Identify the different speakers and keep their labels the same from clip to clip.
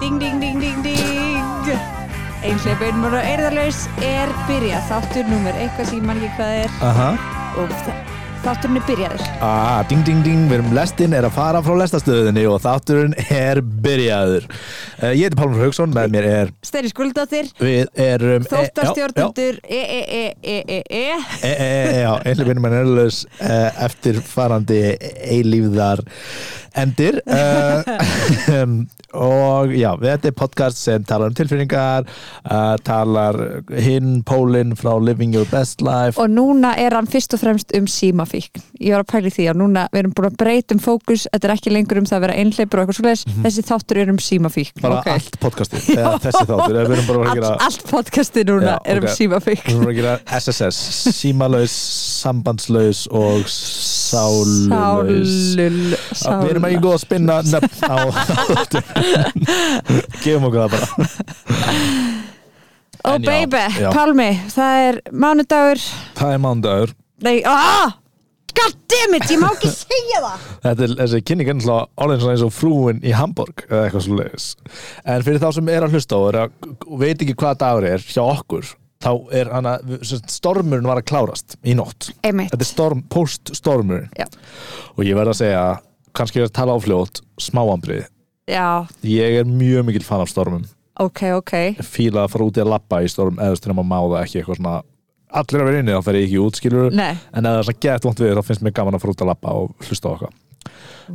Speaker 1: Ding, ding, ding, ding, ding Einhleipin mörg og eirðarlaus er byrjað Þáttur númer eitthvað sem ég man ekki hvað er
Speaker 2: Aha.
Speaker 1: Og þa- þátturinn er byrjaður
Speaker 2: Ah, ding, ding, ding, við erum lestinn er að fara frá lestastöðinni og þátturinn er byrjaður. Uh, ég heiti Pálmur Haugsson, með mér er,
Speaker 1: Steri skuldóttir,
Speaker 2: við erum... eh,
Speaker 1: þóttarstjórnundur e, E-e-e-e-e-e
Speaker 2: E, e, e, já, einhlega vinnum en erlaus uh, eftirfarandi eilífðar endir uh, um, og já, þetta er podcast sem talar um tilfinningar uh, talar hinn, Pólinn frá Living Your Best Life
Speaker 1: Og núna er hann fyrst og fremst um símafíkn. Ég var að pæli því að núna við erum búin að breyta um fókus, þetta er ekki lengur um það að vera einhleipur og eitthvað svoleiðis, þessi þáttur er um símafíkn.
Speaker 2: Mhm. bara
Speaker 1: ok.
Speaker 2: allt podcastið, eða þessi þáttur eða við erum bara að
Speaker 1: All,
Speaker 2: gera
Speaker 1: allt podcasti núna
Speaker 2: Já,
Speaker 1: er um
Speaker 2: ok.
Speaker 1: símafíkn.
Speaker 2: Við vorum að gera SSS Símalaus, sambandslaus og sálulaus
Speaker 1: Sálul,
Speaker 2: Við erum ekki góð að spinna nöfn á Gefum okkur það bara
Speaker 1: Ó
Speaker 2: En já,
Speaker 1: baby,
Speaker 2: já.
Speaker 1: Pálmi, það er mánudagur,
Speaker 2: Það er mándagur
Speaker 1: nei, aah, goddammit, ég má ekki segja það.
Speaker 2: Þetta er þessi kynning er náttúrulega orðin svona eins og frúin í Hamburg eða eitthvað svo En fyrir þá sem er að hlusta og er að, og veit ekki hvað dagur er hjá okkur þá er hana, stormurinn var að klárast í nótt
Speaker 1: Einmitt.
Speaker 2: Þetta er storm, post-stormurinn
Speaker 1: Já,
Speaker 2: og ég verð að segja, kannski er að tala á fljót smáambrið
Speaker 1: já,
Speaker 2: Ég er mjög mikill fan af stormum
Speaker 1: ok, ok,
Speaker 2: Fíla að fara úti að labba í storm eða stundum að máða ekki eitthvað svona Allir að vera inni, þá fer ég ekki út, skilur
Speaker 1: nei,
Speaker 2: En ef það er svona gett vont við, þá finnst mér gaman að fara út að labba og hlusta á okkar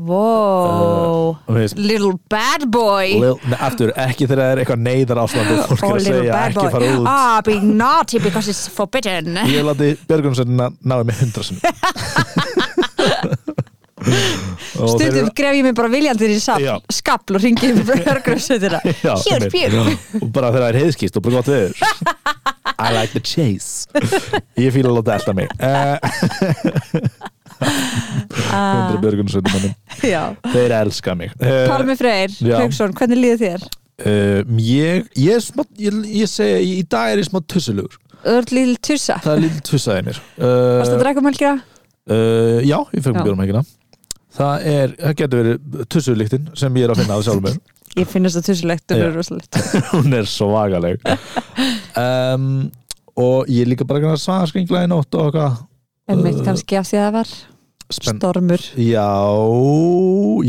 Speaker 1: wow,
Speaker 2: Og við-
Speaker 1: little bad boy.
Speaker 2: Lil- Nei, Aftur, ekki þegar það er eitthvað neyðar ástand og fólk er
Speaker 1: Oh,
Speaker 2: að
Speaker 1: little
Speaker 2: segja
Speaker 1: bad
Speaker 2: ekki
Speaker 1: boy.
Speaker 2: fara út
Speaker 1: Ah, be naughty because it's forbidden.
Speaker 2: Ég hef látið Björgunsson náði mig hundra sinni Og þeir
Speaker 1: Stundum
Speaker 2: eru-
Speaker 1: gref ég mig bara viljandi í sap,
Speaker 2: Já.
Speaker 1: skabl og ringi í björgröfsveitina.
Speaker 2: Já,
Speaker 1: Hjör,
Speaker 2: einmitt.
Speaker 1: fjör.
Speaker 2: og bara þegar það er heiðskýst og bara gott viður I like the chase ég fíla að láta elda mig uh,
Speaker 1: Ah.
Speaker 2: hundra Björgunsson mannum
Speaker 1: Já.
Speaker 2: Þeir elska mig uh,
Speaker 1: Pálmi Freyr,
Speaker 2: Já.
Speaker 1: Hauksson, hvernig líður þér?
Speaker 2: uh, ég, ég, er smá, ég, ég segi, í dag er ég smá tussulugur
Speaker 1: Þú ert lítil tussa.
Speaker 2: Það er lítið tussaði mér
Speaker 1: Varst
Speaker 2: uh,
Speaker 1: að um drakka mælgra?
Speaker 2: uh, Já, ég fekk
Speaker 1: Já.
Speaker 2: mér bjórum helgina Það, er, það getur verið tussulíktin sem ég er að finna að sjálfum mér
Speaker 1: Ég finnast það tussulegt og
Speaker 2: Já.
Speaker 1: það er rosalegt.
Speaker 2: Hún er svo vagaleg um, Og ég er líka bara að svaða skringla í nótt og eitthvað
Speaker 1: En mitt kannski af því að það var
Speaker 2: Spenn-
Speaker 1: stormur.
Speaker 2: Já,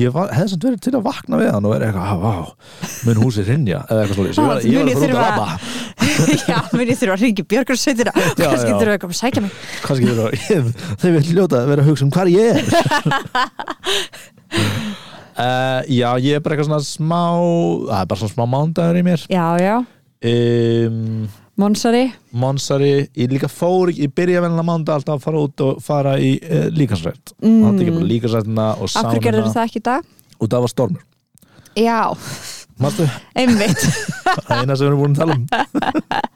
Speaker 2: ég var, hefði samt verið til að vakna við hann og verið eitthvað, "Ah, vá, mun húsið rinja eða eitthvað svolítið, ég var,
Speaker 1: Ah,
Speaker 2: ég var
Speaker 1: mun ég
Speaker 2: að fara út að
Speaker 1: þurfa-
Speaker 2: labba
Speaker 1: Já, minn ég þurfa að ringi björgröfsveitina.
Speaker 2: Já,
Speaker 1: Kannski
Speaker 2: já.
Speaker 1: þurfa eitthvað að sækja mig.
Speaker 2: kannski þeir eru þeir vil ljóta að vera að hugsa um hvar ég er uh, já, ég er bara eitthvað svona smá það er bara svona smá mándagur í mér
Speaker 1: Já, já.
Speaker 2: um,
Speaker 1: Monsari.
Speaker 2: monsari, ég líka fór ég byrja vennilega mándag alltaf að fara út og fara í uh, líkansrætt
Speaker 1: Mm.
Speaker 2: og það tekið bara líkansrættina og
Speaker 1: Af hverju gerður
Speaker 2: sánina
Speaker 1: það ekki í dag?
Speaker 2: og það var stormur
Speaker 1: Já,
Speaker 2: Mastu,
Speaker 1: einmitt.
Speaker 2: það er eina sem við erum búin að tala um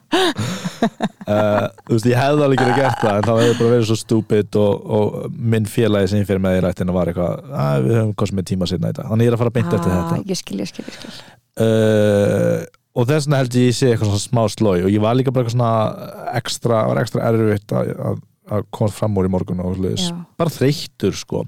Speaker 2: Uh, þú veist, ég hefði alveg ekki gert það en það hefði bara verið svo stúpid og, og minn félagi sem ég fyrir með í rættina var eitthvað að við höfum kostum með tíma sinna í dag þannig ég er að fara beint eftir
Speaker 1: Ah,
Speaker 2: þetta
Speaker 1: Ég skil, ég skil, ég skil.
Speaker 2: uh, og þess vegna held ég ég sé eitthvað svona smá slói og ég var líka bara eitthvað svona ekstra, var ekstra erfitt að, að, að koma fram úr í morgun og sliðis
Speaker 1: Já.
Speaker 2: bara þreyttur sko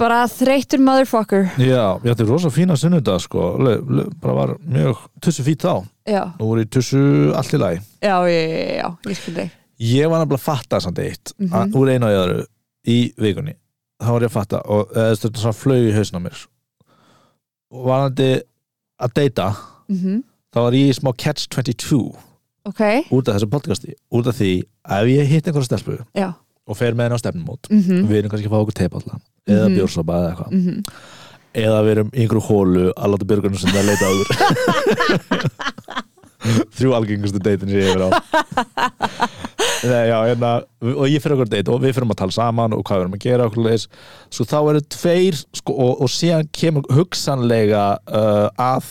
Speaker 1: Bara þreytur motherfucker.
Speaker 2: já, ég ætti rosa fína sunnudag sko le, le, bara var mjög tussu fít þá
Speaker 1: Já.
Speaker 2: nú voru í tussu allt í lagi
Speaker 1: já, já, já, já, ég skil þig
Speaker 2: ég var nefnilega að fatta samt eitt mm
Speaker 1: Mhm.
Speaker 2: úr einu og öðru í vikunni þá var ég að fatta og eða þetta svona flög í hausna mér og var hann að deyta
Speaker 1: mm
Speaker 2: þá var ég í smá catch 22
Speaker 1: ok,
Speaker 2: út af þessu podcasti út af því ef ég hitt einhverja stelpu
Speaker 1: já
Speaker 2: og fer með henni á stefnumót
Speaker 1: mm
Speaker 2: við erum kannski að fá okkur teipalla eða
Speaker 1: Mhm.
Speaker 2: bjórsopa eða eitthvað eða við erum í einhverju hólu að láta björgunum sem það leita áður þrjú algengustu deitin sem ég hefur á Nei, já, hérna, og ég fyrir okkur deit og við fyrir að tala saman og hvað við erum að gera okkur leis svo þá eru tveir sko, og, og síðan kemur hugsanlega uh, að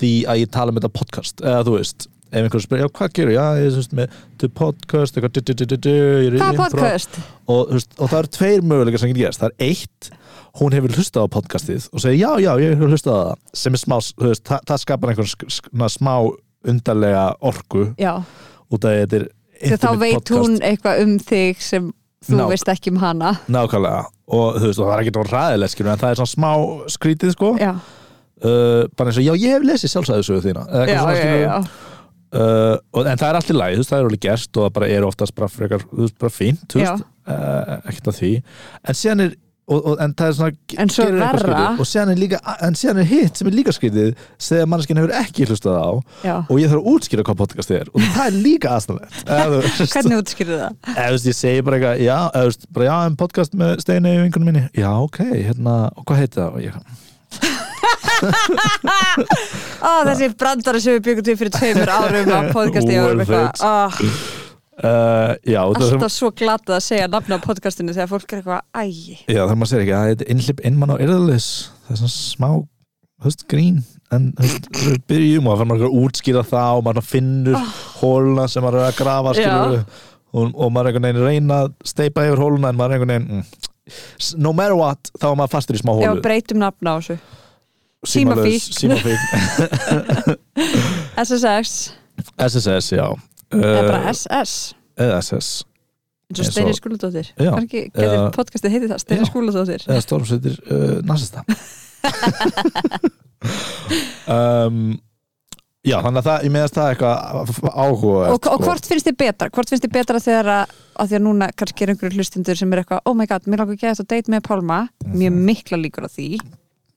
Speaker 2: því að ég tala um þetta podcast eða þú veist ef einhver spyrir, já hvað gerur, já ég þú veist með the podcast, eitthvað du, du, du, du, du, ég er í
Speaker 1: hvað
Speaker 2: impro-
Speaker 1: podcast?
Speaker 2: og, þú veist, og það eru tveir möguleika sem getur gerst það er eitt, hún hefur hlustað á podcastið og segir já, já, ég hefur hlustað á það sem er smá, þú veist, það, það skapar einhvern sk- sk- svona smá undarlega orku
Speaker 1: já,
Speaker 2: út af því að þetta er
Speaker 1: þegar þá
Speaker 2: intimate
Speaker 1: veit
Speaker 2: podcast.
Speaker 1: hún eitthvað um þig sem þú
Speaker 2: Nák.
Speaker 1: veist ekki um hana
Speaker 2: nákvæmlega og þú veist, og það er ekki ræðilegt skilur, en það er svona smá skrítið sko
Speaker 1: já,
Speaker 2: uh, bara eins og, já, ég hef lesið sjálfsæðisögu þína Eða eitthvað
Speaker 1: já,
Speaker 2: svona,
Speaker 1: já,
Speaker 2: skilurðu.
Speaker 1: já.
Speaker 2: uh, og- en það er allir læg, þú veist, það er alveg gerst og það bara er oftast bara frekar, þú veist, bara fínt þú veist, uh, ekkert að því en síðan er, og, og, en það er svona
Speaker 1: En svo
Speaker 2: gerir eitthvað
Speaker 1: verra-
Speaker 2: skrýtið. og síðan er líka, en síðan er hitt sem er líka skrítið þegar manneskinn hefur ekki hlustað á
Speaker 1: Já.
Speaker 2: og ég þarf að útskýra hvað podcast er og það er líka aðstæðanlegt eða þú veist,
Speaker 1: Hvernig útskýrðu það?
Speaker 2: eða, þú veist, ég segi bara eitthvað já, eða, þú veist, bara, já, en podcast með Steini vinkunum minni, já, ok, hérna og hvað heitir það? Og ég,
Speaker 1: Ó, þessi brandara sem við byggum til fyrir tveimur árum á podcasti og
Speaker 2: Worth
Speaker 1: eitthvað.
Speaker 2: it.
Speaker 1: Ó,
Speaker 2: uh, já, og það sem
Speaker 1: alltaf svo glatað að segja nafna á podcastinu þegar fólk er eitthvað, æj.
Speaker 2: Já, þar maður segir ekki að þetta er innlipp innmann á erðalis það er svona smá, höst, grín en höst, byrjum og það fyrir maður að útskýra það og maður finnur
Speaker 1: Ah.
Speaker 2: oh. hóluna sem maður er að grafa skilur, og, og maður er einhvern veginn að reyna að steipa yfir hóluna en maður er einhvern veginn mm, s- no matter what, þá er maður fastur í smá
Speaker 1: Já,
Speaker 2: hólu
Speaker 1: breytum nafna á þessu.
Speaker 2: Símalaus- símafík
Speaker 1: SSX,
Speaker 2: SSS, já eh,
Speaker 1: eða
Speaker 2: uh,
Speaker 1: bara SS.
Speaker 2: eða SS
Speaker 1: eins og
Speaker 2: eins og-
Speaker 1: Steini Skúladóttir.
Speaker 2: Já.
Speaker 1: Var ekki, getur
Speaker 2: Eða-
Speaker 1: podcastið heiti það, Steini
Speaker 2: Já.
Speaker 1: Skúladóttir.
Speaker 2: eða stormsveitir uh, nasista um, Já, þannig að það, ég meðast það eitthvað áhuga sko
Speaker 1: Og, og hvort finnst þið betra? Hvort finnst þið betra þegar að, að því að núna kannski er einhverju hlustundur sem er eitthvað, oh my god, mér langar ekki að þetta date með Pálma, mér
Speaker 2: Mhm.
Speaker 1: mikla líkur á því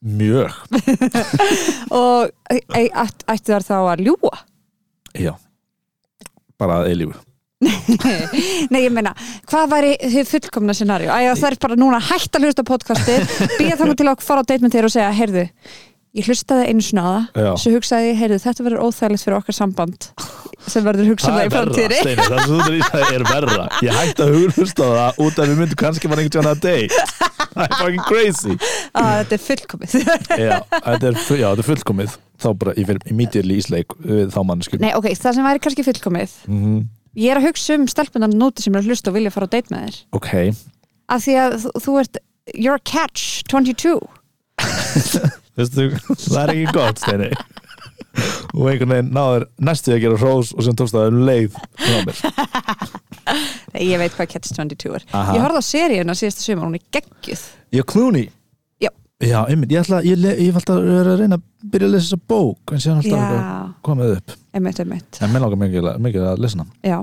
Speaker 2: Mjög,
Speaker 1: og e, e, ætt, ættu þar þá að ljúa?
Speaker 2: já bara að eilífu
Speaker 1: Nei, ég meina, hvað væri þið fullkomna scenarió? Æja, það er bara núna hægt að hlusta á podcastið, býða þannig til að fara á date með þér og segja, heyrðu, ég hlustaði einu svona á það,
Speaker 2: Já.
Speaker 1: svo hugsaði ég, heyrðu, þetta verður óþægilegt fyrir okkar samband sem verður hugsanlega í framtíðri.
Speaker 2: Steini, það sem þú þurfir í það er verra Ég hætti að huglusta það út af við myndum kannski var einhvern tjóna að dey Það er fucking crazy
Speaker 1: að þetta er fullkomið
Speaker 2: Já, þetta er, fu- já, þetta er fullkomið Þá bara, ég fyrir immediately ísleik við þá mannsku
Speaker 1: Nei, ok, það sem væri kannski fullkomið
Speaker 2: mm
Speaker 1: Ég er að hugsa um stelpunan nóti sem er að hlusta og vilja fara á date með þér
Speaker 2: Ok,
Speaker 1: Af því að þú, þú ert, you're a catch 22
Speaker 2: Veistu, það er ekki gott, Steini og einhvern veginn náður næstu því að gera hrós og sem tókst það um leið frá mér.
Speaker 1: Nei, ég veit hvað catch 22 er
Speaker 2: Aha.
Speaker 1: Ég horfði á seríuna síðasta sumar, hún er geggjuð
Speaker 2: Ég er Clooney
Speaker 1: Já.
Speaker 2: Já, einmitt, ég ætla, ég, le- ég ætla að vera að reyna að byrja að lesa þessa bók en síðan alltaf
Speaker 1: Já.
Speaker 2: eitthvað komið upp
Speaker 1: Einmitt, einmitt,
Speaker 2: en mér langar mikið, að- mikið að lesa hana
Speaker 1: já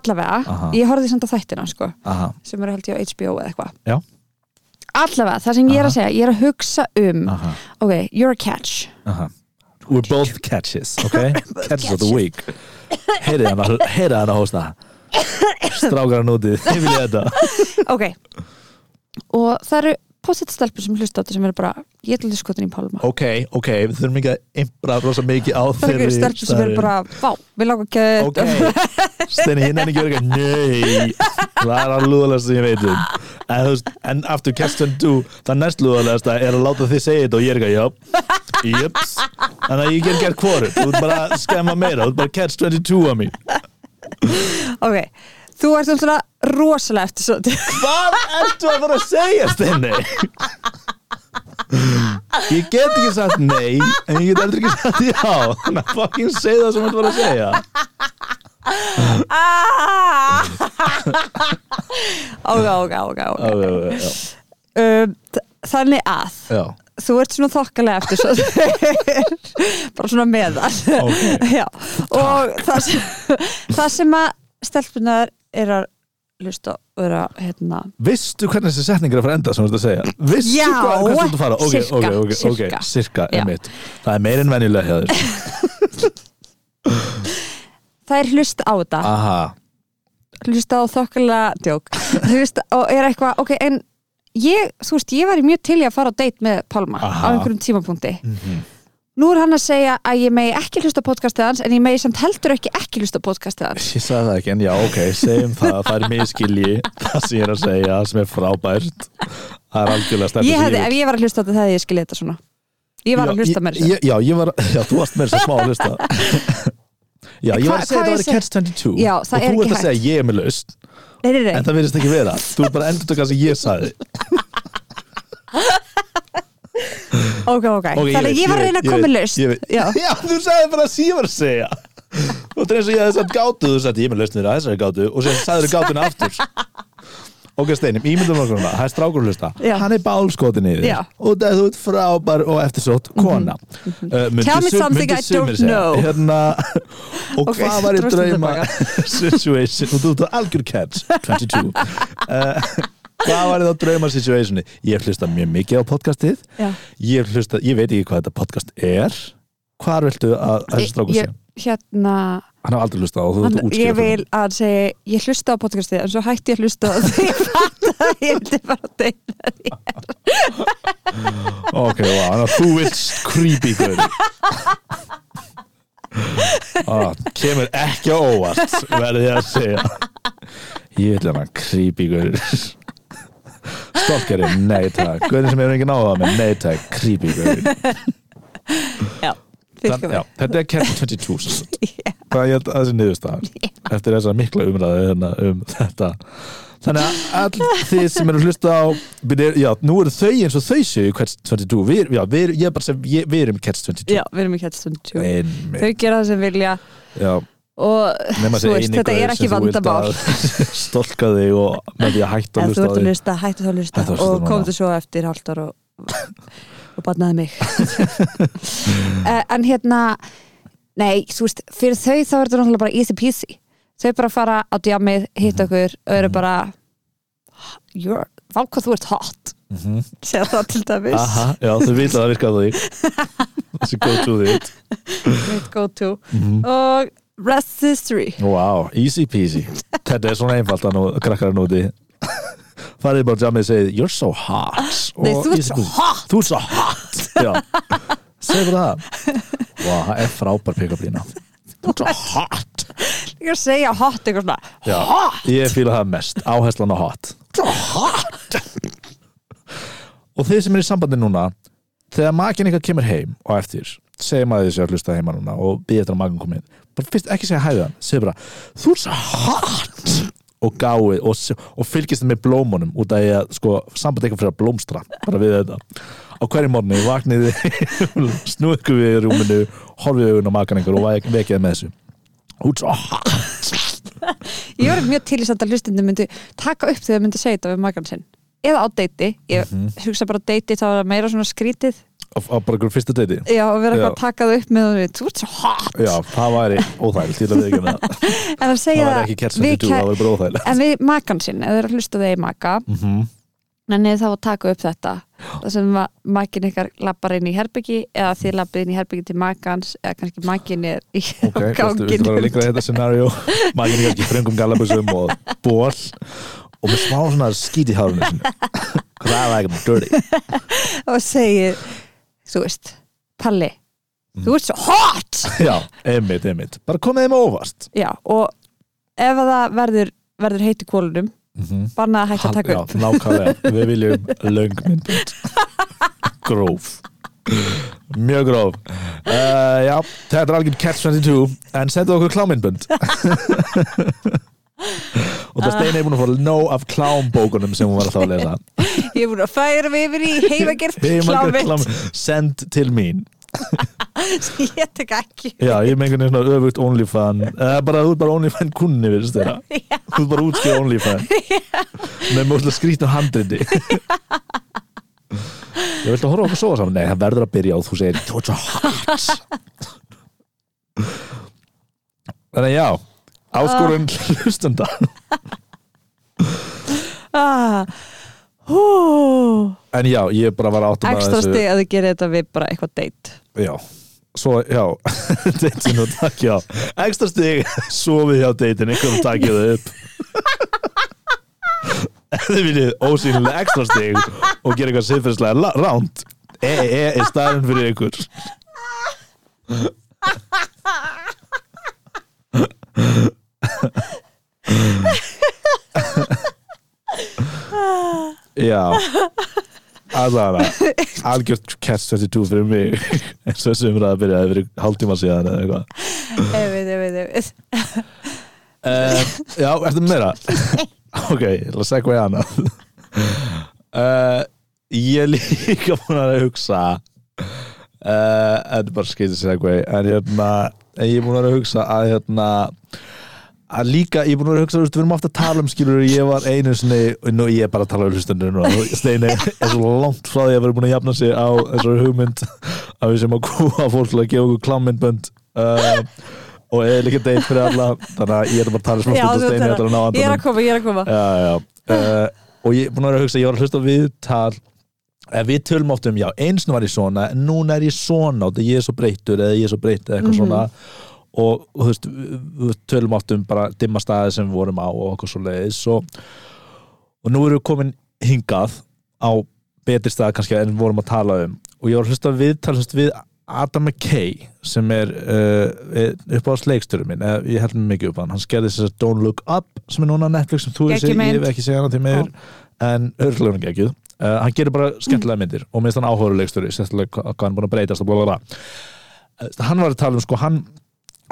Speaker 1: Allavega,
Speaker 2: Aha.
Speaker 1: ég horfði samt á þættina sko
Speaker 2: Aha,
Speaker 1: sem eru held ég á HBO eða eitthvað
Speaker 2: Já.
Speaker 1: Allavega, það sem ég er að segja, ég er að hugsa um
Speaker 2: aha,
Speaker 1: Ok, you're a catch
Speaker 2: aha We're both catches, ok? Catches of the week Heyrið hana, heyrið hana hósta Strákar hann úti, þið vilja þetta
Speaker 1: Ok Og það eru pottet stelpur sem hlusta á þetta sem eru bara Ég ætla að skotin í Pálma
Speaker 2: Ok, ok, við þurfum ekki að impra rosa mikið á
Speaker 1: Það eru
Speaker 2: þeirri
Speaker 1: stelpur sem eru
Speaker 2: staðreynd.
Speaker 1: bara Vá, við lágum ekki að
Speaker 2: ok Steini, ég nefnir ekki verið eitthvað nei, það er alveg lúðalegast sem ég veit um en, þú veist, en aftur Keston 2 það næst lúðalegasta er að láta þið segja þetta og ég er eitthvað, já, jöps þannig að ég get gert hvorum, þú ert bara að skemma meira, þú ert bara catch 22 á mig
Speaker 1: Ok, þú ert um svona rosalega eftir svo
Speaker 2: hvað ertu að fara að segja Steini? ég get ekki sagt nei en ég get aldrei ekki sagt já þannig að fucking segja það sem þú ert að fara að segja
Speaker 1: Ah! Ok, ok, ok, ok.
Speaker 2: já, já, já,
Speaker 1: Um, þ- Þannig að
Speaker 2: já.
Speaker 1: þú ert svona þokkalega eftir svo bara svona meðal
Speaker 2: Ok.
Speaker 1: Já, og það sem, það sem að stelpunar er að hlusta og er að hérna,
Speaker 2: Vistu hvernig þessi setning er að fara að enda sem þú ert að segja? Vistu
Speaker 1: Já,
Speaker 2: hvað, hvað þú ert að fara? Ok,
Speaker 1: sirka,
Speaker 2: ok, ok, ok,
Speaker 1: sirka.
Speaker 2: sirka,
Speaker 1: Já.
Speaker 2: einmitt Það er meir en venjulega hjá þér
Speaker 1: það er hlust á þetta
Speaker 2: Aha,
Speaker 1: hlusta á þokkalega djók hlusta, og er eitthvað, ok, en ég, þú veist, ég væri mjög til í að fara á date með Pálma
Speaker 2: Aha. Mhm.
Speaker 1: á einhverjum tímapunkti nú er hann að segja að ég megi ekki hlusta á podcastið hans en ég megi samt heldur ekki ekki hlusta á podcastið hans
Speaker 2: ég sagði það ekki en já, ok, segjum það, það er miskilji það sem ég er að segja, sem er frábært Það er algjörlega stefnir
Speaker 1: ég hefði, ef ég var að hlusta á þetta hefði ég skilja þetta svona ég var að hlusta mér
Speaker 2: Já, ég- já, ég var, já, þú varst mér sem smá að hlusta Já, ég var
Speaker 1: Hva-
Speaker 2: að segja
Speaker 1: hvað
Speaker 2: það
Speaker 1: ég
Speaker 2: var
Speaker 1: seg-
Speaker 2: Catch 22
Speaker 1: Já,
Speaker 2: og
Speaker 1: það er
Speaker 2: þú
Speaker 1: ekki
Speaker 2: ert að
Speaker 1: hægt.
Speaker 2: segja ég er með laust
Speaker 1: nei, nei, nei.
Speaker 2: en það virðist ekki vera, þú er bara endur taka sem ég sagði
Speaker 1: ok, ok,
Speaker 2: Ok,
Speaker 1: þannig
Speaker 2: veit,
Speaker 1: ég var að reyna að
Speaker 2: veit,
Speaker 1: koma í
Speaker 2: ég veit,
Speaker 1: laust
Speaker 2: ég veit.
Speaker 1: Já.
Speaker 2: Já, þú sagði bara að síðan að segja Og það er eins og ég hefði sagt gátu Þú sagði ég er með lausnir að þessari gátu Og sér sagði þú gátuna aftur ok Steinum, ímyndum okkur hana, það er strákur að hlusta
Speaker 1: Já.
Speaker 2: hann er bálskotin í þér
Speaker 1: Já. Mhm.
Speaker 2: og það er þú ert frábær og eftirsótt kona uh, myndi
Speaker 1: Tell me
Speaker 2: sum-
Speaker 1: something
Speaker 2: myndi
Speaker 1: I don't
Speaker 2: sumir segja.
Speaker 1: know.
Speaker 2: hérna, og
Speaker 1: Ok,
Speaker 2: hvað var í
Speaker 1: dröstum
Speaker 2: drauma situation og þú ert á algjör catch 22 uh, hvað var í þá drauma situationi ég hlusta mjög mikið á podcastið
Speaker 1: Já.
Speaker 2: ég, hlusta, ég veit ekki hvað þetta podcast er hvar viltu að að þessi strákur sé
Speaker 1: Ég- hérna,
Speaker 2: hann hef aldrei hlustað og þú ert
Speaker 1: hann,
Speaker 2: að útskýra
Speaker 1: ég
Speaker 2: fyrir
Speaker 1: vil að segja ég hlusta á podcastið en svo hætti ég að hlusta á því ég fatt að ég vildi bara deyna
Speaker 2: Ok, wow, þannig að þú vilt creepy guður ah, Kemur ekki á óvart verði ég að segja Ég vil hann creepy guður Stalkeri, nei takk Guðin sem hefur engin áhuga á með, nei takk Creepy guður
Speaker 1: já, fylgjum við
Speaker 2: Þetta er Kevin 22 sem sagt. Það er ég held að þessi niðurstaðan Eftir þessa mikla umræði hérna um þetta Þannig að all þið sem eru að hlusta á byrja, Já, nú eru þau eins og þau séu Catch 22 við, Já, við, erum- ég er bara sem, ég, við erum í Catch 22
Speaker 1: já, við erum ekki hætt stund tjú
Speaker 2: Einmitt.
Speaker 1: þau gera það sem vilja
Speaker 2: Já,
Speaker 1: og
Speaker 2: nema
Speaker 1: Þú
Speaker 2: þessi
Speaker 1: veist,
Speaker 2: eini
Speaker 1: þetta er
Speaker 2: gaur
Speaker 1: ekki
Speaker 2: sem þú vilt
Speaker 1: vandamál.
Speaker 2: að Stolka þig og með því að
Speaker 1: ef
Speaker 2: hætta að
Speaker 1: þú
Speaker 2: hlusta á
Speaker 1: ert að hlusta,
Speaker 2: þig
Speaker 1: hættu þá að hlusta
Speaker 2: Hættu að hlusta
Speaker 1: og
Speaker 2: núna.
Speaker 1: komdu svo eftir hálft ár og, og barnaði mig Eh, en hérna nei, þú veist, fyrir þau þá er þetta náttúrulega bara easy peasy þau bara fara á djamið, hitta
Speaker 2: Mhm.
Speaker 1: okkur og eru bara "You're- vá hvað þú ert hot segja það til dæmis
Speaker 2: Mhm. Aha, já, þau vita að það virka á þig Þessi go to þig
Speaker 1: mitt go to
Speaker 2: Mhm.
Speaker 1: og rest is three
Speaker 2: Wow, easy peasy Þetta er svona einfalt að nú, krakkar að núti Farið bara á jammið og segið You're so hot
Speaker 1: Nei,
Speaker 2: og
Speaker 1: þú ert
Speaker 2: easy
Speaker 1: svo
Speaker 2: peasy.
Speaker 1: hot.
Speaker 2: Þú ert svo hot Já, segðu bara það Wow, það er frábær pick-up lína Þú ert svo hot
Speaker 1: ég er að segja hot eitthvað svona
Speaker 2: Já, Ég fíla það mest, áherslan á hot Þú ert svo hot Og þið sem er í sambandi núna Þegar makin eitthvað kemur heim og eftir segir maður þessi að hlusta heima núna og býða eftir að makin komið inn bara fyrst ekki segja hæðan, segir bara þú ert svo hot og gáið og, s- og fylgist með blómunum út af því að sko, samband eitthvað fyrir að blómstra bara við þetta á hverju morgni vakniði snúið ykkur við í rúminu horfið augun á makan einhver og væ- vekið þið með þessu þú ert svo hot
Speaker 1: ég var mjög til í samt að hlustindi myndi taka upp þegar myndi segja þetta við magan sinn eða á deiti, ég
Speaker 2: Mhm.
Speaker 1: hugsa bara á deiti þá er það meira svona skrítið
Speaker 2: á, á bara ykkur fyrsta deiti
Speaker 1: já, og vera
Speaker 2: Já.
Speaker 1: eitthvað að taka það upp með og við, þú ert svo hot
Speaker 2: Já, það væri óþægilegt, ég lefði ekki um það
Speaker 1: en að
Speaker 2: Það
Speaker 1: segja
Speaker 2: væri ekki kert sem
Speaker 1: við
Speaker 2: við dú,
Speaker 1: kæ-
Speaker 2: það væri bara óþægilegt
Speaker 1: en við magan sinn, ef þau eru að hlusta þeir maka mm
Speaker 2: Mhm.
Speaker 1: en þá að taka upp þetta það sem ma makin ykkar lappar inn í herbyggi eða þið lappið inn í herbyggi til makans eða kannski makin er í
Speaker 2: Ok,
Speaker 1: okay,
Speaker 2: viltu, viltu fara að lengra í þetta scenario Maginn er ekki fröngum gallabusum og ból og með smá svona skít í hárunni sinni Hvað er það ekki dirty?
Speaker 1: og segir, þú veist Palli,
Speaker 2: Mm.
Speaker 1: þú ert svo hot
Speaker 2: Já, einmitt, einmitt Bara komið þeim á óvart
Speaker 1: Já, og ef að það verður, verður heiti kólunum
Speaker 2: Mhm.
Speaker 1: bannað að hætta að taka
Speaker 2: Já,
Speaker 1: upp
Speaker 2: nákvæmlega, við viljum löngmyndbund Gróf Mjög gróf uh, Já, þetta er algjörn catch 22 en sendu okkur klámyndbund og
Speaker 1: Ah.
Speaker 2: það steina er búin að fóra nóg af klámbókunum sem hún var alltaf að lesa
Speaker 1: Ég er búin að færa mig yfir í heimagerð
Speaker 2: Heimagerð
Speaker 1: klámið
Speaker 2: klámynd, send til mín
Speaker 1: sem ég tek ekki
Speaker 2: Já, ég mengur nefnir svona öfugt OnlyFan eða bara, þú ert bara OnlyFan kunni við þeirra þú ert bara útskjöð OnlyFan með mjög skrýtnum handrindi Ég viltu horfa okkur sofa saman Nei, það verður að byrja og þú segir Þú ert svo hot Þannig að já Áskorun hlustenda
Speaker 1: ah, hú,
Speaker 2: En já, ég bara var að áttum að
Speaker 1: Ekstra stig að þið gerir þetta við bara eitthvað deitt
Speaker 2: Já, svo, já Deitin og takk, já Ekstra stig, sofið hjá deitin einhverjum takkið það upp Ef þið viljið ósýnilega ekstra stig og gera eitthvað siðferðslega ránt E-E-E E, er staðurinn fyrir ykkur Já Aðara Algjört catch 22 fyrir mig eins og þessu umræða byrjaði fyrir hálftíma síðan eða eitthvað
Speaker 1: Ef við, ef við, ef við
Speaker 2: uh, Já, ertu með meira? ok, ég ætla að segja hvað ég annað uh, Ég er líka búin að hugsa eh, uh, Þetta er bara skeitið segja hvað En hérna, en ég er búin að hugsa að hérna að líka, ég er búin að vera að hugsa, þú veist, við erum ofta að tala um skilur ég var einu sinni, nú ég er bara að tala um hlustundur núna, og Steini er svo langt frá því að vera búin að jafna sig á þessari hugmynd að við sem að kúa fólk til að gefa okkur klámyndbönd uh, og eða líka deitt fyrir alla þannig að ég er bara að tala smá
Speaker 1: Já,
Speaker 2: stund
Speaker 1: þú
Speaker 2: og Steini
Speaker 1: ert
Speaker 2: ætlar að ná
Speaker 1: ég er að
Speaker 2: andanum
Speaker 1: koma, ég er að koma
Speaker 2: já, já. Uh, og ég er búin að vera að hugsa, ég var að hlusta á viðtal eða við tölum oft um, já, eins og var ég svona en núna er ég svona, og það ég er svo breyttur eða ég er svo breytt eða eitthvað svona og þú veist, við- við tölum oft um bara dimma staði sem við vorum á og eitthvað svo leiðis og, og nú erum við komin hingað á betri staði kannski en við vorum að tala um og ég var að hlusta á viðtal hlusta við Adam McKay sem er uh, upp á sleiksturum minn eða, ég held mér mikið upp á hann, hann skerði þess að Don't Look Up sem er núna á Netflix sem þú hefur
Speaker 1: Geggjuð
Speaker 2: séð, ég
Speaker 1: mynd.
Speaker 2: hef ekki segja hana til meður en örglegunum geggjuð uh, hann gerir bara skemmtilega myndir og minnst hann áhórulegstur sérstaklega hva- hvað hann er búin að breytast og blablabla uh, hann var að tala um sko hann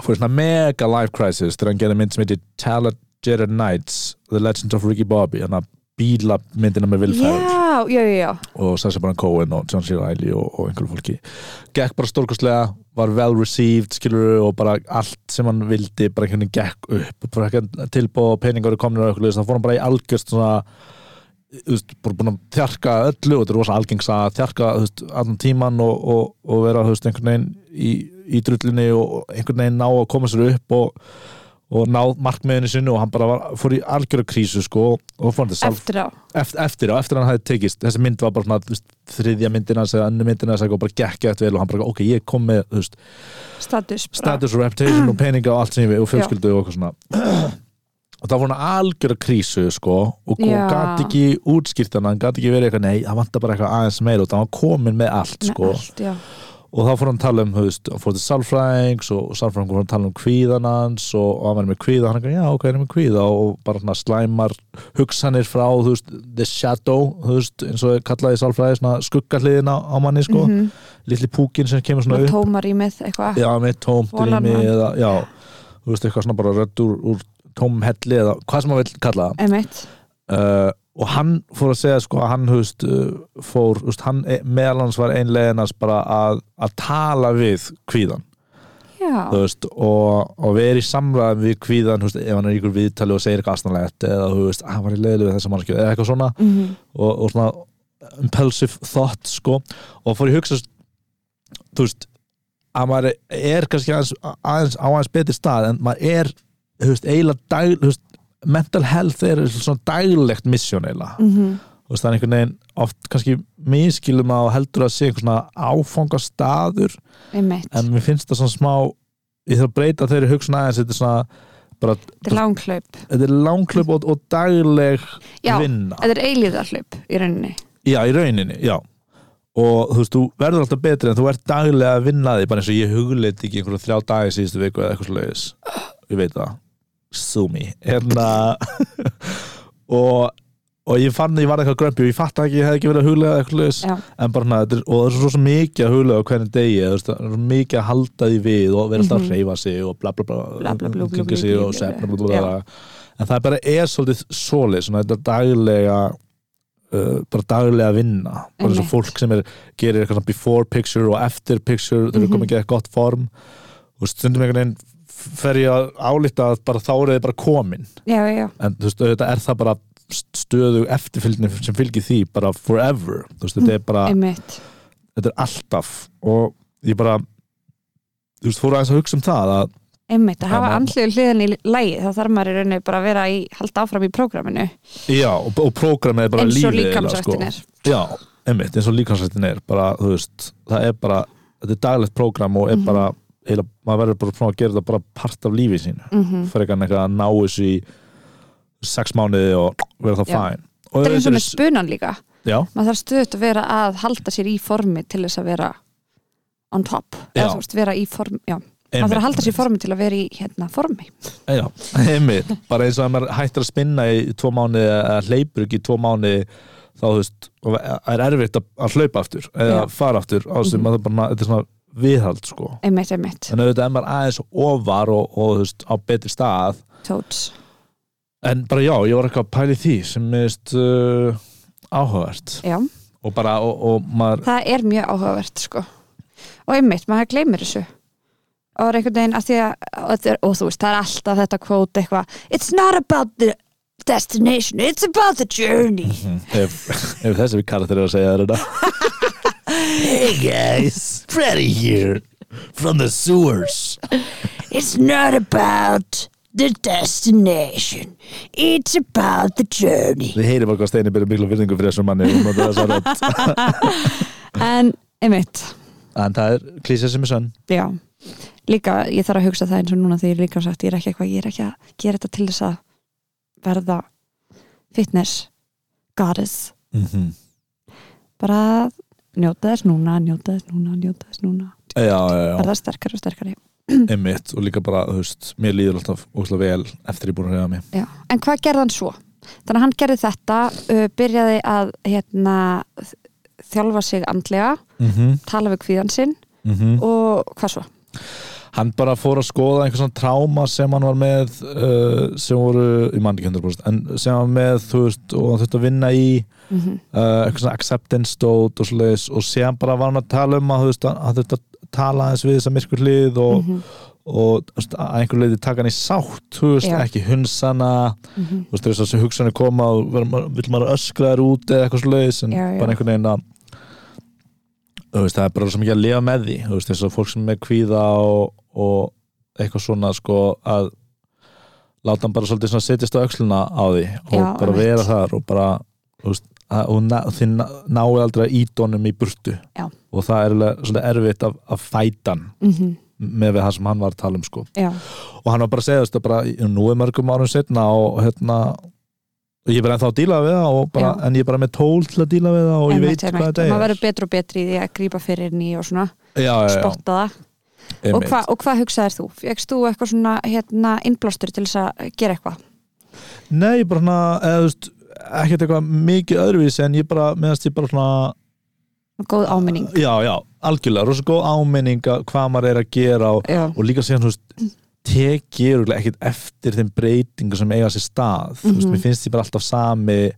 Speaker 2: fór í svona mega life crisis þegar hann gerði mynd sem heitir Talagerra Nights The Legend of Ricky Bobby hann að bíla myndina með Will Ferrell
Speaker 1: já, já, já, já,
Speaker 2: og Sacha Baron Cohen og John C. Reilly og, og einhverju fólki gekk bara stórkostlega, var well received skilur og bara allt sem hann vildi bara hvernig gekk upp bara ekki tilbúð og peningar eru komin og eitthvað þannig fór hann bara í algjörst svona þú veist, bara búin að þjarka öllu og þetta er rosa algengs að þjarka þú veist, allan tíman og, og, og vera þú veist, einhvern veginn í, í drullinni og og einhvern veginn ná að koma sér upp og, og ná markmiðinu sinu og hann bara var, fór í algjöra krísu sko, og fór hann til salf
Speaker 1: eftir á
Speaker 2: eftir, eftir á, eftir að hann hafði tekist þessi mynd var bara svona, þú veist, þriðja myndina eða annu myndina eða bara gekk eftir vel og hann bara, ok, ég kom með þú veist,
Speaker 1: status bara.
Speaker 2: status og reputation og peninga og allt sem ég við og fjölskyldu og eitthvað svona og það var hann algjör að krísu sko, og, og
Speaker 1: Já.
Speaker 2: gati ekki útskýrtana hann gati ekki verið eitthvað, nei, það vantar bara eitthvað aðeins meira og það var komin með allt
Speaker 1: Með
Speaker 2: sko
Speaker 1: allt, já.
Speaker 2: og þá fór hann að tala um, þú veist, hann fór til sálfræðings og sálfræðingur fór að tala um kvíðan hans og, og hann verið með kvíða, hann er já, ok, hann er með kvíða og bara svona slæmar hugsanir frá, þú veist, the shadow, þú veist, eins og er kallaði í sálfræði, svona skuggahliðin á, á manni, sko,
Speaker 1: Mhm.
Speaker 2: litli púkin sem kemur svona
Speaker 1: Með
Speaker 2: upp,
Speaker 1: tómarýmið eitthvað
Speaker 2: já, með tómt
Speaker 1: Vonar
Speaker 2: rými
Speaker 1: mann.
Speaker 2: eða, já, þú veist, eitthvað svona bara rödd úr, úr tómum helli eða hvað sem hann vil kalla það
Speaker 1: emitt,
Speaker 2: uh, og hann fór að segja sko að hann höfst, uh, fór, höfst, hann e- meðal hans var einlegin hans bara að, að tala við kvíðan
Speaker 1: já,
Speaker 2: þú veist, og, og vera í samræðum við kvíðan, höfst, ef hann er í ykkur viðtali og segir eitthvað astanlegt eða þú veist, að hann var í leiðlu við þessa mannskjöf eða eitthvað svona
Speaker 1: mm
Speaker 2: og, og svona impulsive thought sko og fór ég að hugsa þú veist að maður er kannski aðeins, aðeins á aðeins betri stað en maður er þú veist, eiginlega dag, þú veist, mental health er svona daglegt misjón eiginlega
Speaker 1: -hmm.
Speaker 2: þú veist, það er einhvern veginn oft kannski miskilum að og heldur að sé einhver svona áfangastadur
Speaker 1: emitt
Speaker 2: en mér finnst það svona smá ég þarf að breyta þeirri hugsun aðeins þetta er svona, bara,
Speaker 1: þetta er langhlaup,
Speaker 2: þetta er langklöp og, og dagleg
Speaker 1: já,
Speaker 2: vinna
Speaker 1: þetta er eilíðarhlaup í rauninni,
Speaker 2: Já, í rauninni, já og þú veist, þú verður alltaf betri en þú ert daglega að vinna því, bara eins og ég hugleiti ekki einhverju þrjá dagi síðustu viku eða eitthvað slags ég veit það, sumi en að og, og ég fann að ég var eitthvað grömpi og ég fatt ekki, ég hef ekki verið að huglega eitthvað slags
Speaker 1: já,
Speaker 2: en bara svona, þetta er- og það er svo, svo mikið að huglega á hvernig degi, þú veist, það er svo mikið að halda því við og vera alltaf
Speaker 1: Mhm.
Speaker 2: að reyfa sig og bla bla bla,
Speaker 1: Bla, bla, blú, blú,
Speaker 2: umgengja
Speaker 1: blú,
Speaker 2: sig
Speaker 1: blú,
Speaker 2: og
Speaker 1: blú,
Speaker 2: sefna
Speaker 1: blú.
Speaker 2: bla, bla, bla, bla. en það bara er svolítið svolítið, svona þetta daglega uh, bara daglega vinna bara eins og
Speaker 1: Einmitt.
Speaker 2: fólk sem er, gerir eitthvað svona before picture og after picture þeir eru
Speaker 1: Mhm.
Speaker 2: komið að gera gott form og stundum einhvern veginn fer ég að álita að bara þá eru þið bara komin
Speaker 1: já, já,
Speaker 2: en þú veist, auðvitað er það bara stöðu eftirfylgni sem fylgir því bara forever, þú veist,
Speaker 1: Mm,
Speaker 2: þetta er bara
Speaker 1: emitt
Speaker 2: þetta er alltaf og ég bara þú veist, fór aðeins að hugsa um það að
Speaker 1: emitt, að
Speaker 2: Já,
Speaker 1: hafa
Speaker 2: maður-
Speaker 1: andlegu hliðin í lægi þá þarf maður í rauninni bara að vera í halda áfram í prógraminu,
Speaker 2: já, og, og prógramið er bara
Speaker 1: eins
Speaker 2: lífið
Speaker 1: og
Speaker 2: eiginlega, sko.
Speaker 1: líkamsrættin er
Speaker 2: já, einmitt, eins og líkamsrættin er bara, þú veist, það er bara þetta er daglegt prógram og er
Speaker 1: Mhm.
Speaker 2: bara heila, maður verður bara að prófa að gera þetta bara part af lífið sínu,
Speaker 1: mm
Speaker 2: frekar en eitthvað að ná þessu í sex mánuði og vera það
Speaker 1: Já.
Speaker 2: fæn og
Speaker 1: þetta er eins og
Speaker 2: auðvitað
Speaker 1: með spunan líka
Speaker 2: já,
Speaker 1: maður þarf stöðut að vera að halda sér í formi til þess að vera on top,
Speaker 2: Já.
Speaker 1: eða þú veist, vera í formi já, maður þarf að halda sér í formi til að vera í hérna formi,
Speaker 2: Já, einmitt, bara eins og að maður hættir að spinna í tvo mánu eða hleypur ekki í tvo mánu þá þú veist, og er erfitt að, að hlaupa aftur eða
Speaker 1: Já.
Speaker 2: fara aftur á sem
Speaker 1: Mhm.
Speaker 2: maður bara, þetta er svona viðhald sko
Speaker 1: emitt, emitt
Speaker 2: en auðvitað er maður aðeins ofar og, og þú veist, á betri stað
Speaker 1: tóts,
Speaker 2: en bara já, ég var eitthvað að pæli því sem meðist uh, áhugavert
Speaker 1: já
Speaker 2: og bara, og, og maður
Speaker 1: það er mjög áhugavert sko og einmitt, maður gleymir þessu og er einhvern veginn að því að og, þetta er, og þú veist, það er alltaf þetta kvót eitthvað It's not about the destination It's about the journey
Speaker 2: ef, hm, ef þessi karakter er að segja þér þetta Hey guys, Freddy here from the sewers
Speaker 1: It's not about the destination It's about the journey
Speaker 2: Við heyrim okkur að Steini byrja miklu virðingu fyrir þessum manni og notar þessa rödd.
Speaker 1: En, einmitt,
Speaker 2: en það er klísja sem er sönn
Speaker 1: já Líka, ég þarf að hugsa það eins og núna því ég er líka sagt, ég er ekki eitthvað, ég er ekki að gera þetta til þess að verða fitness goddess
Speaker 2: mm -hmm.
Speaker 1: bara að njóta þess núna, njóta þess núna, njóta þess núna
Speaker 2: Já, já, já,
Speaker 1: verða sterkari og sterkari
Speaker 2: einmitt og líka bara, þú veist, mér líður alltaf óslega vel eftir ég er búin að reyða mig
Speaker 1: Já. en hvað gerði hann svo? þannig að hann gerði þetta uh, byrjaði að hérna, þjálfa sig andlega
Speaker 2: mm -hmm.
Speaker 1: tala við kvíðan sinn mhm. og hvað svo?
Speaker 2: Hann bara fór að skoða einhver svona tráma sem hann var með uh, sem voru, ég man ekki 100% en sem hann var með, þú veist, og hann þurfti að vinna í
Speaker 1: Mm
Speaker 2: uh, eitthvað svona acceptance dót og svoleiðis og síðan bara var hann að tala um að þú veist, hann- hann þurfti að tala aðeins við þessa myrkur hlið og, mm -hmm. og, þú veist, að einhver leiði taka hann í sátt, þú veist,
Speaker 1: Já.
Speaker 2: ekki hunsana þú veist, þess að þessu hugsanir koma og verður maður- vill maður öskra þær út eða eitthvað svoleiðis en
Speaker 1: Já, já.
Speaker 2: bara einhvern veginn að þú veist, það er bara svo mikið að lifa með því þú veist, þess að fólk sem er kvíða og, og eitthvað svona sko að láta hann bara svolítið svona setjast á öxluna á því og
Speaker 1: Já,
Speaker 2: bara
Speaker 1: einmitt.
Speaker 2: vera þar og bara þú veist, að, og na, þið ná- náið aldrei að íta honum í burtu
Speaker 1: Já.
Speaker 2: og það er alveg svolítið erfitt að, að fæta hann með við það sem hann var að tala um sko
Speaker 1: Mhm. Já.
Speaker 2: og hann var bara að segja þetta bara nú er mörgum árum setna og hérna og ég er bara ennþá að díla við það og bara,
Speaker 1: Já.
Speaker 2: en ég er bara með tól til að díla við það og ég
Speaker 1: Einmitt,
Speaker 2: veit hvað
Speaker 1: einmitt.
Speaker 2: þetta
Speaker 1: Og
Speaker 2: er
Speaker 1: maður verður betur og betri í því að grípa fyrir henni og svona
Speaker 2: já, já, já,
Speaker 1: spotta það og,
Speaker 2: einmitt.
Speaker 1: hva, og hvað hugsaðir þú? Fegst þú eitthvað svona hérna, innblástur til þess að gera eitthvað?
Speaker 2: nei, bara svona eða, þú veist, ekkert eitthvað mikið öðruvís en ég bara, meðanst ég bara svona
Speaker 1: Góð áminning
Speaker 2: já, já, algjörlega, rosa góð áminning að hvað maður er að gera og,
Speaker 1: Já,
Speaker 2: og líka síðan, þú veist tekið örugglega ekkert eftir þeim breytingu sem eiga sér stað, þú veist,
Speaker 1: Mhm.
Speaker 2: mér finnst ég bara alltaf sami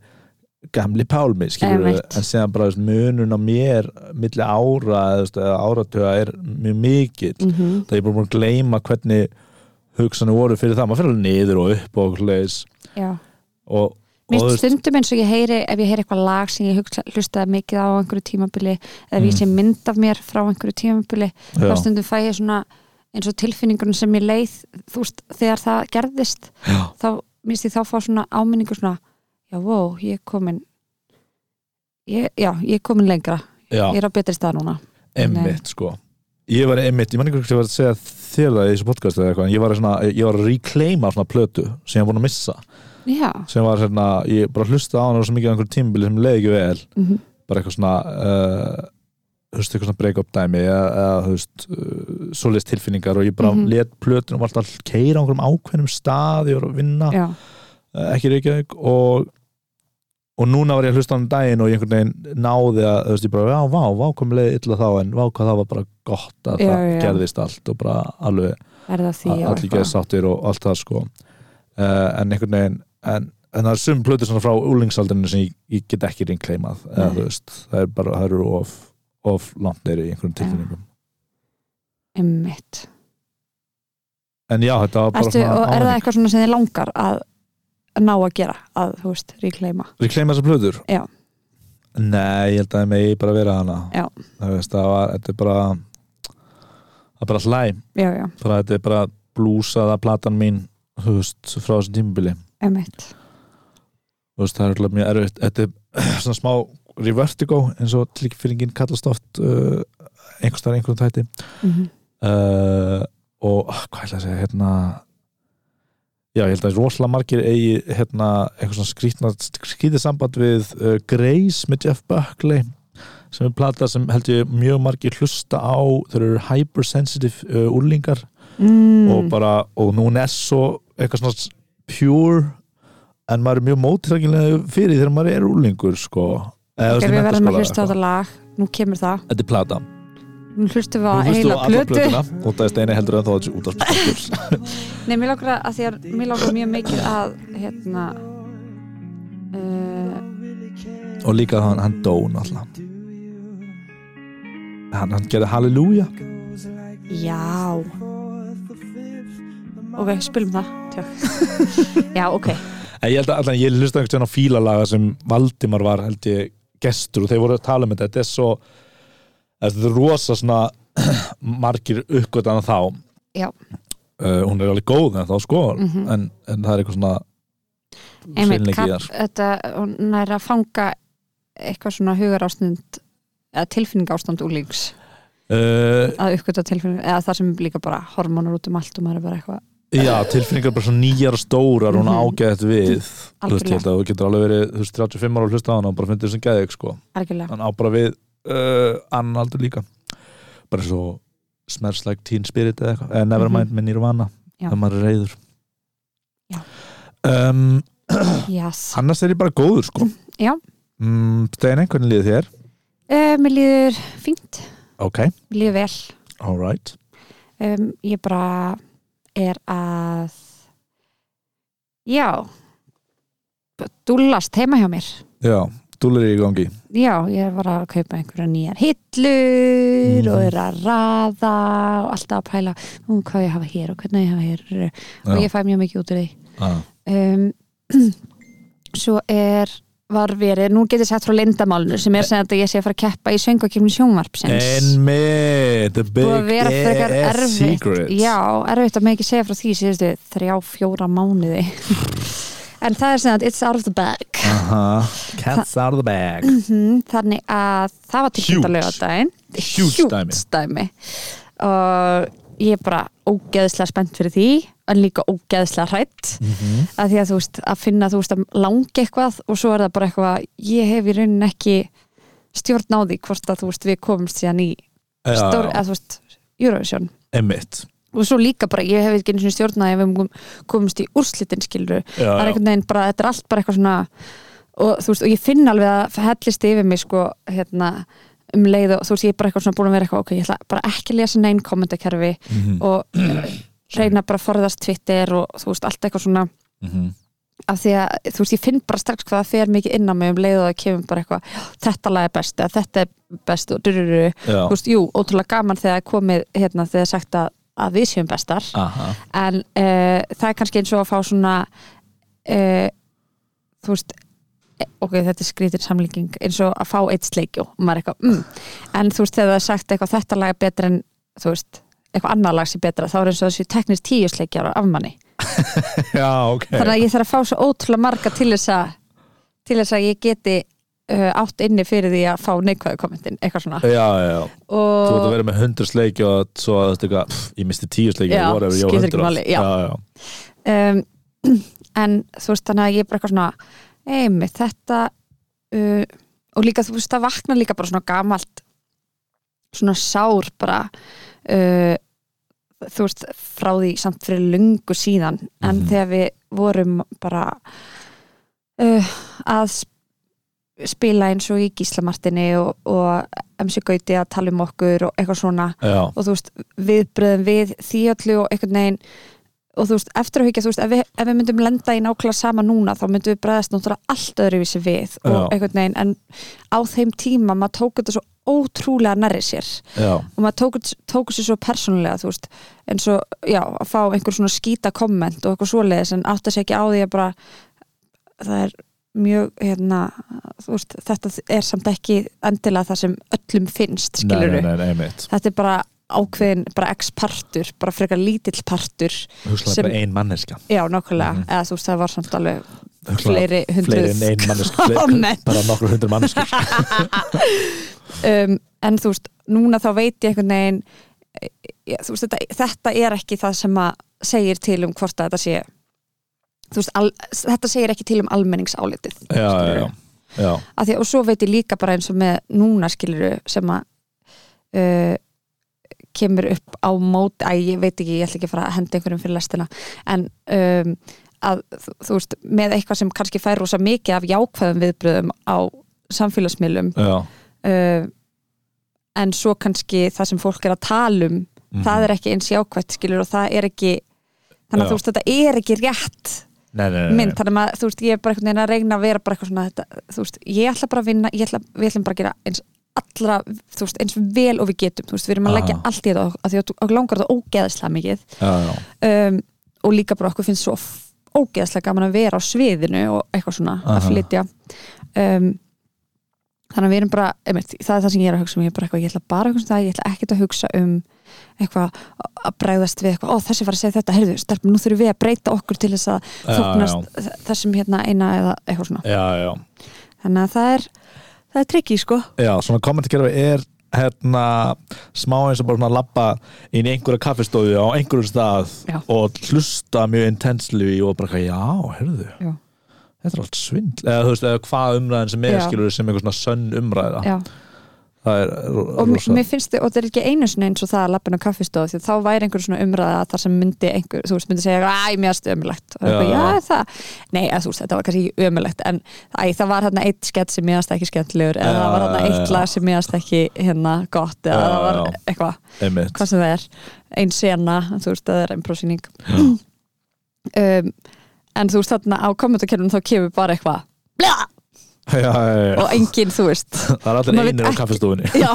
Speaker 2: gamli pálmi, skilur
Speaker 1: Einmitt.
Speaker 2: en síðan bara þú veist, munun á mér milli ára eða, þú veist, eða áratuga er mjög mikill
Speaker 1: mm
Speaker 2: það ég er bara búin að gleyma hvernig hugsanir voru fyrir það, maður fyrir alveg niður og upp og leis
Speaker 1: já
Speaker 2: og, og
Speaker 1: Mér
Speaker 2: þú
Speaker 1: finnst
Speaker 2: veist,
Speaker 1: stundum eins og ég heyri ef ég heyri eitthvað lag sem ég hugsa, hlustaði mikið á á einhverju tímabili eða ef ég
Speaker 2: Mm.
Speaker 1: sé mynd af mér frá einhverju tímabili þá
Speaker 2: já,
Speaker 1: stundum fæ ég svona eins og tilfinningun sem ég leið þú veist, þegar það gerðist
Speaker 2: já,
Speaker 1: þá, minnst ég þá fá svona áminningu svona, já, wow, ég er komin ég, já, ég er komin lengra
Speaker 2: já,
Speaker 1: ég er á betri stað núna
Speaker 2: emmitt sko ég var emmitt, ég man ekki hvort ég var að segja þér það í þessu podcast eða eitthvað, en ég var, að svona, ég var að reclaima svona plötu sem ég var búin að missa
Speaker 1: já,
Speaker 2: sem var svona, ég bara hlusta á hann og svo mikið á einhverjum tímbili sem leiði ekki vel
Speaker 1: mm
Speaker 2: bara eitthvað svona uh, þú veist, eitthvað svona break-up dæmi eða, eða þú veist, uh, svoleiðist tilfinningar og ég bara mm
Speaker 1: Mhm.
Speaker 2: let plötunum alltaf keira á einhverjum ákveðnum stað, ég var að vinna
Speaker 1: já,
Speaker 2: uh, ekki í Reykjavík og og núna var ég að hlusta á hann um daginn og ég einhvern veginn náði að, þú veist, ég bara, já, vá, vá, kom leið illa þá, en vá, hvað það var bara gott að
Speaker 1: Já,
Speaker 2: það
Speaker 1: já.
Speaker 2: gerðist allt og bara alveg
Speaker 1: er það því
Speaker 2: að
Speaker 1: og
Speaker 2: allir geða
Speaker 1: eitthvað.
Speaker 2: sáttir og allt það sko uh, en einhvern veginn en, en það er sum plötur svona frá úlingsaldinu sem ég, ég get ekki ringleimað eða,
Speaker 1: Nei.
Speaker 2: þú veist, það er bara, það eru of, of langt neyri í einhverjum
Speaker 1: Já.
Speaker 2: tilfinningum
Speaker 1: einmitt
Speaker 2: en já, þetta var bara
Speaker 1: Ertu, og er það
Speaker 2: áminning.
Speaker 1: eitthvað svona sem þið langar að að ná að gera, að, þú veist, ríkleima
Speaker 2: Reclaima þessar plöður?
Speaker 1: Já.
Speaker 2: Nei, ég held að það megi bara vera hana
Speaker 1: Já.
Speaker 2: Það veist, það var, þetta er bara það er bara hlæm
Speaker 1: já, já,
Speaker 2: bara þetta er bara blúsaða platan mín þú veist, frá þessum tímubili
Speaker 1: emitt
Speaker 2: þú veist, það er alltaf mjög erfitt þetta er svona smá revertigo eins og tilkfyringin kallast oft uh, einhvers þar einhverjum tæti
Speaker 1: mm -hmm.
Speaker 2: uh, og ah, hvað ætla að segja, hérna já, ég held að rosalega margir eigi hérna, eitthvað svona skrýtna skrýtið samband við uh, Grace með Jeff Buckley sem er plata sem held ég mjög margir hlusta á þeir eru hypersensitive uh, úrlingar
Speaker 1: mm.
Speaker 2: og bara, og núna er svo eitthvað svona s- pure en maður er mjög móttrækilega fyrir því þegar maður er úrlingur sko Eða, þú veist,
Speaker 1: Ok,
Speaker 2: í
Speaker 1: við verðum að
Speaker 2: menntaskóla
Speaker 1: hlusta á
Speaker 2: eða
Speaker 1: þetta lag Nú kemur það,
Speaker 2: eitthvað. Þetta er plata
Speaker 1: nú hlustum við á
Speaker 2: Nú hlustum
Speaker 1: heila
Speaker 2: við á alla
Speaker 1: plötu
Speaker 2: plötuna og það er steini heldur en þá þessi útastbústakur
Speaker 1: Nei, mér langar að, að því að mér langar mjög mikið að hérna uh,
Speaker 2: og líka hann, hann dó náttúrulega hann, hann gerði Halleluja
Speaker 1: Já ok, spilum það Tjók. já, ok,
Speaker 2: En ég held að allan, ég hlusta einhvern veginn á fílalaga sem Valdimar var, held ég, gestur og þeir voru að tala um þetta, þetta er svo þetta er rosa svona margir uppgötana þá uh,
Speaker 1: já, Mhm.
Speaker 2: hún er alveg góð en þá sko en, en það er eitthvað svona
Speaker 1: einmitt
Speaker 2: hreinleiki í
Speaker 1: kall,
Speaker 2: þar.
Speaker 1: þetta, hún er að fanga eitthvað svona hugarástund eða tilfinningástand úlíks
Speaker 2: uh,
Speaker 1: að uppgöta tilfinning eða það sem líka bara hormónur út um allt og maður er bara eitthvað
Speaker 2: Já, tilfinningar bara svona nýjar og stórar og hún
Speaker 1: Mhm.
Speaker 2: ágæðt við Þú veist, ég
Speaker 1: Algjörlega.
Speaker 2: held að þú getur alveg verið þú veist, 35 ára og hlusta á hana og bara fundið þessum geðið sko.
Speaker 1: algjörlega
Speaker 2: hann á bara við uh, annan aldur líka bara svo smells like teen spirit eða eitthvað, eða nevermind mm -hmm. með nýrvana
Speaker 1: Mhm. Já.
Speaker 2: þegar maður er reyður
Speaker 1: Já.
Speaker 2: um,
Speaker 1: yes.
Speaker 2: annars er ég bara góður sko
Speaker 1: Já.
Speaker 2: mm, Steini, hvernig líður þér?
Speaker 1: uh, mér líður fínt,
Speaker 2: Ok,
Speaker 1: mér líður vel
Speaker 2: alright
Speaker 1: um, ég bara er að já dúllast heima hjá mér
Speaker 2: Já, dúlur er í gangi
Speaker 1: já, ég var að kaupa einhverja nýjar hillur
Speaker 2: Mhm.
Speaker 1: og er að raða og alltaf að pæla um, hvað ég hafa hér og hvernig ég hafa hér og
Speaker 2: Já,
Speaker 1: ég fæ mjög mikið út úr því
Speaker 2: ah,
Speaker 1: um, svo er var verið, nú get ég sett frá lindamálinu sem
Speaker 2: Eh.
Speaker 1: er sem að ég sé að fara að keppa í söngakefni sjónvarpsins
Speaker 2: Enmi, the big
Speaker 1: Búið að vera frekar
Speaker 2: ass
Speaker 1: erfitt.
Speaker 2: secret
Speaker 1: Já, erfitt að maður ekki segja frá því síðustu þrjá, fjóra mánuði en það er sem að it's out of the bag
Speaker 2: Aha, Cats out of the bag
Speaker 1: Mhm, þannig að það var tilkynnt
Speaker 2: Huge.
Speaker 1: að lögadaginn
Speaker 2: Huge dæmi.
Speaker 1: dæmi og ég er bara ógeðslega spennt fyrir því en líka ógeðslega hrætt
Speaker 2: Mhm.
Speaker 1: að því að þú veist að finna þú veist að langi eitthvað og svo er það bara eitthvað ég hef í raunin ekki stjórn á því hvort að þú veist við komumst síðan í stór,
Speaker 2: Já,
Speaker 1: að þú veist Eurovision
Speaker 2: Emmitt
Speaker 1: og svo líka bara, ég hef ekki einu sinni stjórn að ef við kom- komumst í úrslitin skilur það er einhvern veginn bara, þetta er allt bara eitthvað svona og þú veist, og ég finn alveg að hellist yfir mig sko, hérna um leið og þú veist, ég er bara eitthvað svona búin að vera eitthvað ok, ég ætla bara ekki að lesa neinn kommentakerfi
Speaker 2: Mhm.
Speaker 1: og eh, reyna bara að forðast Twitter og þú veist, allt eitthvað svona
Speaker 2: Mhm.
Speaker 1: af því að, þú veist, ég finn bara strax hvað það fer mikið inn á mig um leið og það kemur bara eitthvað þetta lag er best, eða þetta er best og durururu,
Speaker 2: Já,
Speaker 1: þú veist, jú, ótrúlega gaman þegar komið, hérna, þegar sagt að, að við séum bestar
Speaker 2: aha
Speaker 1: en uh, það er kannski eins og að fá svona uh, þú veist eh, ok, þetta er skrítin samlíking eins og að fá eitt sleikjó og maður er eitthvað, mm. en þú veist, þegar það er sagt eitthvað þetta lag er betra en, þú veist eitthvað annað lag sem betra, þá er eins og þessu teknist tíu sleikjar af manni,
Speaker 2: Já, ok
Speaker 1: þannig að ég þarf að fá svo ótrúlega marga til þess að til þess að ég geti uh, átt inni fyrir því að fá neikvæðu kommentin, eitthvað svona
Speaker 2: Já, já, já Þú ert að
Speaker 1: og
Speaker 2: vera með 100 sleiki og svo að þetta eitthvað, pff, ég misti 10 sleiki
Speaker 1: Já,
Speaker 2: whatever, ég á
Speaker 1: skiptir ekki
Speaker 2: 100.
Speaker 1: máli, já.
Speaker 2: já, já.
Speaker 1: um, en þú veist þannig að ég er bara eitthvað svona einmitt þetta uh, og líka þú veist það vakna líka bara svona gamalt svona sár bara uh, þú veist frá því samt fyrir lungu síðan en
Speaker 2: Mhm.
Speaker 1: þegar við vorum bara uh, að sp- spila eins og í Gíslamartinni og, og MC Gauti að tala um okkur og eitthvað svona
Speaker 2: já,
Speaker 1: og þú veist, viðbröðum við því öllu og einhvern veginn og þú veist, eftir að hugja, þú veist, ef við, ef við myndum lenda í nákvæmlega sama núna, þá myndum við bregðast náttúrulega allt öðruvísi við og
Speaker 2: Já.
Speaker 1: einhvern veginn, en á þeim tíma maður tók þetta svo ótrúlega nærri sér
Speaker 2: já,
Speaker 1: og maður tók, tók sér svo persónulega, þú veist eins og, já, að fá einhver svona skýta komment og eitthvað svoleiðis, en átt að segja ekki á því að bara, það er mjög, hérna, þú veist þetta er samt ekki endilega það sem öllum finnst,
Speaker 2: nei,
Speaker 1: skilur
Speaker 2: nei, nei, nei, einmitt
Speaker 1: þetta er bara ákveðin, bara x-partur bara frekar lítill partur
Speaker 2: Hugsalega
Speaker 1: Sem-
Speaker 2: bara ein manneska
Speaker 1: já, nokkulega,
Speaker 2: Mhm.
Speaker 1: eða þú veist það var samt alveg
Speaker 2: Hugsalega
Speaker 1: fleiri
Speaker 2: fleiri en
Speaker 1: hundruð
Speaker 2: ein manneska fle-
Speaker 1: komment.
Speaker 2: bara nokkur hundru manneska
Speaker 1: um, en þú veist, núna þá veit ég einhvern veginn eh, já, þú veist, þetta, þetta er ekki það sem að segir til um hvort að þetta sé þú veist, al, þetta segir ekki til um almenningsálitið
Speaker 2: Já, já, já, já,
Speaker 1: Af því, og svo veit ég líka bara eins og með núna skiluru sem að uh, kemur upp á móti, að ég veit ekki, ég ætla ekki að fara að henda einhverjum fyrir lestina en um, að þú, þú veist, með eitthvað sem kannski fær rosa mikið af jákvæðum viðbröðum á samfélagsmiðlum
Speaker 2: já.
Speaker 1: uh, en svo kannski það sem fólk er að tala um
Speaker 2: Mhm.
Speaker 1: það er ekki eins jákvætt skilur og það er ekki þannig að
Speaker 2: Já.
Speaker 1: þú veist, þetta er ekki rétt
Speaker 2: Nei, nei, nei, nei.
Speaker 1: mynd, þannig að maður, þú veist, ég er bara einhvern veginn að reyna að vera bara eitthvað svona þetta, þú veist, ég ætla bara að vinna, ég ætla, við ætlum bara að gera eins allra, þú veist, eins vel og við getum, þú veist, við erum að
Speaker 2: Aha.
Speaker 1: leggja allt í þetta og því að þú- okkur langar þetta ógeðslega mikið
Speaker 2: Já, já,
Speaker 1: um, og líka bara okkur finnst svo f- ógeðslega gaman að vera á sviðinu og eitthvað svona
Speaker 2: Aha.
Speaker 1: að flytja um, þannig að við erum bara einmitt, það er það sem ég er að hugsa um, ég er bara eitthvað ég ætla bara að hugsa um það, ég ætla ekkert að hugsa um eitthvað að bregðast við eitthvað, ó þessi var að segja þetta, heyrðu, stelpum, nú þurfum við að breyta okkur til þess að
Speaker 2: Já,
Speaker 1: þóknast þessum hérna eina eða eitthvað svona
Speaker 2: já, já,
Speaker 1: þannig að það er, það er trikki sko
Speaker 2: já, svona kommentarkerfi er hérna, smá eins og bara svona labba inn í einhverja kaffestofu á einhverjum stað
Speaker 1: Já.
Speaker 2: og hlusta mjög intensely og bara, eitthvað, já, herðu
Speaker 1: Já.
Speaker 2: þetta er allt svindl, eða þú veist, eða hvað umræðin sem er
Speaker 1: Já.
Speaker 2: skilur sem einhver svona sönn umræða
Speaker 1: Já.
Speaker 2: það er ro-
Speaker 1: og mér-
Speaker 2: rosa
Speaker 1: mér finnst þið, og það er ekki einu sinni eins og það að lappin á kaffistof, því að þá væri einhver svona umræða þar sem myndi einhver, þú veist, myndi segja æ, mér erstu ömulegt, og
Speaker 2: Já,
Speaker 1: eitthvað, já,
Speaker 2: já.
Speaker 1: það nei, að, þú veist, þetta var kannski ömulegt en æ, það var hérna eitt skett sem mér erst ekki skemmtilegur eða
Speaker 2: Já,
Speaker 1: það var
Speaker 2: já,
Speaker 1: hérna eitt
Speaker 2: já.
Speaker 1: lag sem mér erst ekki hérna gott, eða
Speaker 2: Já,
Speaker 1: það var
Speaker 2: já.
Speaker 1: eitthvað,
Speaker 2: einmitt,
Speaker 1: hvað sem það er ein sena, þú veist, það er einn prósýning um, en þú veist, þarna á kommentarkerfinu þá kemur bara eitthvað "Bla!"
Speaker 2: já, já, já.
Speaker 1: og enginn, þú veist
Speaker 2: það er allir
Speaker 1: maður veit
Speaker 2: einir á
Speaker 1: ekki-
Speaker 2: kaffestofunni
Speaker 1: Já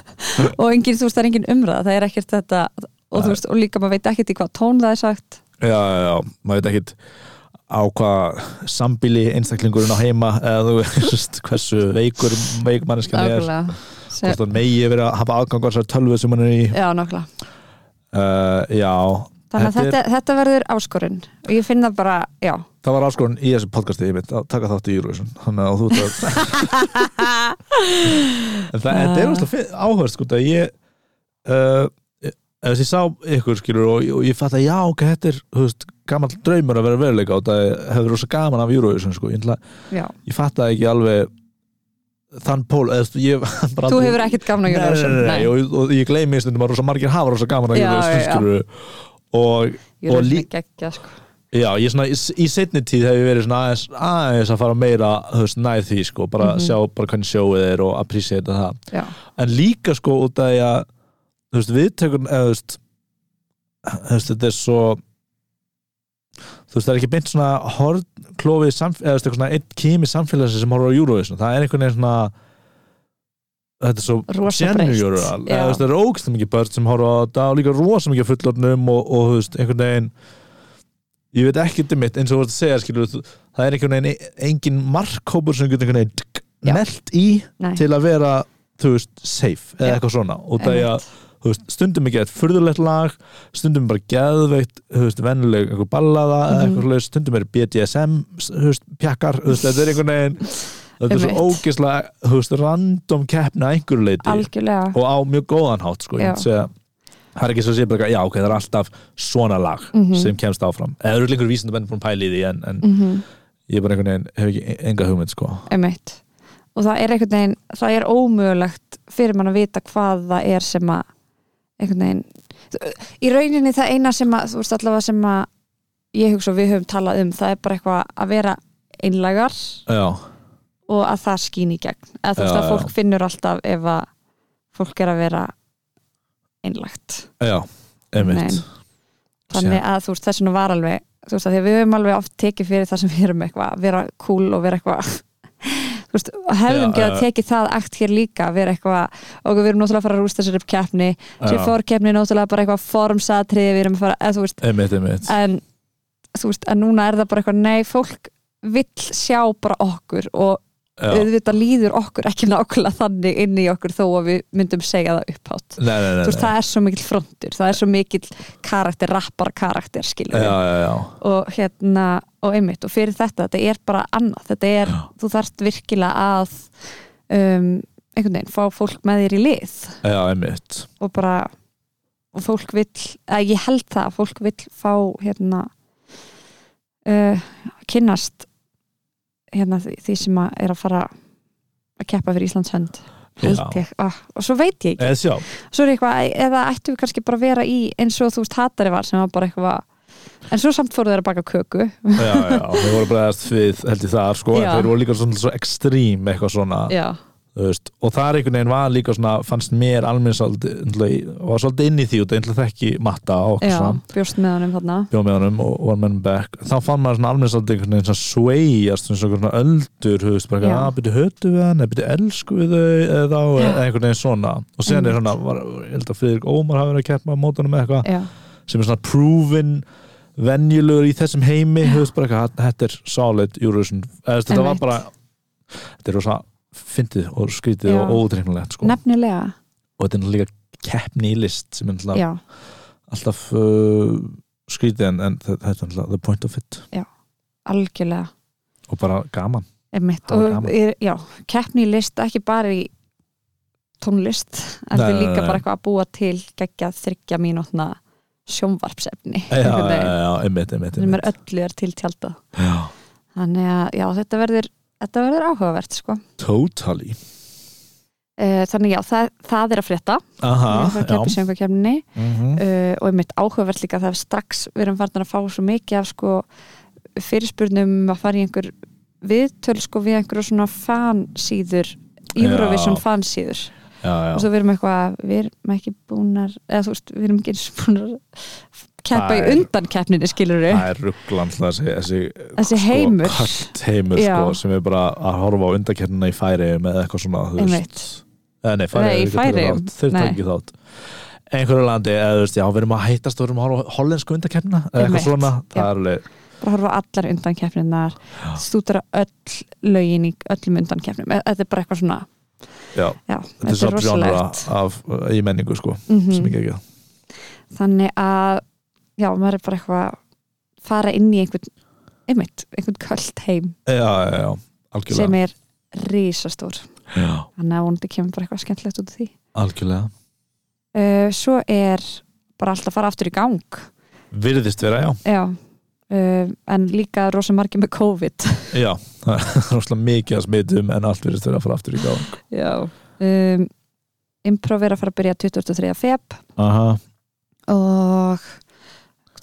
Speaker 1: og engin, þú veist, það er engin umræða það er ekkert þetta og, þú veist, og líka maður veit ekkert í hvað tón það er sagt
Speaker 2: já, já, já, maður veit ekkit á hvað sambíli einstaklingurinn á heima eða þú veist hversu veikur veikmanniskan er
Speaker 1: Nákvæmlega Se-
Speaker 2: hvort hann megi verið að hafa aðgang á þessar tölvu sem hann er í
Speaker 1: Já, nákvæmlega
Speaker 2: uh, já,
Speaker 1: Þannig að þetta, þetta verður áskorun og ég finn það bara, já
Speaker 2: það var áskorun í þessu podcasti ég mynd að taka þátt í Eurovision þannig að þú ert að en það, þetta
Speaker 1: Ah.
Speaker 2: er úrst áhverst sko, að ég uh, ef ég sá ykkur skilur og, og ég fatt að já, ok, þetta er þú veist, gammal draumur að vera veruleika og það hefur rosa gaman af Eurovision sko. ég, ætla-
Speaker 1: Já,
Speaker 2: ég fatt að ekki alveg þann pól eða, þú veist, ég, bara
Speaker 1: þú
Speaker 2: aldrei-
Speaker 1: hefur ekkert gaman að
Speaker 2: Nei,
Speaker 1: gjöra
Speaker 2: nei, nei, nei, og, og ég gleymi stundum að rosa margir hafa rosa gaman að
Speaker 1: Já,
Speaker 2: Eurovision
Speaker 1: já, já.
Speaker 2: skilur og
Speaker 1: Ég
Speaker 2: og
Speaker 1: er
Speaker 2: lí-
Speaker 1: ekki ekki, sko
Speaker 2: já, ég svona í, í setni tíð hef ég verið svona aðeins, aðeins að fara meira þú veist, nær því sko, bara
Speaker 1: Mhm.
Speaker 2: sjá bara hvernig sjóið er og appreciate það
Speaker 1: Já,
Speaker 2: en líka sko út af því að þú veist, viðtökun eða þú veist, þú veist, þetta er svo þú veist, það er ekki beint svona hornklófið samf- eða þú veist, eitthvað svona einn kými samfélagsins sem horfður á Eurovision, það er einhvern veginn svona þetta er svo
Speaker 1: Rosa breitt.
Speaker 2: general,
Speaker 1: Já.
Speaker 2: eða þú veist, það eru ógst mikið börn sem horfa á þetta og líka rosa mikið fullornum og, og þú veist, einhvern veginn ég veit ekki um mitt eins og þú veist að segja skilur, þú- það er einhvern veginn e- engin markhópur sem getur
Speaker 1: Já.
Speaker 2: einhvern veginn meld í
Speaker 1: nei
Speaker 2: til að vera þú veist, safe eða
Speaker 1: Já.
Speaker 2: eitthvað svona og það er að
Speaker 1: einmitt.
Speaker 2: þú veist, stundum ekki eitthvað furðulegt lag stundum bara geðveikt þú veist, vennileg einhver ballaða eða
Speaker 1: Mhm.
Speaker 2: eitthvað slags, stundum er BDSM þú veist, pjakkar, þú veist, þetta er einhvern veginn þetta er svo
Speaker 1: Einmitt.
Speaker 2: ógeðslega þú veist, random keppna einhverju leiti
Speaker 1: Algjörlega,
Speaker 2: og á mjög góðan hátt sko, ég
Speaker 1: Já.
Speaker 2: myndi segja það er ekki svo að segja bara, eitthvað, já ok, það er alltaf svona lag
Speaker 1: Mhm.
Speaker 2: sem kemst áfram eða eru lengur vísindabenn búin að pæla í því en, en
Speaker 1: mhm,
Speaker 2: ég bara einhvern veginn hef ekki enga hugmynd sko.
Speaker 1: einmitt og það er einhvern veginn, það er ómögulegt fyrir mann að vita hvað það er sem að einhvern veginn í rauninni það eina sem að þú veist allavega sem að ég hugsa og við höfum talað um það er bara eitthvað að vera einlægar
Speaker 2: já,
Speaker 1: og að það skín í gegn eða þú veist
Speaker 2: Já,
Speaker 1: að
Speaker 2: já.
Speaker 1: fólk finnur alltaf ef að fólk er að vera einlægt
Speaker 2: já,
Speaker 1: Nei.
Speaker 2: einmitt
Speaker 1: þannig að þú veist þess vegna var alveg þú veist að því að við höfum alveg oft tekið fyrir það sem við erum eitthvað að vera cool og vera eitthvað þú veist, og hefðum
Speaker 2: Já,
Speaker 1: ekki að
Speaker 2: já.
Speaker 1: tekið það akt hér líka að vera eitthvað, og við erum náttúrulega að fara að rústa sér upp keppni, sér
Speaker 2: Já.
Speaker 1: fórkeppni náttúrulega bara eitthvað formsatriði, við erum að fara eða, þú veist,
Speaker 2: einmitt, einmitt
Speaker 1: en þú veist, en núna er það bara eitthvað, nei, fólk vill sjá bara okkur og
Speaker 2: Já.
Speaker 1: auðvitað líður okkur ekki nákvæmlega þannig inn í okkur þó að við myndum segja það upphátt
Speaker 2: Nei, nei, nei,
Speaker 1: þú veist,
Speaker 2: nei.
Speaker 1: það er svo mikill frontur, það er svo mikill karakter, rappar karakter, skilur við.
Speaker 2: Já, já, já,
Speaker 1: og hérna, og einmitt og fyrir þetta, þetta er bara annað þetta er,
Speaker 2: Já.
Speaker 1: þú þarft virkilega að um, einhvern veginn fá fólk með þér í lið
Speaker 2: já, einmitt
Speaker 1: og bara og fólk vill, að ég held það að fólk vill fá hérna uh, kynnast hérna því, því sem að er að fara að keppa fyrir Íslands hönd held ég, ah, og svo veit ég ekki
Speaker 2: Eða sjá,
Speaker 1: svo er eitthvað, eða ættum við kannski bara að vera í eins og þú veist hatari var sem var bara eitthvað en svo samt fóru þeir að baka köku
Speaker 2: já, já, við vorum bara eðast við held ég þar, sko, en
Speaker 1: Já.
Speaker 2: þeir voru líka svona svo ekstrím eitthvað svona,
Speaker 1: já,
Speaker 2: þú veist og þar einhvern veginn var líka svona, fannst mér almenn svolítið, náttúrulega- var svolítið inn í því og það einhverja þekki matta og okkur
Speaker 1: já,
Speaker 2: svona
Speaker 1: bjóst með honum þarna
Speaker 2: bjóð með honum og var með honum back þá fann maður svona almenn svolítið einhvern veginn svona sveigjast eins og einhvern svona öldur, þú veist, bara
Speaker 1: Já.
Speaker 2: eitthvað, að byrja hötu við hann, eða byrja elsku við þau eða þá,
Speaker 1: Já.
Speaker 2: eða einhvern veginn svona og síðan er
Speaker 1: Einmitt.
Speaker 2: Ah, svona, var, ég held að Friðrik Ómar hafi verið að keppa á mótunum með eitthvað
Speaker 1: já,
Speaker 2: sem er svona proven venjulegur í þessum heimi þú veist bara eitthvað, þetta er solid Eurovision eða þú veist, þetta var
Speaker 1: Einmitt.
Speaker 2: bara þetta er rosa fyndið og skrítið
Speaker 1: Já.
Speaker 2: og óutreiknulegt sko.
Speaker 1: nefnilega,
Speaker 2: og þetta er náttúrulega keppni í list sem er náttúrulega
Speaker 1: já,
Speaker 2: alltaf uh, skrítið en, en þe- þetta er náttúrulega the point of it
Speaker 1: algjörlega
Speaker 2: og bara gaman
Speaker 1: Einmitt,
Speaker 2: Það var
Speaker 1: og
Speaker 2: gaman.
Speaker 1: er, já, keppni í list ekki bara í tónlist en
Speaker 2: Nei,
Speaker 1: þetta er
Speaker 2: nei,
Speaker 1: líka
Speaker 2: nei.
Speaker 1: bara eitthvað að búa til geggja þryggja mínútna sjónvarpsefni
Speaker 2: já, já,
Speaker 1: einhvern veginn,
Speaker 2: já, einmitt, einmitt,
Speaker 1: sem er
Speaker 2: einmitt.
Speaker 1: öllu er til tjaldað
Speaker 2: Já,
Speaker 1: þannig að já, þetta verður, þetta verður áhugavert sko.
Speaker 2: totally
Speaker 1: Eh, þannig já, það, það er að frétta
Speaker 2: aha,
Speaker 1: það
Speaker 2: Ah, já
Speaker 1: keppir sjöngakefninni
Speaker 2: mhm.
Speaker 1: uh, og einmitt áhugavert líka það er strax við erum farin að fá svo mikið af sko, fyrirspurnum um að fara í einhver viðtöl sko, við einhverju svona fansíður Eurovision
Speaker 2: Já.
Speaker 1: fansíður
Speaker 2: já, já,
Speaker 1: og svo við erum eitthvað, við erum ekki búnar eða þú veist, við erum ekki eins og búnar að keppa
Speaker 2: Það
Speaker 1: í
Speaker 2: er-
Speaker 1: undan keppninni skilur við,
Speaker 2: það er rugglan þessi, þessi,
Speaker 1: Þessi heimur.
Speaker 2: sko, kalt heimur
Speaker 1: Já.
Speaker 2: sko, sem er bara að horfa á undakernina í færiðum eða eitthvað svona þú
Speaker 1: Einmitt.
Speaker 2: veist. Eða nei,
Speaker 1: Nei, í
Speaker 2: færiðum
Speaker 1: Færeyjum.
Speaker 2: þeir
Speaker 1: Nei.
Speaker 2: taka ekki þátt einhverju landi, eða þú veist, já, við erum að heitast og við erum að horfa á hollensku undakernina eða
Speaker 1: Einmitt.
Speaker 2: eitthvað svona,
Speaker 1: Já.
Speaker 2: það er alveg
Speaker 1: bara horfa á allar undan keppninar stútara öll lögin í öllum undan keppnum, þetta er bara eitthvað svona
Speaker 2: já,
Speaker 1: já,
Speaker 2: þetta er svona brjónra
Speaker 1: rosalegt.
Speaker 2: af, í menningu sko,
Speaker 1: Mhm.
Speaker 2: sem ekki ekki
Speaker 1: þannig að já, maður er bara eitthvað að fara inn í einhvern einmitt, einhvern kvöld heim
Speaker 2: já, já, já, algjörlega
Speaker 1: sem er risastór
Speaker 2: já,
Speaker 1: þannig að vonandi kemur bara eitthvað skemmtilegt út af því
Speaker 2: algjörlega,
Speaker 1: uh, svo er bara allt að fara aftur í gang
Speaker 2: virðist vera, já
Speaker 1: já uh, en líka rosa margir með COVID
Speaker 2: já, það er rosalega mikið að smitum en allt virðist vera að fara aftur í gáð
Speaker 1: já um, improv er að fara að byrja 23. feb
Speaker 2: aha
Speaker 1: og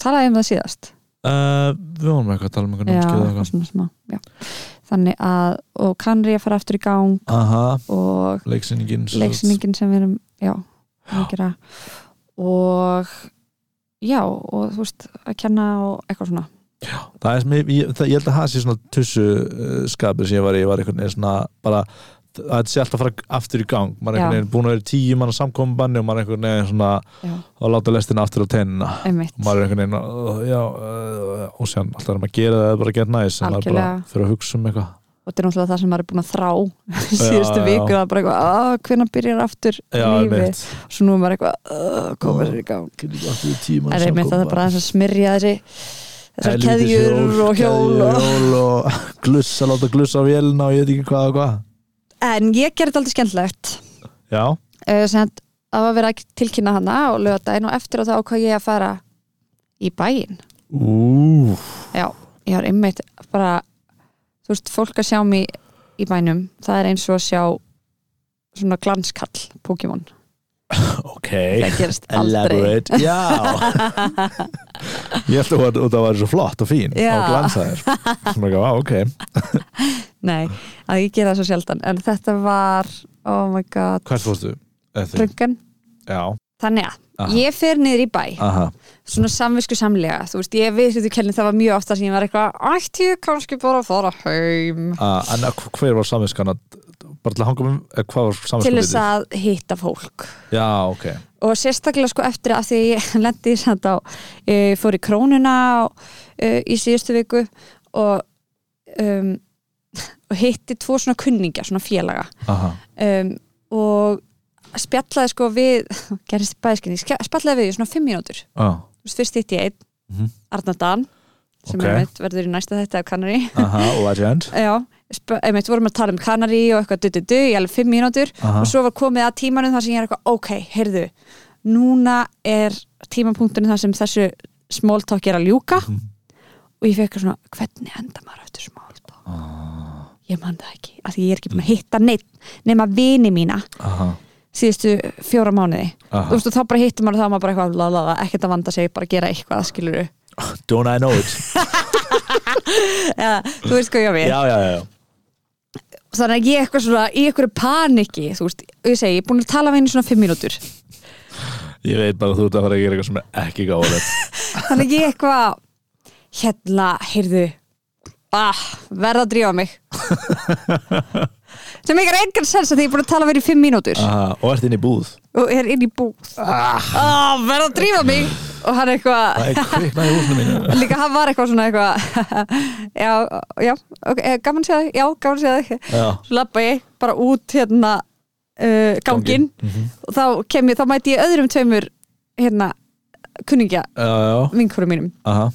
Speaker 1: talaði um það síðast
Speaker 2: Uh, við vorum eitthvað að tala um eitthvað
Speaker 1: já,
Speaker 2: námskeið eða
Speaker 1: eitthvað svona smá já. þannig að, og kannri að fara aftur í gang
Speaker 2: eitthvað Aha,
Speaker 1: og
Speaker 2: leiksýningin sem sagt.
Speaker 1: leiksýningin sem við erum já, að gera og já, og þú veist að kenna og eitthvað svona
Speaker 2: Það er sem ég, ég, það, ég held að það sé svona tussu uh, skapið sem ég var í, ég var eitthvað neður svona bara, að þetta sé alltaf að fara aftur í gang maður er
Speaker 1: Já.
Speaker 2: einhvern veginn búin að vera í tíu manna samkombanni og maður er einhvern veginn svona
Speaker 1: já,
Speaker 2: að láta lestina aftur á tennina
Speaker 1: einmitt,
Speaker 2: og maður er einhvern veginn að, já, uh, og sér alltaf er maður að gera það eða bara að gera næs en maður bara
Speaker 1: Algjörlega.
Speaker 2: fyrir að hugsa um eitthvað
Speaker 1: og þetta er náttúrulega það sem maður er búin að þrá síðustu
Speaker 2: já.
Speaker 1: viku, það er bara eitthvað að hvernig byrjar aftur
Speaker 2: Já,
Speaker 1: lífi
Speaker 2: einmitt
Speaker 1: svo nú er maður eitthvað að koma sér í gang
Speaker 2: Getur ekki aftur í tíu manna
Speaker 1: er einmitt að það er bara aðeins að smyrja þessi þessar
Speaker 2: Helvítis
Speaker 1: keðjur og hjól
Speaker 2: keðjur,
Speaker 1: og...
Speaker 2: hjól og glussa, láta glussa á vélina og ég veit ekki hvað og hvað
Speaker 1: en ég gerði þetta aldrei skemmtilegt
Speaker 2: já,
Speaker 1: Eh, sem sagt, það var verið að tilkynna hana og lögadaginn og eftir og þá ákvað ég að fara í bæinn
Speaker 2: ú
Speaker 1: Já, ég var einmitt bara, þú veist, fólk að sjá mig í bænum, það er eins og að sjá svona glanskall Pokémon,
Speaker 2: ok,
Speaker 1: það gerist aldrei
Speaker 2: elaborate já ég held að það- það var svo flott og fín
Speaker 1: Já.
Speaker 2: og glansaðir Sem ekki, "Vá, ok,
Speaker 1: Nei, að ég gera það svo sjaldan en þetta var, oh my god
Speaker 2: hvert fórstu? Eftir?
Speaker 1: Brungan,
Speaker 2: já,
Speaker 1: þannig að
Speaker 2: Aha. Ah.
Speaker 1: ég fer niður í bæ,
Speaker 2: aha
Speaker 1: svona samvisku samlega þú veist, ég veit þetta kennið, það var mjög ofta sem ég var eitthvað, ætti ég kannski bara að fara heim
Speaker 2: Ah, en að- hver var samvinskan að bara til að hanga um, eh, hvað var samvinskan
Speaker 1: til þess að hitta fólk
Speaker 2: já, ok,
Speaker 1: og sérstaklega sko eftir að því að ég lendi í samt á ég fór í krónuna og, uh, í síðustu viku og um, og hitti tvo svona kunningja, svona félaga
Speaker 2: aha
Speaker 1: um, og spjallaði sko við gerðist bæðiskinni, spjallaði við í svona fimm mínútur
Speaker 2: ah,
Speaker 1: Þú veist, fyrst hitti ég einn,
Speaker 2: Mhm.
Speaker 1: Arnar Dan sem
Speaker 2: Ok.
Speaker 1: okay. einmitt verður í næsta þetta af Kanari
Speaker 2: aha, legend
Speaker 1: já, sp- einmitt vorum að tala um Kanari og eitthvað du-du-du í alveg fimm mínútur
Speaker 2: aha,
Speaker 1: og svo var komið að tímanum þar sem ég er eitthvað ok, heyrðu, núna er tímapunktunum þar sem þessu smóltók er að ljúka
Speaker 2: Mhm.
Speaker 1: og ég fekk svona, hvernig enda maður eftir smóltók?
Speaker 2: Ah.
Speaker 1: Ég man það ekki af því ég er ekki búin að hitta neitt nema vini mína
Speaker 2: aha,
Speaker 1: síðustu fjóra mánuði
Speaker 2: Ah. Aha.
Speaker 1: þú veist og þá bara hittum maður og þá er maður bara eitthvað la, la, la, ekkert að vanda sig, bara gera eitthvað skilur
Speaker 2: don't I know it
Speaker 1: þú veist hvað ég á við
Speaker 2: já, já, já, já
Speaker 1: þannig að ég eitthvað svona í eitthvað paniki þú veist, og ég segi, ég er búin að tala við henni svona fimm mínútur
Speaker 2: Ég veit bara að þú ert að fara að gera eitthvað sem er ekki gáðilegt
Speaker 1: þannig að ég eitthvað hérna, heyrðu ah, verða að drífa mig sem ekki er engan sens að því ég er búin að tala verið í fimm mínútur
Speaker 2: Aha, og ert inn í búð
Speaker 1: og er inn í búð
Speaker 2: ah.
Speaker 1: ah, verða að drífa mig og hann eitthvað
Speaker 2: það er kviknað í húsinu mínu
Speaker 1: líka hann var eitthvað svona eitthvað já, já, ok, eh, gaman séð þig já, gaman séð þig
Speaker 2: já,
Speaker 1: svo labba ég bara út hérna uh, gangin
Speaker 2: Mhm.
Speaker 1: og þá kem ég, þá mæti ég öðrum tveimur hérna, kunningja
Speaker 2: já, já,
Speaker 1: vinkurum mínum
Speaker 2: aha,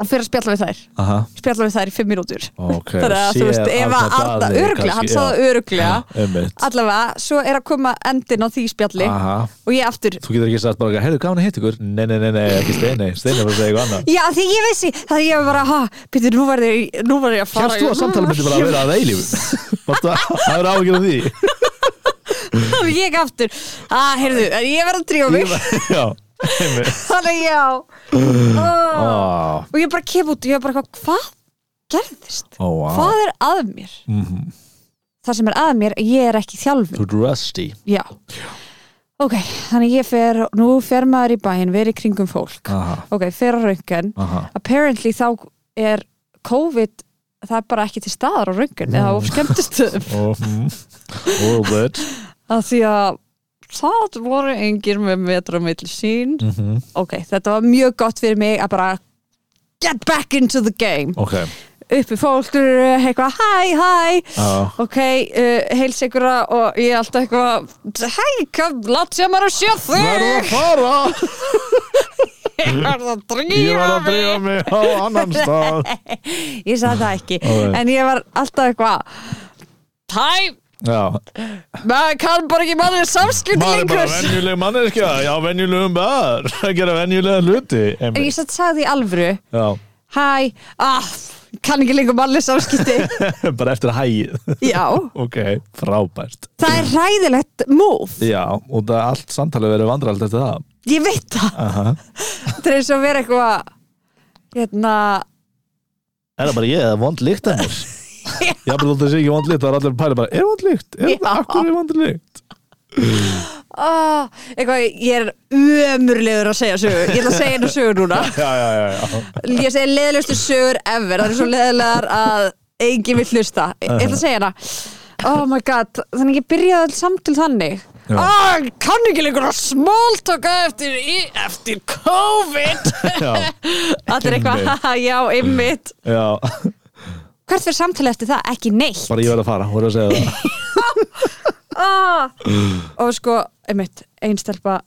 Speaker 1: og fyrir að spjalla við þær
Speaker 2: aha
Speaker 1: spjalla við þær í fimm mínútur
Speaker 2: ok,
Speaker 1: þannig að þú veist, ef að Arna öruglega, hann sáða öruglega
Speaker 2: öruglega
Speaker 1: allavega, svo er að koma endin á því spjalli
Speaker 2: aha,
Speaker 1: og ég aftur
Speaker 2: þú getur ekki sagt bara eitthvað, heyrðu, gaman að hitt ykkur nei, nei, nei, nei, ekki steini, steini var að segja eitthvað annað
Speaker 1: Já, því ég veist því, það ég var bara, ha, býttu, nú var ég, nú var ég að fara
Speaker 2: Kjærst þú að samtala myndi bara að vera að eilífu? Varstu að- Það er ágjörð af því
Speaker 1: Ég aftur, ah, heyrðu, ég verð að drífa mig
Speaker 2: Já, einmitt
Speaker 1: Þannig já
Speaker 2: Ah.
Speaker 1: oh.
Speaker 2: Á,
Speaker 1: Og ég bara kem út, ég var bara, eitthvað, hvað gerðist?
Speaker 2: Ó, vá.
Speaker 1: Hvað er að mér?
Speaker 2: oh, mhm.
Speaker 1: Það sem er að mér, ég er ekki þjálfur
Speaker 2: Þú ert rusty
Speaker 1: Já Ok, þannig ég fer, nú fer maður í bæinn verið kringum fólk
Speaker 2: Aha,
Speaker 1: Ok, fer á röngan
Speaker 2: aha
Speaker 1: Apparently þá er COVID það er bara ekki til staðar á röngan eða á skemmtistöðum
Speaker 2: Ó, mhm. All good
Speaker 1: að því að það voru engir með metra á milli sín
Speaker 2: Mhm.
Speaker 1: Ok, þetta var mjög gott fyrir mig að bara get back into the game
Speaker 2: Ok,
Speaker 1: uppi fólk, eitthvað, hæ, hæ
Speaker 2: já
Speaker 1: ok, uh, heils einhverja og ég er alltaf eitthvað hei, kom, látt sem maður að sjá
Speaker 2: Verðu
Speaker 1: þig
Speaker 2: að fara
Speaker 1: ég var að
Speaker 2: Ég
Speaker 1: drífa
Speaker 2: var að
Speaker 1: mig
Speaker 2: drífa mig á annan stað
Speaker 1: ég sagði það ekki,
Speaker 2: Alright.
Speaker 1: en ég var alltaf eitthvað hæ,
Speaker 2: Já,
Speaker 1: maður kann bara ekki mannlega samskipti
Speaker 2: maður er bara
Speaker 1: lengur
Speaker 2: venjuleg manneskja Já, venjulegum bar að gera venjulega hluti
Speaker 1: en
Speaker 2: einmitt.
Speaker 1: ég satt sagði því alvöru
Speaker 2: Já,
Speaker 1: hæ, ah, kann ekki lengur mannlega samskipti
Speaker 2: bara eftir hægið
Speaker 1: já,
Speaker 2: Ok, frábært
Speaker 1: það er ræðilegt move,
Speaker 2: Já, og það allt samtalið verið vandrald eftir það
Speaker 1: ég veit það
Speaker 2: Aha.
Speaker 1: það er eins og vera eitthvað hérna,
Speaker 2: Er það bara ég eða vond líkt að mér? Ég hafði þótt að sé ekki vond líkt, það er allir að pæla bara, er vond líkt? Er
Speaker 1: Já.
Speaker 2: það akkur er vond líkt?
Speaker 1: Oh, eitthvað, ég er ömurlegur að segja sögur Ég ætla að segja einu sögur núna
Speaker 2: Já, já, já, já.
Speaker 1: Ég segi leðilegustu sögur ever Það eru svo leðilegar að enginn vill hlusta Ég ætla að segja hana Oh my god, þannig ég byrjaði all samtil þannig
Speaker 2: Já.
Speaker 1: Ah, kann ekki lengur að smáltaka eftir, í- eftir COVID
Speaker 2: Já,
Speaker 1: Allir eitthvað,
Speaker 2: Einmitt.
Speaker 1: haha, já, einmitt
Speaker 2: já,
Speaker 1: Hvert fyrir samtali eftir það? Ekki neitt
Speaker 2: bara ég verið að fara, voru að segja það.
Speaker 1: ah! og sko, einmitt, einstelpa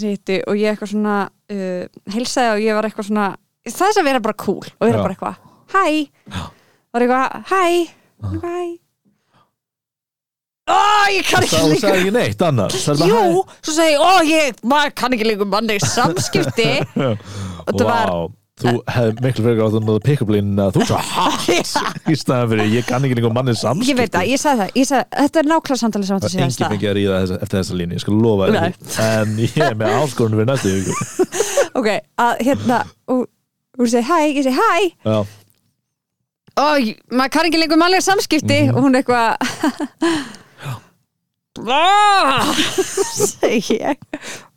Speaker 1: sýtti og ég eitthvað svona uh, heilsaði og ég var eitthvað svona það er að vera bara cool og vera
Speaker 2: Já.
Speaker 1: bara eitthvað hæ, var eitthvað hæ hæ ó, Ah. ég kann ekki
Speaker 2: Það þú
Speaker 1: lengur
Speaker 2: sagði ekki neitt annars, það er bara
Speaker 1: jú, svo segi ég, ó, ég maður kann ekki lengur mannleg samskipti og
Speaker 2: hæ.
Speaker 1: það var
Speaker 2: Vá, þú hefði miklu fyrir að þú náðu pick-up-línuna, þú svo hætt í staðan fyrir, ég kann ekki einhver manni samskipt.
Speaker 1: ég veit það, ég sagði það, ég sagði, þetta er nákvæmlega samtalið sem átti að
Speaker 2: Það er
Speaker 1: segja
Speaker 2: engin mikið að ríða þessa, eftir þessa línu, ég skal lofa
Speaker 1: Nei.
Speaker 2: þér. því. En ég er með áskorunum fyrir næstu ykkur.
Speaker 1: ok, að hérna og hún segi hæ, ég segi hæ
Speaker 2: Já,
Speaker 1: Ó, ég- maður kann ekki lengur mannlega samskipti
Speaker 2: Mhm.
Speaker 1: og hún eitthvað Ah, segi ég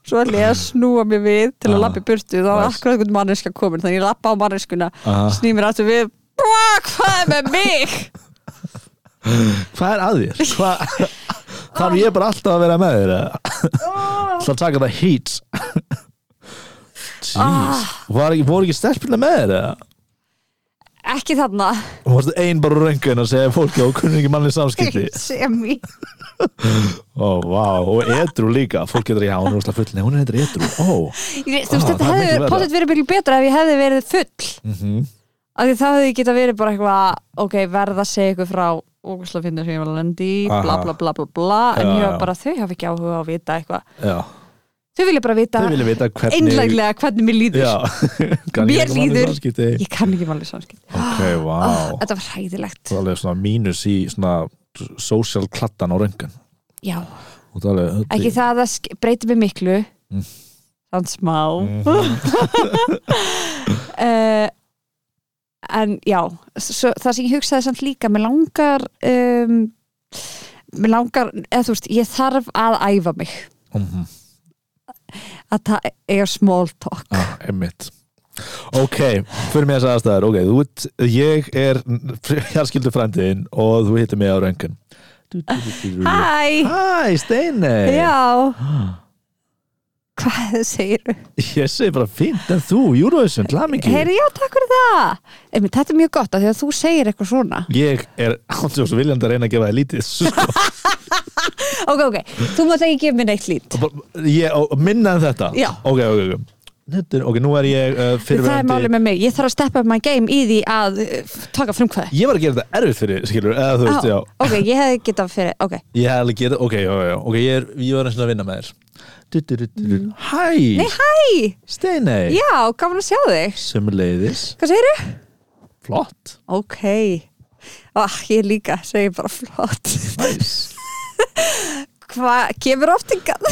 Speaker 1: svo ætla ég að snúa mér við til að
Speaker 2: Ah,
Speaker 1: lappa í burtu þá var
Speaker 2: nice.
Speaker 1: akkur einhvern manneska komin þannig ég lappa á manneskuna
Speaker 2: Ah.
Speaker 1: sný mér aftur við "Bra, hvað er með mig
Speaker 2: hvað er að þér? Hvað... Þarf ég bara alltaf að vera með þér? eða?
Speaker 1: Ah.
Speaker 2: Það að taka það heat Jeez
Speaker 1: Ah.
Speaker 2: Var ekki, voru ekki stelpina með þér? eða?
Speaker 1: ekki þarna
Speaker 2: Og varstu ein bara röngun að segja fólki og kunni ekki mannlega samskipti
Speaker 1: sem ég
Speaker 2: Ó, vá, og edru líka Fólk getur, já, hún er úrslega full Nei, hún er eitthvað edru, ó
Speaker 1: Ég- þú veist
Speaker 2: Ah,
Speaker 1: þetta
Speaker 2: það er miklu
Speaker 1: hefði
Speaker 2: verra.
Speaker 1: potið verið miklu betra ef ég hefði verið full
Speaker 2: Mhm.
Speaker 1: af því það hefði geta verið bara eitthvað ok, verða að segja eitthvað frá ógustlega finnir sem ég var að lendi í, bla
Speaker 2: Aha.
Speaker 1: bla bla bla bla en
Speaker 2: Já,
Speaker 1: ég var
Speaker 2: já.
Speaker 1: bara, þau hafa ekki áhuga á að vita eitthvað
Speaker 2: Já,
Speaker 1: þau vilja bara vita,
Speaker 2: þau vilja vita hvernig
Speaker 1: einlæglega hvernig mér líður
Speaker 2: Já, kann ég
Speaker 1: Mér
Speaker 2: ekki mannleg
Speaker 1: líður. Ah.
Speaker 2: samskipti?
Speaker 1: ég kann ekki mannlega samskipt
Speaker 2: Ok, vá
Speaker 1: þetta var hræðilegt
Speaker 2: Það er alveg svona mínus í svona social klattan á röngun
Speaker 1: já,
Speaker 2: Og það er alveg
Speaker 1: ekki það að sk- breyti mig miklu
Speaker 2: Mm.
Speaker 1: þann smá
Speaker 2: Mhm.
Speaker 1: uh, en já svo, það sem ég hugsaði samt líka mér langar um, mér langar, eða þú veist ég þarf að æfa mig
Speaker 2: Mhm.
Speaker 1: að það er small talk
Speaker 2: ah, einmitt ok, fyrir mér þess aðstæður ok, þú ert, ég er fjarskildu frændin og þú hittir mig á röngun
Speaker 1: Hæ,
Speaker 2: Hæ, Steini
Speaker 1: já hvað segir
Speaker 2: Ég segi bara fínt en þú, Eurovision, glamingi
Speaker 1: Heyri, já, takk fyrir það Einmitt, Þetta er mjög gott af því að þú segir eitthvað svona
Speaker 2: Ég er ándjóðs viljandi að reyna að gefa það lítið sko.
Speaker 1: Ok, ok, þú mátt ekki gefa mér neitt lít
Speaker 2: ég, og Minna en þetta
Speaker 1: Já.
Speaker 2: Ok, ok, ok Þetta er, ok, nú er ég uh,
Speaker 1: Það er
Speaker 2: fyrirverandi
Speaker 1: málið með mig, ég þarf að steppa upp my game í því að eh, taka frumkvæði
Speaker 2: Ég var að gera þetta erfitt fyrir, skilur eða þú veist, já
Speaker 1: Ok, ég hefði getað fyrir, ok
Speaker 2: Ég hef alveg gera, ok, já, já, já Ok, ég, er, ég var eins og að vinna með þér du, du, du, du, du. Hæ,
Speaker 1: Mm. Nei, hæ,
Speaker 2: Steinei
Speaker 1: já, gaman að sjá þig
Speaker 2: Sumleiðis,
Speaker 1: Hvað segirðu?
Speaker 2: flott
Speaker 1: Ok ah, Ég líka, segi bara flott
Speaker 2: Næs
Speaker 1: Hvað, kemur oft í gana?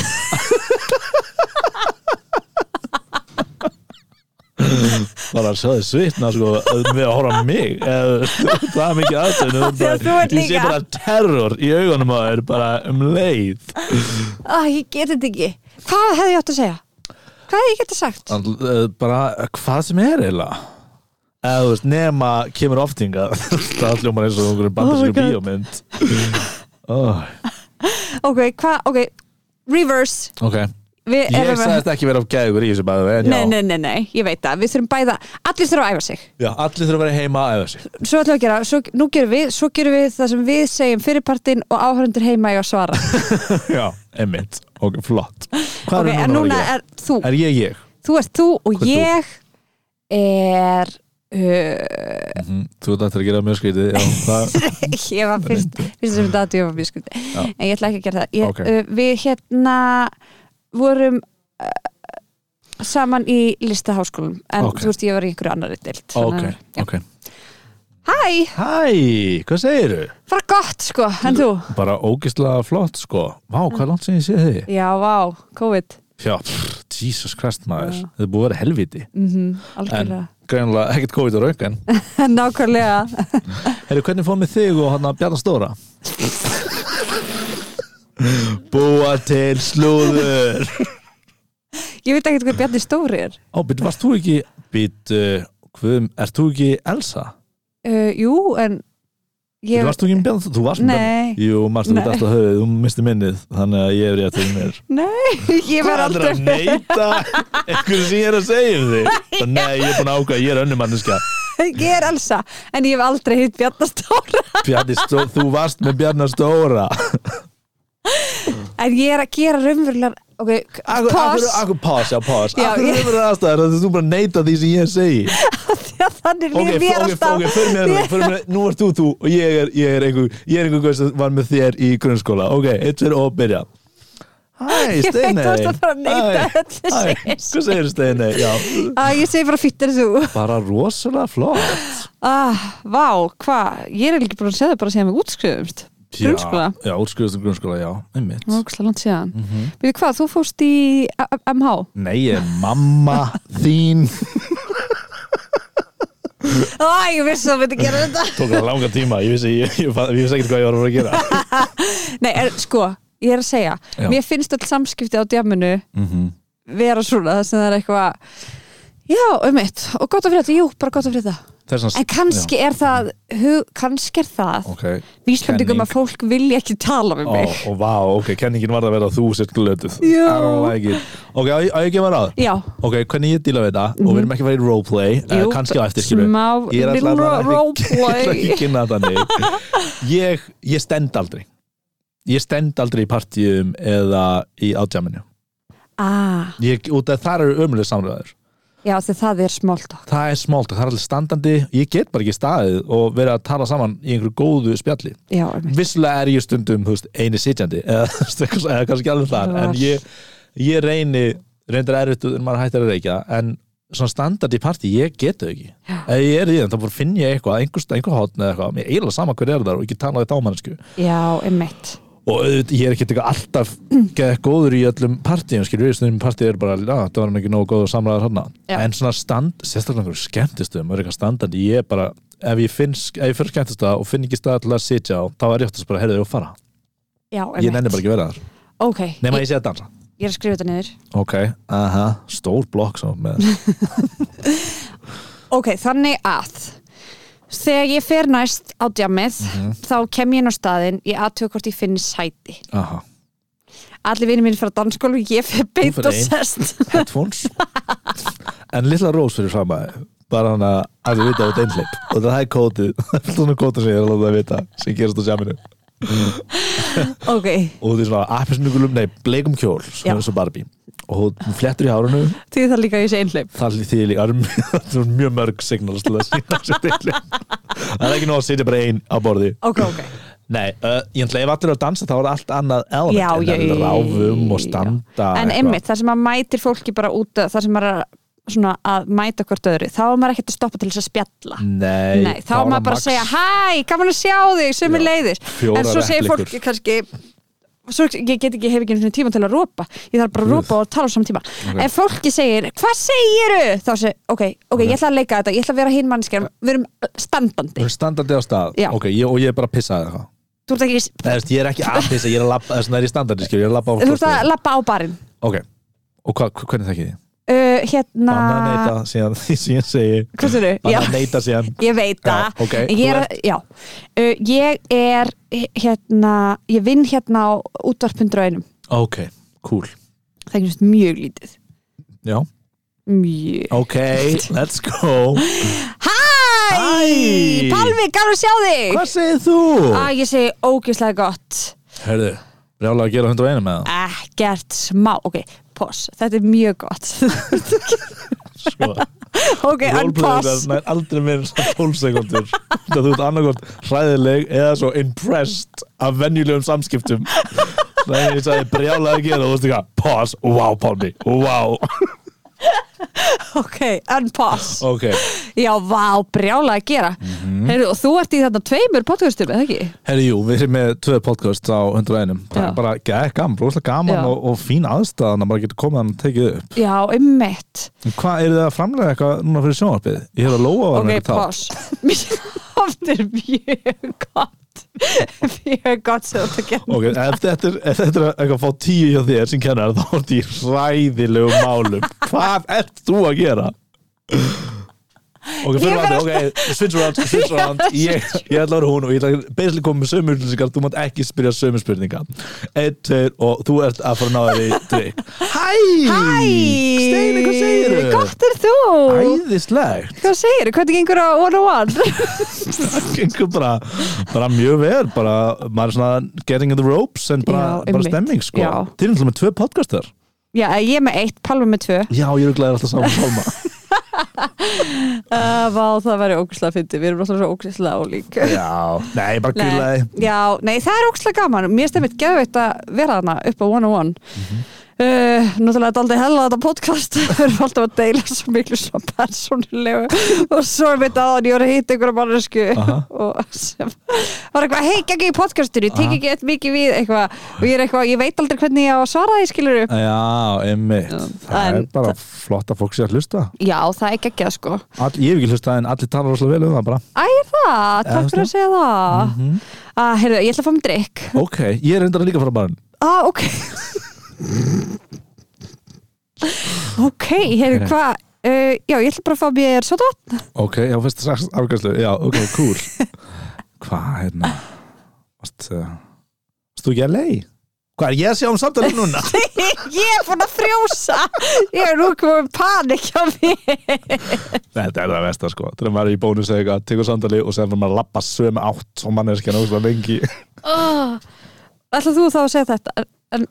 Speaker 2: bara að sjá þið svitna sko við að horfa á mig eða, það er mikið aðtöðinu
Speaker 1: Þegar þú ert
Speaker 2: ég sé
Speaker 1: líka.
Speaker 2: bara terror í augunum að þér bara um leið
Speaker 1: ah, Ég get þetta ekki Hvað hefði ég átt að segja? Hvað hefði ég getað sagt?
Speaker 2: Þann, eh, bara hvað sem er eiginlega eða þú veist nema kemur oftinga það hljómar eins og
Speaker 1: Oh
Speaker 2: einhverjum
Speaker 1: my
Speaker 2: bandarskur
Speaker 1: God.
Speaker 2: bíómynd oh,
Speaker 1: Ok, hvað, ok, reverse
Speaker 2: ok
Speaker 1: Við
Speaker 2: ég
Speaker 1: erum-
Speaker 2: sagðist ekki vera gæður í þessu bæðu en já,
Speaker 1: Nei, nei, nei, nei, ég veit það, við þurfum bæða Allir þurfum að æfa sig
Speaker 2: já, allir þurfa að vera heima að æfa sig
Speaker 1: Svo ætlum við að gera, svo, nú gerum við, svo gerum við það sem við segjum fyrirpartin og áhörundur heima í að svara
Speaker 2: já, einmitt, ok, flott hvað
Speaker 1: Ok,
Speaker 2: er
Speaker 1: en
Speaker 2: núna
Speaker 1: núna
Speaker 2: að vera ég?
Speaker 1: er þú
Speaker 2: Er ég ég?
Speaker 1: Þú ert þú og
Speaker 2: Hver
Speaker 1: ég er uh,
Speaker 2: Mm, þú ert eftir að gera mjög skrítið já, það,
Speaker 1: ég var fyrst fyrst sem þetta að ég var mjög skundi
Speaker 2: Já.
Speaker 1: en ég ætla ekki að gera það ég,
Speaker 2: Ok.
Speaker 1: uh, við hérna vorum uh, saman í listaháskólum en
Speaker 2: Ok.
Speaker 1: þú veist ég var í einhverju annari dild
Speaker 2: ok, ok
Speaker 1: Hæ,
Speaker 2: Hæ, hvað segiru?
Speaker 1: bara gott sko, en þú?
Speaker 2: Bara ógislega flott sko Vá, hvað er langt sem ég sé þig?
Speaker 1: Já, vá, COVID
Speaker 2: Já, pff, Jesus Christ maður
Speaker 1: Já.
Speaker 2: Þetta er búið að vera helviti
Speaker 1: mm
Speaker 2: En
Speaker 1: algjörlega
Speaker 2: greinlega ekkert COVID á raukan
Speaker 1: Nákvæmlega
Speaker 2: Herru, hvernig fór með þig og hann að Bjarna Stóra? Búa til slúður
Speaker 1: Ég veit ekki hvað Bjarni Stóri er
Speaker 2: Ó, býtt, varst þú ekki Býtt, uh, hvað, ert þú ekki Elsa?
Speaker 1: uh, Jú, en
Speaker 2: Ég...
Speaker 1: ég,
Speaker 2: Varst þú ekki um Bjarna? Þú varst um Bjarna
Speaker 1: Nei,
Speaker 2: Jú, marstu
Speaker 1: Nei.
Speaker 2: út alltaf höfuð, þú misti minnið Þannig að ég er rétt til mér
Speaker 1: ég verð
Speaker 2: Hvað
Speaker 1: aldrei
Speaker 2: ætlar að neyta einhverju sem ég er að segja um þig? Bara, Nei, ég er búin að ákvæða, ég er önnum manneska
Speaker 1: Ég er Elsa, en ég hef aldrei hitt Bjarni Stóra
Speaker 2: Bjarni Stó, þú varst með Bjarnar Stóra
Speaker 1: En ég er að gera raunverulegar Ok,
Speaker 2: Akkur, akkur,
Speaker 1: pause
Speaker 2: akkur, pás, já, pás
Speaker 1: Já,
Speaker 2: Akkur
Speaker 1: ég-
Speaker 2: er verið aðstæður að þú bara neyta því sem ég segi
Speaker 1: Já, Þannig
Speaker 2: Ok,
Speaker 1: líf
Speaker 2: ok,
Speaker 1: mér
Speaker 2: ok,
Speaker 1: alltaf
Speaker 2: ok, fyrir mér,
Speaker 1: Ég-
Speaker 2: fyrir mér hérna. Nú ert þú þú og ég er, ég er einhver Ég er einhver guð sem var með þér í grunnskóla Ok, eitt fyrir og byrja Hæ,
Speaker 1: Ég veit þú
Speaker 2: Steinei
Speaker 1: varst að fara að neita
Speaker 2: Hæ,
Speaker 1: öllu sem
Speaker 2: hæ,
Speaker 1: ég
Speaker 2: Hvað segir Steinei? Já,
Speaker 1: Að ég segi bara fýtt en þú
Speaker 2: bara rosalega flott
Speaker 1: ah, Vá, hvað, ég er ekki búin að segja það bara síðan við útskriðumst
Speaker 2: Já,
Speaker 1: Grunnskóla.
Speaker 2: Já, útskriðast um grunnskóla, já, einmitt
Speaker 1: Nókslega langt síðan mm
Speaker 2: Mhm.
Speaker 1: Veitir hvað, þú fórst í A- A- MH
Speaker 2: Nei, ég er mamma þín
Speaker 1: Æ, ég vissi að þetta gera þetta
Speaker 2: Tók það langa tíma, ég vissi, ég, ég, ég, ég vissi ekkert hvað ég var að fara að gera
Speaker 1: Nei, er, sko, ég er að segja
Speaker 2: Já.
Speaker 1: Mér finnst öll samskipti á djáminu
Speaker 2: mm -hmm.
Speaker 1: vera svona þess að það er eitthvað Já, um eitt, og gott að fyrir þetta, jú, bara gott að fyrir þetta
Speaker 2: Þessans,
Speaker 1: En kannski er það, hug, kannski er það
Speaker 2: Ok,
Speaker 1: Vísbendingum
Speaker 2: Kenning.
Speaker 1: að fólk vilja ekki tala við
Speaker 2: ó,
Speaker 1: mig
Speaker 2: og vá, ok, kenningin var að vera að þú sér glötuð
Speaker 1: Já.
Speaker 2: I don't like it. Ok, á, ég- á ég að gefa ráð
Speaker 1: Já,
Speaker 2: Ok, hvernig ég díla við þetta og við erum ekki að fara í roleplay uh,
Speaker 1: Jú,
Speaker 2: kannski á eftir skilu
Speaker 1: smá
Speaker 2: Ég er
Speaker 1: little
Speaker 2: alltaf
Speaker 1: ro-
Speaker 2: ekki, ég ætla ekki
Speaker 1: roleplay.
Speaker 2: að kynna þannig ég, ég stend aldrei Ég stend aldrei í partíum eða í átjáminu
Speaker 1: ah,
Speaker 2: Ég, út af þar eru ömulega samræður
Speaker 1: já því það er smált
Speaker 2: það er smált og það er allir standandi ég get bara ekki staðið og verið að tala saman í einhverju góðu spjalli
Speaker 1: Já, um eitt
Speaker 2: vissulega er ég stundum þú veist, eini sitjandi eða, þú veist, eitthvað- eða kannski alveg þar en ég, ég reyni, reyndar erfitt en maður hættir að reykja en svona standard í partí, ég get þau ekki ef ég er í þeim, þá bara finn ég eitthvað einhver, einhver hotn eða eitthvað, mér er eiginlega sama hver er þar og ég get talað í dámannsku
Speaker 1: Já, um eitt
Speaker 2: og auðvitað, ég er ekki eitthvað alltaf geða góður í öllum partíum skilur við, stundum partíð er bara, já, það var hann ekki nógu góð og samræðar hann,
Speaker 1: Já.
Speaker 2: en svona stand sérstaklega einhverjum skemmtistöðum, er eitthvað standandi ég er bara, ef ég finn, ef ég fyrir skemmtistöða og finn ekki stað til að sitja á, þá er ég oftast bara, heyrðu og fara,
Speaker 1: Já, um
Speaker 2: ég nenni bara ekki að vera þar
Speaker 1: Ok,
Speaker 2: nema
Speaker 1: ég,
Speaker 2: ég sé að dansa,
Speaker 1: ég er að skrifa þetta niður
Speaker 2: ok, aha stór blokk svo með,
Speaker 1: Ok, þannig að Þegar ég fer
Speaker 2: Mhm.
Speaker 1: næst á djamið þá kem ég inn á staðinn, ég aðtöku hvort ég finni sæti
Speaker 2: aha
Speaker 1: allir vinir mín fyrir að danskólu ég fyrir beint
Speaker 2: Þú fer
Speaker 1: og
Speaker 2: ein.
Speaker 1: sest
Speaker 2: headphones en litla rós fyrir fram að bara hann að að við vita á deinleip og það er kótið, það er svona kótið sem ég er að láta að vita sem gerast á sjáminu
Speaker 1: ok,
Speaker 2: og þú er svona appisnugulum, nei, bleikum kjól sem
Speaker 1: Já.
Speaker 2: er eins og Barbie og hún flettur í hárunu
Speaker 1: því það líka að ég sé einhleip
Speaker 2: það er því líka það eru mjög- það eru mjög mörg signals til að sína sér deinleip það er ekki nóg að sitja bara ein á borði
Speaker 1: ok, ok,
Speaker 2: nei, uh, ég ætla ef allir eru að dansa þá er allt annað element
Speaker 1: já,
Speaker 2: en
Speaker 1: já, já,
Speaker 2: það er ráfum og
Speaker 1: já.
Speaker 2: standa
Speaker 1: en
Speaker 2: eitthvað.
Speaker 1: einmitt, þar sem maður mætir fólki bara út að- þar sem maður er að- svona að mæta hvort öðru þá er maður ekkert að stoppa til þess að
Speaker 2: Mm.
Speaker 1: spjalla
Speaker 2: nei,
Speaker 1: Nei, þá
Speaker 2: er
Speaker 1: er maður bara að
Speaker 2: max-
Speaker 1: segja hæ, gaman að sjá þig, sem er
Speaker 2: Já,
Speaker 1: leiðis
Speaker 2: fjórar
Speaker 1: en svo segir fólk
Speaker 2: replikur.
Speaker 1: kannski svo, ég get ekki, ég hef ekki einu sinni tíma til að rópa ég þarf bara að rópa og tala á saman tíma en fólki segir, hvað segiru? þá segir, ok, ok, ég ætla að leika þetta, ég ætla að vera hinn mannskjær, við erum standandi
Speaker 2: Þú ert standandi á stað
Speaker 1: Já.
Speaker 2: okay, ég, og ég er bara að pissa eða eitthvað
Speaker 1: þú ert ekki,
Speaker 2: Nei, þú veist, ég er ekki að pissa, ég er að labba, þess vegna er ég standardi, skil, ég er að labba á
Speaker 1: þú ert að lappa á barinn
Speaker 2: Ok, og hva, hva- hvernig þekkið þið?
Speaker 1: uh, hérna
Speaker 2: Banna að neyta síðan því sem ég segi
Speaker 1: hvað segirðu?
Speaker 2: Banna
Speaker 1: Já.
Speaker 2: að neyta síðan
Speaker 1: ég veit
Speaker 2: Já,
Speaker 1: það
Speaker 2: ok,
Speaker 1: ég, er,
Speaker 2: þú
Speaker 1: já, uh, ég er hérna, ég vinn hérna á útvarpundur á einum,
Speaker 2: Ok, cool
Speaker 1: það er ekki mjög lítið
Speaker 2: Já,
Speaker 1: mjög
Speaker 2: ok, let's go
Speaker 1: Hæ!
Speaker 2: Hæ!
Speaker 1: Palmi, gaman að sjá þig!
Speaker 2: Hvað segir þú?
Speaker 1: Æ, ég segi ógeðslega gott
Speaker 2: Herðu, brjálega að gera 101 með það
Speaker 1: Ekkert smá, ok, pos Þetta er mjög gott
Speaker 2: Sko,
Speaker 1: Ok, en
Speaker 2: roleplaying
Speaker 1: pos
Speaker 2: það nær aldrei meira en svona 12 sekundur Það þú ert annarkort hræðileg eða svo impressed af venjulegum samskiptum Það er ég sagði brjálega að gera og þú veist ekki að Pause, wow Pálmi, wow
Speaker 1: Ok, en pos
Speaker 2: Ok,
Speaker 1: Já, vá, brjála að gera mm
Speaker 2: Mhm.
Speaker 1: og þú ert í þarna tveimur podcastum, eða ekki?
Speaker 2: herri jú, við erum með tvö podcast á 101 bara,
Speaker 1: Já.
Speaker 2: bara gæð gaman, rosalega
Speaker 1: Já.
Speaker 2: gaman og, og fín aðstæðan að bara geta komið hann og tekið upp
Speaker 1: Já, einmitt
Speaker 2: En Hvað, eru það að framlega eitthvað núna fyrir sjónvarpið? Ég hefði að lóa var
Speaker 1: Ok,
Speaker 2: með eitthvað
Speaker 1: pos Þetta er mjög gott Mjög gott sem þetta gerna
Speaker 2: Ok, ef þetta, er, ef þetta er eitthvað að fá tíu hjá þér sem kennar þá er þetta í hræðilegum málum Hvað ert þú að gera? Ok,
Speaker 1: Ég
Speaker 2: fyrir
Speaker 1: verð
Speaker 2: vandi, ok, switch around, switch around Ég, ég ætla að vera hún og ég ætla að basically koma með sömu spurningar Þú mátt ekki spyrja sömu spurningar Einn, tveir og þú ert að fara að ná þér í drikk Hæ!
Speaker 1: Hæ!
Speaker 2: Steini, hvað segirðu?
Speaker 1: Gott er þú?
Speaker 2: Æðislegt
Speaker 1: Hvað segir, hvernig gengur á 101?
Speaker 2: Það gengur bara, bara mjög vel bara, maður er svona getting in the ropes en bara,
Speaker 1: Já,
Speaker 2: bara
Speaker 1: einmitt.
Speaker 2: stemming sko
Speaker 1: Já.
Speaker 2: Til náttúrulega með tvö podcastar
Speaker 1: Já, ég er með eitt, Palmi með tvö
Speaker 2: Já, ég er glæðir alltaf saman Pálma
Speaker 1: uh, Vá, það væri ógæslega fyndi, við erum alltaf svo ógæslega ólík
Speaker 2: Já, nei, bara
Speaker 1: Nei,
Speaker 2: gulaði
Speaker 1: já, nei, það er ógæslega gaman Mér stemmit geðveitt að vera þarna upp á 101 mm
Speaker 2: Mhm.
Speaker 1: uh, Náttúrulega þetta er aldrei hella þetta podcast Við erum alltaf að deila svo miklu svo persónulegu Og svo er mitt aðan, ég var að hitta einhverja mannesku
Speaker 2: Aha.
Speaker 1: Og sem var eitthvað, hei, gegn í podcastinu, ég tek
Speaker 2: Aha.
Speaker 1: ekki eitt mikið við eitthvað Og ég er eitthvað, ég veit aldrei hvernig ég á að svara því skiluru
Speaker 2: Já, einmitt
Speaker 1: Já,
Speaker 2: Það
Speaker 1: en-
Speaker 2: er bara flott að fólk sé að hlusta
Speaker 1: Já, það er geggjað sko
Speaker 2: All, Ég hef ekki hlustað en allir tala rosalega vel um það bara
Speaker 1: Æ, er það,
Speaker 2: þú
Speaker 1: takk fyrir að segja það mm heyrðu, ég ætla að fá mér drikk
Speaker 2: Ok, ég er reyndar að líka fara barn
Speaker 1: ah, ok ok, heyrðu, hvað uh, já, ég ætla bara að fá mér svo vatn
Speaker 2: Ok, já, fyrst strax afgæslu Já, ok, cool Hvað, hérna Vast Þú ekki að leið? Hvað er ég að sjá um samtalið núna?
Speaker 1: ég er búin að frjósa ég er nú komið panik á mér
Speaker 2: Þetta er það versta sko Þegar maður er í bónus eða eitthvað, tekur samtali og segir maður að labba sömu átt og mann er ekki að náðsla lengi
Speaker 1: oh. ætla þú þá að segja þetta en, en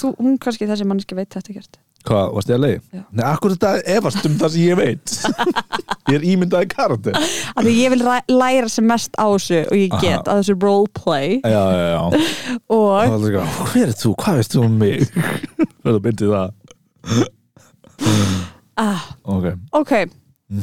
Speaker 1: þú, hún kannski þessi manneski veit þetta gert
Speaker 2: Hvað, varst ég að leið?
Speaker 1: Já.
Speaker 2: Nei, akkur þetta efast um það sem ég veit Ég er ímyndaði karakter
Speaker 1: af því ég vil ræ- læra sem mest á þessu og ég
Speaker 2: Aha.
Speaker 1: get að þessu roleplay
Speaker 2: Já, já, já
Speaker 1: og
Speaker 2: Og það er líka, hver er þú, hvað veist þú um mig verður myndið það
Speaker 1: ah,
Speaker 2: ok,
Speaker 1: ok,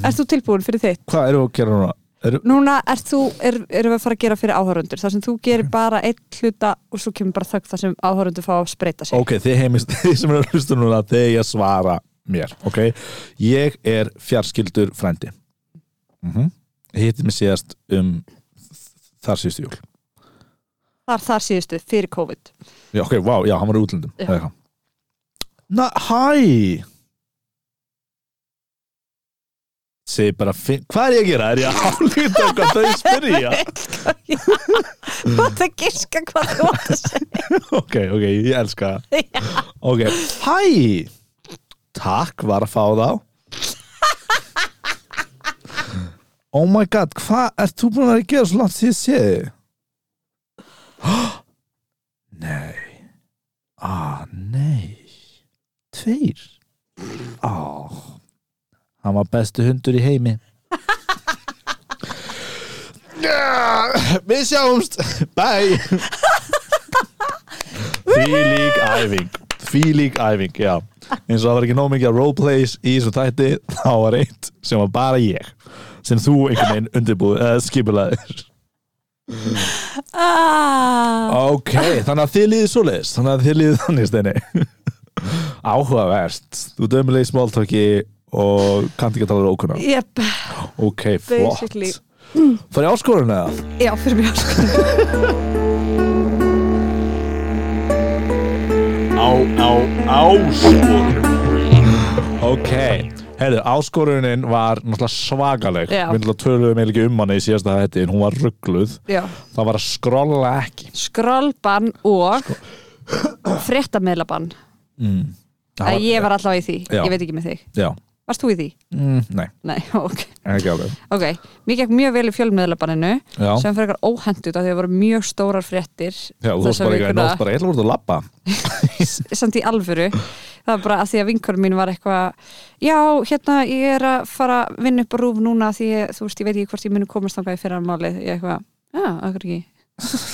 Speaker 1: ert þú tilbúin fyrir þitt?
Speaker 2: hvað eru að gera núna eru,
Speaker 1: Núna ert þú, er, erum við að fara að gera fyrir áhörundur þar sem þú gerir bara einn hluta og svo kemur bara þögn þar sem áhörundur fá að spreita sig
Speaker 2: ok, þið heimist, þið sem eru að hlusta núna þegar ég svara mér, ok ég er fjarskildur frændi mm -hmm. hittir mig síðast um þar síðustu jól
Speaker 1: Þar, þar síðustu, fyrir COVID
Speaker 2: já, ok, wow, já, hann var í útlöndum
Speaker 1: Já.
Speaker 2: eða eitthvað. na, hæ segi bara, "Fi- hvað er ég að gera? Er ég að álíta hvað þau spyrja? Mm.
Speaker 1: Hvað það giska hvað þú átt að segja
Speaker 2: ok, ok, ég elska það
Speaker 1: Já.
Speaker 2: Ok, hæ Takk, var að fá þá Oh my god, hvað ert þú búin að vera að gera svo langt því ég sé þig? Nei Ah, nei Tveir Ah Hann var bestu hundur í heimi Ja, Við sjáumst Bye Fýlík æfing Fýlík æfing, já eins og það var ekki nóg mikið að roleplays í þessu tætti þá var eitt sem var bara ég sem þú einhvern veginn undirbúið eða skipulaðir
Speaker 1: Ah.
Speaker 2: ok, þannig að þið líðið svoleiðis þannig að þið líðið þannig steini áhugavert þú dömulegið smáltöki og kannt ekki að tala rókuna
Speaker 1: Jep,
Speaker 2: ok, flott
Speaker 1: Basically.
Speaker 2: farið áskorun eða?
Speaker 1: já fyrir mér sko.
Speaker 2: á, á, áskorun ok Heyrðu, áskorunin var náttúrulega svagaleg
Speaker 1: Já.
Speaker 2: Við náttúrulega töluðum eiginlega ekki um hana í síðasta hætti en hún var ruggluð
Speaker 1: Já.
Speaker 2: Það var að skrolla ekki
Speaker 1: Skrolban og
Speaker 2: Sko.
Speaker 1: fréttameðlaban
Speaker 2: Það
Speaker 1: að ég var allavega í því,
Speaker 2: Já.
Speaker 1: ég veit ekki með þig
Speaker 2: Já,
Speaker 1: Varst þú í því?
Speaker 2: mm, nei,
Speaker 1: Nei, ok,
Speaker 2: ekki alveg
Speaker 1: ok Mér gekk mjög vel í fjölmiðlabaninu
Speaker 2: Já,
Speaker 1: sem fyrir eitthvað óhendut af því að það voru mjög stórar fréttir
Speaker 2: Já þú varst
Speaker 1: þessa
Speaker 2: bara ekki að
Speaker 1: vikuna.
Speaker 2: nótt bara, ég ætla að voru að labba
Speaker 1: samt í alvöru það var bara að því að vinkunum mín var eitthvað já, hérna, ég er að fara að vinna upp á rúf núna því ég, þú veist, ég veit ekki hvort ég muni komast þangað í fyrramálið ég eitthvað, já, akkur ekki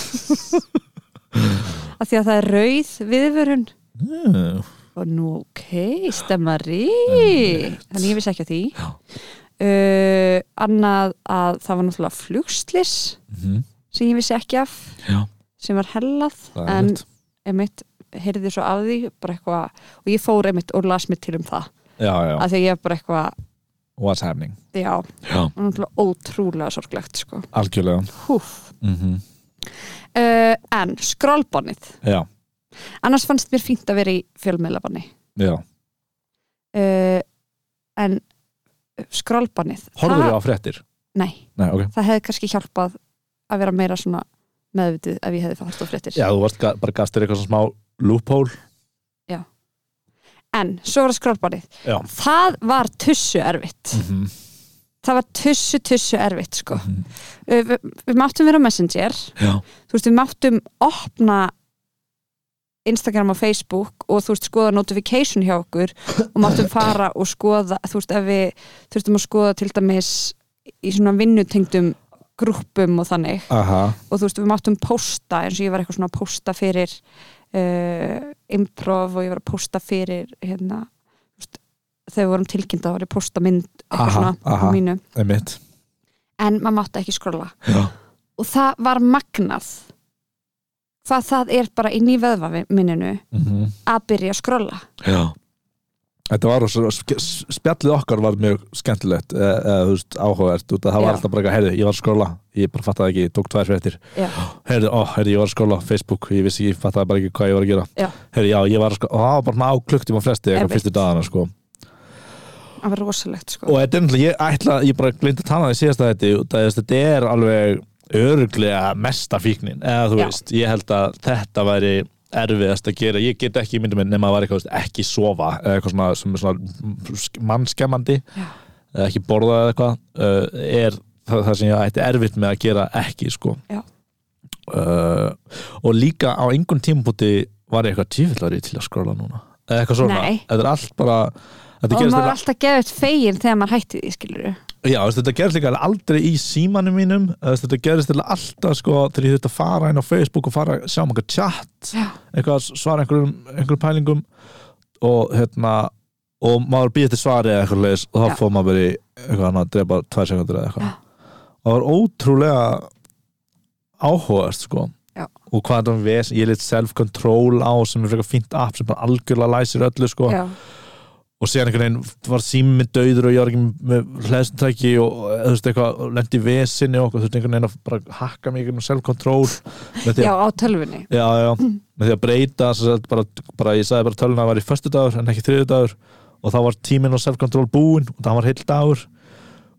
Speaker 1: að því að það er rauð viðvörun
Speaker 2: Mm,
Speaker 1: og nú, ok, stemmari þannig ég vissi ekki að því uh, annað að það var náttúrulega flugslis
Speaker 2: mhm,
Speaker 1: sem ég vissi ekki af
Speaker 2: Já,
Speaker 1: sem var hellað
Speaker 2: það er
Speaker 1: en
Speaker 2: mitt
Speaker 1: einmitt heyrði svo af því bara eitthvað, og ég fór einmitt og las mér til um það
Speaker 2: Já, já,
Speaker 1: af því að ég er bara eitthvað,
Speaker 2: what's happening
Speaker 1: já
Speaker 2: Já,
Speaker 1: og náttúrulega ótrúlega sorglegt sko.
Speaker 2: algjörlega
Speaker 1: Húf.
Speaker 2: Mhm,
Speaker 1: uh, en skrálbonnið
Speaker 2: Já,
Speaker 1: annars fannst mér fínt að vera í fjölmiðlabanni
Speaker 2: já,
Speaker 1: uh, en skrálbonnið
Speaker 2: horfður á fréttir
Speaker 1: nei,
Speaker 2: Nei, ok
Speaker 1: það hefði kannski hjálpað að vera meira svona meðvitið ef ég hefði fætt á fréttir
Speaker 2: Já, þú varst ga bara gastir eitthvað svona smá loophole
Speaker 1: en svo var það skrálbonnið
Speaker 2: Já
Speaker 1: það var tussu erfitt
Speaker 2: mhm,
Speaker 1: það var tussu, tussu erfitt sko.
Speaker 2: Mhm.
Speaker 1: uh, við, við máttum vera á messenger
Speaker 2: Já,
Speaker 1: þú veist, við máttum opna Instagram og Facebook og þú veist, skoða notification hjá okkur og máttum fara og skoða þú veist, ef við þurftum að skoða til dæmis í svona vinnutengdum grúppum og þannig
Speaker 2: aha,
Speaker 1: og þú veist, við máttum posta eins og ég var eitthvað svona að posta fyrir uh, improv og ég var að posta fyrir hérna þú veist, þegar við vorum tilkynnt að var ég að posta mynd eitthvað
Speaker 2: Aha,
Speaker 1: svona
Speaker 2: aha.
Speaker 1: á mínu
Speaker 2: einmitt
Speaker 1: en maður mátti ekki skrolla
Speaker 2: Já,
Speaker 1: og það var magnað hvað það er bara inn í vöðvamininu
Speaker 2: mhm,
Speaker 1: að byrja að skrolla
Speaker 2: já Þetta var rosa, sk- s- spjallið okkar var mjög skemmtilegt eða, eða þú veist, áhugavert út að það var
Speaker 1: Já.
Speaker 2: alltaf bara eitthvað, heyrðu, ég var að skrolla ég bara fattaði ekki, ég tók tvær fréttir
Speaker 1: já,
Speaker 2: Heyrðu, ó, heyrðu, ég var að skóla á Facebook Ég vissi ekki, ég fattaði bara ekki hvað ég var að gera
Speaker 1: Já.
Speaker 2: Heyrðu, já, ég var að skóla Og það var bara svona á klukktum á flesti Eitthvað
Speaker 1: Einmitt.
Speaker 2: fyrstu dagana, sko
Speaker 1: það var rosalegt sko
Speaker 2: Og þetta er náttúrulega, ég ætla Ég bara glindi að tala um það í síðasta þetta Það er, þetta er alveg öruglega mesta fíknin Eða þú
Speaker 1: Já.
Speaker 2: veist, ég held að þetta væri erfiðast að gera Ég get ekki myndið minn nema að það var eitthvað, þú veist, ekki sofa Eða eitthvað svona, svona, svona mannskemmandi
Speaker 1: Já.
Speaker 2: Eða ekki borða eða eitthvað uh, Er það, það sem ég ætti erfitt með að gera ekki, sko
Speaker 1: já,
Speaker 2: uh, og líka á einhvern tímpúti var ég eitthvað tífillari til að skrolla núna eða eitthvað svona,
Speaker 1: Nei.
Speaker 2: þetta er allt bara þetta
Speaker 1: og
Speaker 2: gerist, hérna
Speaker 1: maður var
Speaker 2: líka,
Speaker 1: alltaf geðut fegin þegar maður hætti því skilur
Speaker 2: já, veist, þetta gerist líka aldrei í símanum mínum eða veist, þetta gerist líka alltaf sko þegar ég þurfti að fara inn á Facebook og fara að sjá um einhver chat
Speaker 1: já,
Speaker 2: eitthvað, að svara einhverjum, einhverjum pælingum og hérna og maður býði til svari eða eitthvað leis og
Speaker 1: Já.
Speaker 2: þá fór maður bara í eitthvað annað að drepa tvær sekundur eða eitthvað og það var ótrúlega áhugaðast sko
Speaker 1: Já.
Speaker 2: og hvað þetta ves, ég lit self-control á sem er frekar fínt app sem bara algjörlega læsir öllu sko
Speaker 1: já,
Speaker 2: og síðan einhvern veginn var sími döður og ég var ekki með hlæðstræki og þú veist eitthvað, lendi í vesinni og okkur, þú veist einhvern veginn að bara hakka mig í gegnum self-control með því að
Speaker 1: já, á tölvunni
Speaker 2: já, já, með því að breyta sem sagt, bara, bara, ég sagði bara töluna að það var í föstudagur en ekki þriðudagur og þá var tíminn og self-control búinn og það var heil dagur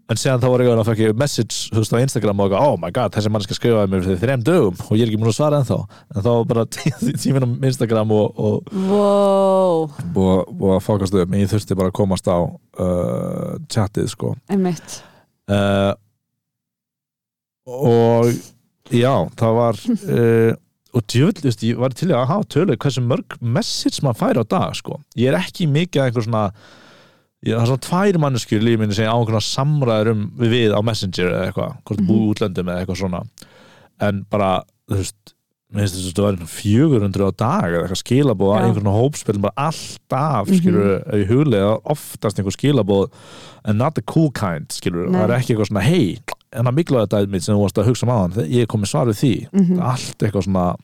Speaker 2: en séðan þá var ég að fækja message þú veist á Instagram og eitthvað, oh my god, þessi mannski skrifaði mér fyrir þrem dögum og ég er ekki múin að svara ennþá en þá var bara tí- tíminn á Instagram og, og,
Speaker 1: wow,
Speaker 2: og, og að fákast upp en ég þurfti bara að komast á uh, chatið sko
Speaker 1: einmitt
Speaker 2: uh, og já, það var uh, og djöfull, þú veist, ég var til í að hafa tölu hversu mörg message maður fær á dag sko. ég er ekki mikið að einhver svona ég, það er svona tvær manneskjur líf minni sem ég á einhverjum samræður um við, við á Messenger eða eitthvað, hvort mm
Speaker 1: Mhm.
Speaker 2: búi í útlöndum eða eitthvað svona en bara, þú veist mér finnst þess að það var 400 á dag eða eitthvað skilabóð
Speaker 1: Já.
Speaker 2: að einhvern hópspil bara alltaf,
Speaker 1: Mhm.
Speaker 2: skilur mm -hmm. huglega, oftast einhver skilabóð en not the cool kind, skilur
Speaker 1: Nei.
Speaker 2: það er ekki eitthvað svona, hei, en að mikla þetta mitt sem þú varst að hugsa um aðan, þe- ég er komið svar við því
Speaker 1: Mhm.
Speaker 2: allt eitthvað svona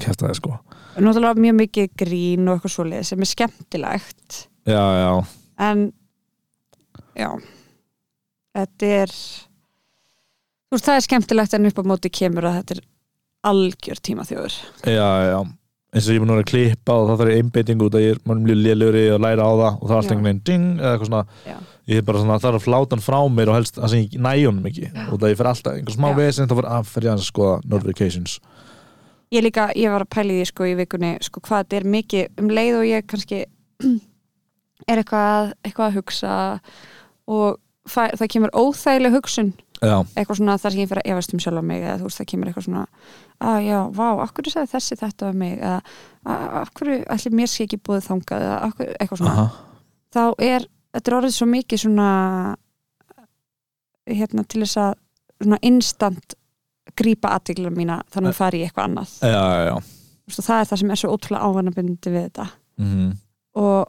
Speaker 2: kæftaði sko
Speaker 1: náttúrulega mjög mikið grín og eitthvað svoleið sem er skemmtilegt
Speaker 2: já, já,
Speaker 1: en já þetta er þú veist það er skemmtilegt en upp á móti kemur að þetta er algjör tíma þjóður
Speaker 2: já, já eins og ég mun að vera að klippa og það þarf ég einbeiting út að ég er mannum líf lélur í að læra á það og það er allt
Speaker 1: Já.
Speaker 2: einhvern veginn ding eða eitthvað svona
Speaker 1: Já.
Speaker 2: ég er bara svona, það er að fláta hann frá mér og helst það sem ég næjum mikið
Speaker 1: Já.
Speaker 2: og það ég fer alltaf einhver smá
Speaker 1: Já.
Speaker 2: vesinn þá fer að fer ég aðeins að skoða notifications
Speaker 1: ég líka, ég var að pæli því sko í vikunni sko hvað þetta er mikið um leið og ég kannski er eitthvað, eitthvað að hugsa og það, það kemur óþægileg hugsun
Speaker 2: já,
Speaker 1: eitthvað svona þar sem ég fyrir að efast um sjálf mig eða þú veist það kemur eitthvað svona að já, vá, af hverju sagði þessi þetta um mig eða "Á- af hverju allir mér sé ekki búið þangað eða af hverju, eitthvað svona
Speaker 2: aha,
Speaker 1: þá er, þetta er orðið svo mikið svona hérna til þess að svona instant grípa aðtíklina mína þannig að fara í eitthvað annað
Speaker 2: já, já, já
Speaker 1: Þú veist, og það er það sem er svo ótrúlega ávanabindi við þetta
Speaker 2: mhm,
Speaker 1: og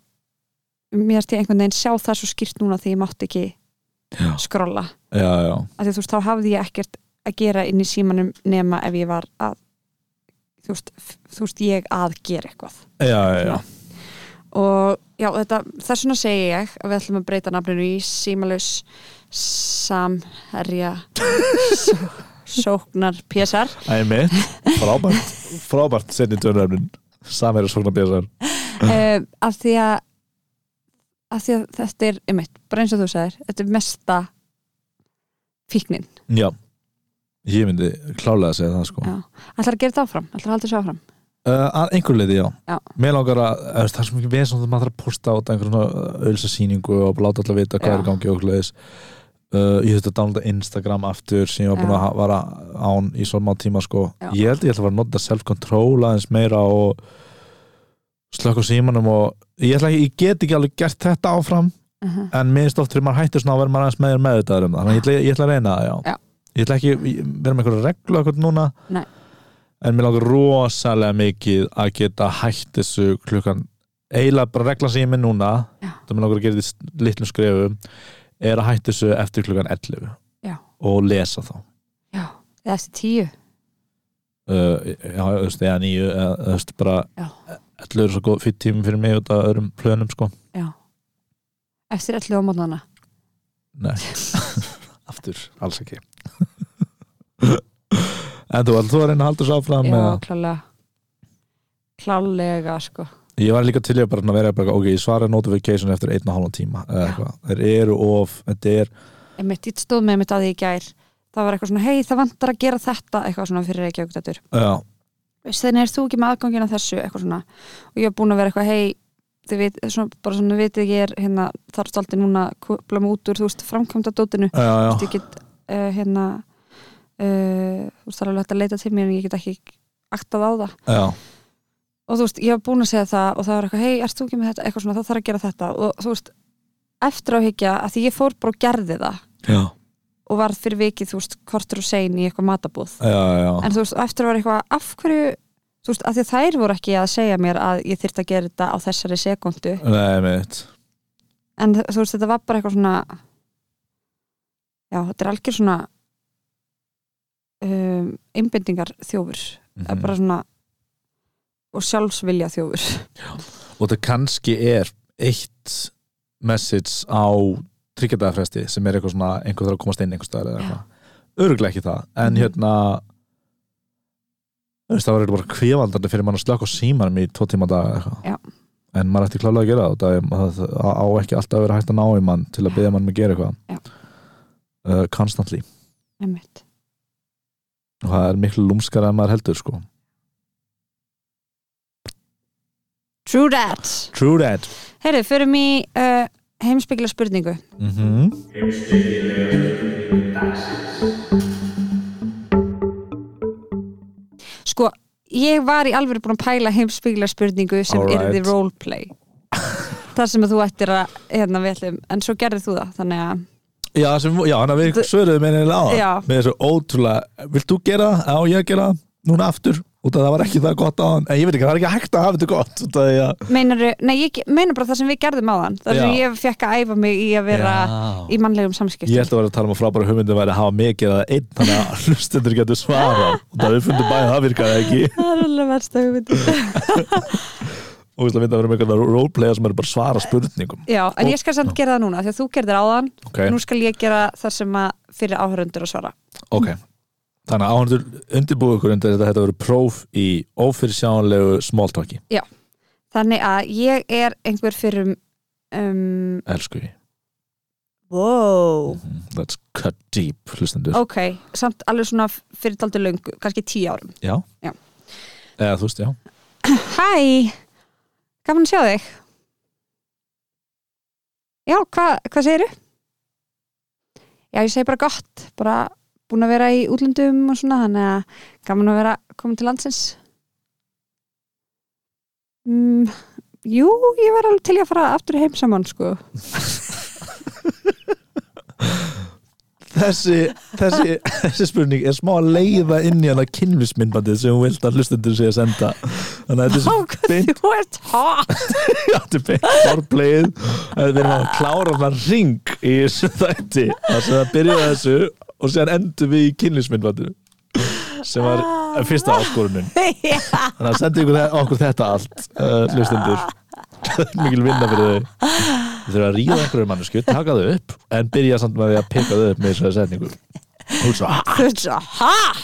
Speaker 1: mér erst ég einhvern veginn sjá það svo skýrt núna því ég mátti ekki
Speaker 2: Já.
Speaker 1: skrolla
Speaker 2: já, já,
Speaker 1: af því þú veist, þá hafði ég ekkert að gera inn í símanum nema ef ég var að þú veist, f- þú veist ég að gera eitthvað
Speaker 2: já, já, já.
Speaker 1: og já, þetta, þess vegna segi ég að við ætlum að breyta nafninu í símalus samherja só- sóknar pésar
Speaker 2: Æmi, frábært frábært setni tönuröfnin samverið svona björsar
Speaker 1: uh, af því að af því að þetta er einmitt, bara eins og þú sagðir, þetta er mesta fíknin
Speaker 2: Já, ég myndi klálega að segja það sko
Speaker 1: Já. ætlar að gera þetta áfram, ætlar að halda þessu áfram
Speaker 2: uh, Að einhver leiti, já,
Speaker 1: Já.
Speaker 2: Mér langar að, þú veist, það er svo mikið vesen að maður þarf að posta át einhverjum ölsa sýningu eh, og láta alltaf vita hvað
Speaker 1: Já.
Speaker 2: er í gangi og okkur leðis uh, Ég þurfti að dálita Instagram aftur sem ég var búin
Speaker 1: Já.
Speaker 2: að ha- vara án í svona má tíma sko
Speaker 1: Já.
Speaker 2: Ég held ég ætla að fara að nota self-control aðeins meira og slökk á símanum og ég, ætla, ekki- ég get ekki alveg gert þetta áfram
Speaker 1: uh -huh.
Speaker 2: en minnst oft þegar maður hættir svona verður maður aðeins meður með þetta um það þannig að ég ætla, ég ætla að reyna það, já.
Speaker 1: Já.
Speaker 2: ég ætla ekki ég- vera með einhverja reglu akkur núna
Speaker 1: Nei.
Speaker 2: en mér langar rosalega mikið að geta hætt þessu klukkan eiginlega bara regla sem ég er með núna
Speaker 1: Já.
Speaker 2: það mér langar að gera þetta í litlum skrefum er að hætt þessu eftir klukkan 11
Speaker 1: Já.
Speaker 2: og lesa þá
Speaker 1: já, eða eftir tíu
Speaker 2: uh, já, þú veist, eða nýju eða, þú veist, bara
Speaker 1: Já.
Speaker 2: 11 er svo góð fyrir tímum fyrir mig út af öðrum plönum sko
Speaker 1: já. eftir allu á mótnana
Speaker 2: Nei, aftur, alls ekki En þú, ætlar þú að reyna að halda þessu áfram
Speaker 1: já,
Speaker 2: eða?
Speaker 1: klálega klálega, sko
Speaker 2: Ég var líka til ég bara svona að vera bara, ok, ég svara notification eftir einn og hálfum tíma eða
Speaker 1: Já.
Speaker 2: eitthvað, þeir eru of þetta er,
Speaker 1: einmitt, ég stóð með mitt að því í gær það var eitthvað svona, hei, það vantar að gera þetta eitthvað svona fyrir ekki auktættur
Speaker 2: já,
Speaker 1: veist, þannig er þú ekki með aðgangin að þessu eitthvað svona og ég var búin að vera eitthvað hei þið veit, svona, bara svona vitið ég er hérna, þarf stolti núna að kubla mig út úr þú veist framkvæmda dótinu
Speaker 2: já, já,
Speaker 1: ég get uh, hérna uh, þú veist það er alveg hægt að leita til mér en ég get ekki aktað á það
Speaker 2: já,
Speaker 1: og þú veist ég var búin að segja það og það var eitthvað hei erst þú ekki með þetta eitthvað svona það þarf að gera þetta og þú veist eftir á higgja að því ég fór bara og gerði það
Speaker 2: já,
Speaker 1: og varð fyrir vikið þú veist kortur og sein í eitthvað matabúð
Speaker 2: já, já,
Speaker 1: en þú veist, og eftir var eitthvað af hverju, þú veist, að því að þær voru ekki að segja mér að ég þyrfti að gera þetta á þessari sekundu,
Speaker 2: nei, mitt
Speaker 1: en þ- þú veist, þetta var bara eitthvað svona já, þetta er algjör svona um, einbendingar þjófur,
Speaker 2: Mhm.
Speaker 1: bara svona og sjálfsvilja þjófur
Speaker 2: Mhm. Og það kannski er eitt message á tryggjadagafresti sem er eitthvað svona, einhver þarf að komast inn einhver staðar eða
Speaker 1: Já.
Speaker 2: eitthvað, öruglega ekki það en
Speaker 1: Mhm.
Speaker 2: hérna þú veist, það var eitthvað bara kvefaldandi fyrir mann að slökka á símanum í tvo tíma á dag eða
Speaker 1: Já.
Speaker 2: eitthvað. en maður ætti klálega að gera það og það er- það á ekki alltaf að vera hægt að ná í mann til að byggja mann um að gera eitthvað
Speaker 1: Já.
Speaker 2: uh, constantly
Speaker 1: einmitt
Speaker 2: og það er miklu lúmskara en maður heldur sko
Speaker 1: True that
Speaker 2: True that
Speaker 1: Herri, förum í uh, heimspekilega spurningu
Speaker 2: mm
Speaker 1: Sko, ég var í alveg búin að pæla heimspekilega spurningu sem
Speaker 2: Alright.
Speaker 1: yrði roleplay þar sem að þú ættir að hérna við ætlum, en svo gerðir þú það þannig að,
Speaker 2: já, sem, já, þannig að við
Speaker 1: Þú-
Speaker 2: svöruðum eininlega á
Speaker 1: Já.
Speaker 2: það með þessu ótrúlega, vilt þú gera það? á ég að gera það? núna aftur út að það var ekki það gott á hann en ég veit ekki, það er ekki hægt að hafa þetta gott út að ég
Speaker 1: meinaru, nei, ég meina bara það sem við gerðum á þann, þar sem
Speaker 2: Já.
Speaker 1: ég fekk að æfa mig í að vera
Speaker 2: Já.
Speaker 1: í mannlegum
Speaker 2: Ég
Speaker 1: samskiptum
Speaker 2: ætla að vera að tala um að frábæra hugmyndin væri að hafa mikið eða einn þannig að hlustendur getur svara og það við fundum bæði að það virkaði ekki
Speaker 1: Það er alveg versta hugmynd
Speaker 2: og við ætla að mynda að vera með einhverja roleplayer sem eru bara að svara spurningum
Speaker 1: Já, en ég skal samt gera það núna, því að þú gerðir á þann
Speaker 2: Ok,
Speaker 1: nú skal ég gera það sem að fyrir áhörundur að svara
Speaker 2: ok Þannig að áhendur undirbúið ykkur undir þetta þetta verið próf í ófyrirsjánlegu smáltaki,
Speaker 1: Þannig að ég er einhver fyrir um,
Speaker 2: elsku ég
Speaker 1: wow.
Speaker 2: Let's cut deep, hlustendur
Speaker 1: Ok, samt alveg svona fyrir daldi löngu, kannski tíu árum
Speaker 2: Já,
Speaker 1: Já.
Speaker 2: Eða þú veist, já
Speaker 1: Hæ, gaman að sjá þig Já, hva, hvað segirðu? Já, ég segi bara gott bara búin að vera í útlöndum og svona, þannig að gaman að vera komin til landsins mm, Jú, ég var alveg til í að fara aftur heim saman, sko
Speaker 2: Þessi, þessi, þessi spurning er smá að leiða inn í hana kynlismyndbandið sem hún vilt að hlustendur sé að senda Þannig að þetta er
Speaker 1: Ó,
Speaker 2: svo
Speaker 1: hvað þú ert hot
Speaker 2: Já, þetta er beint forplegið að við erum að klára þann ring í þessu þætti það sem það byrjaði þessu og séðan endur við í kynlísmyndvandinu sem var fyrsta áskorunin
Speaker 1: Já,
Speaker 2: þannig að sendi ykkur, þe- okkur þetta allt uh, hlustendur Það er mikil vinna fyrir þau þau þurfa að ríða einhverju mannesku, taka þau upp en byrja samt með því að pikka þau upp með þessari setningu hún er svo "Ah,
Speaker 1: þú ert svo hot Ó,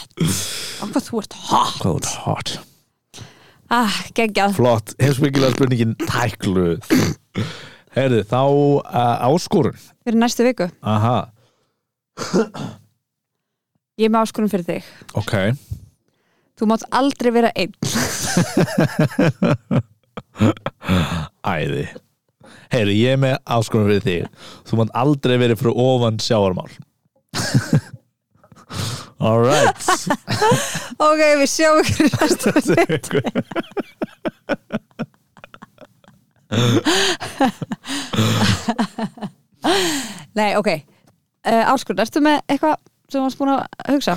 Speaker 1: hvað þú ert hot
Speaker 2: hvað hún er hot
Speaker 1: Ah, geggjað
Speaker 2: flott, heimsbyggilega spurningin tæklu herði, þá uh, áskorun
Speaker 1: fyrir næstu viku
Speaker 2: aha,
Speaker 1: Ég er með áskonum fyrir þig
Speaker 2: ok
Speaker 1: Þú mátt aldrei vera einn
Speaker 2: Æði Heyri, ég er með áskonum fyrir þig Þú mann aldrei verið fyrir ofan sjáarmál Alright
Speaker 1: Ok, við sjáum ykkur í næstu Nei, ok uh, Áskur, ertu með eitthvað sem varst búin að hugsa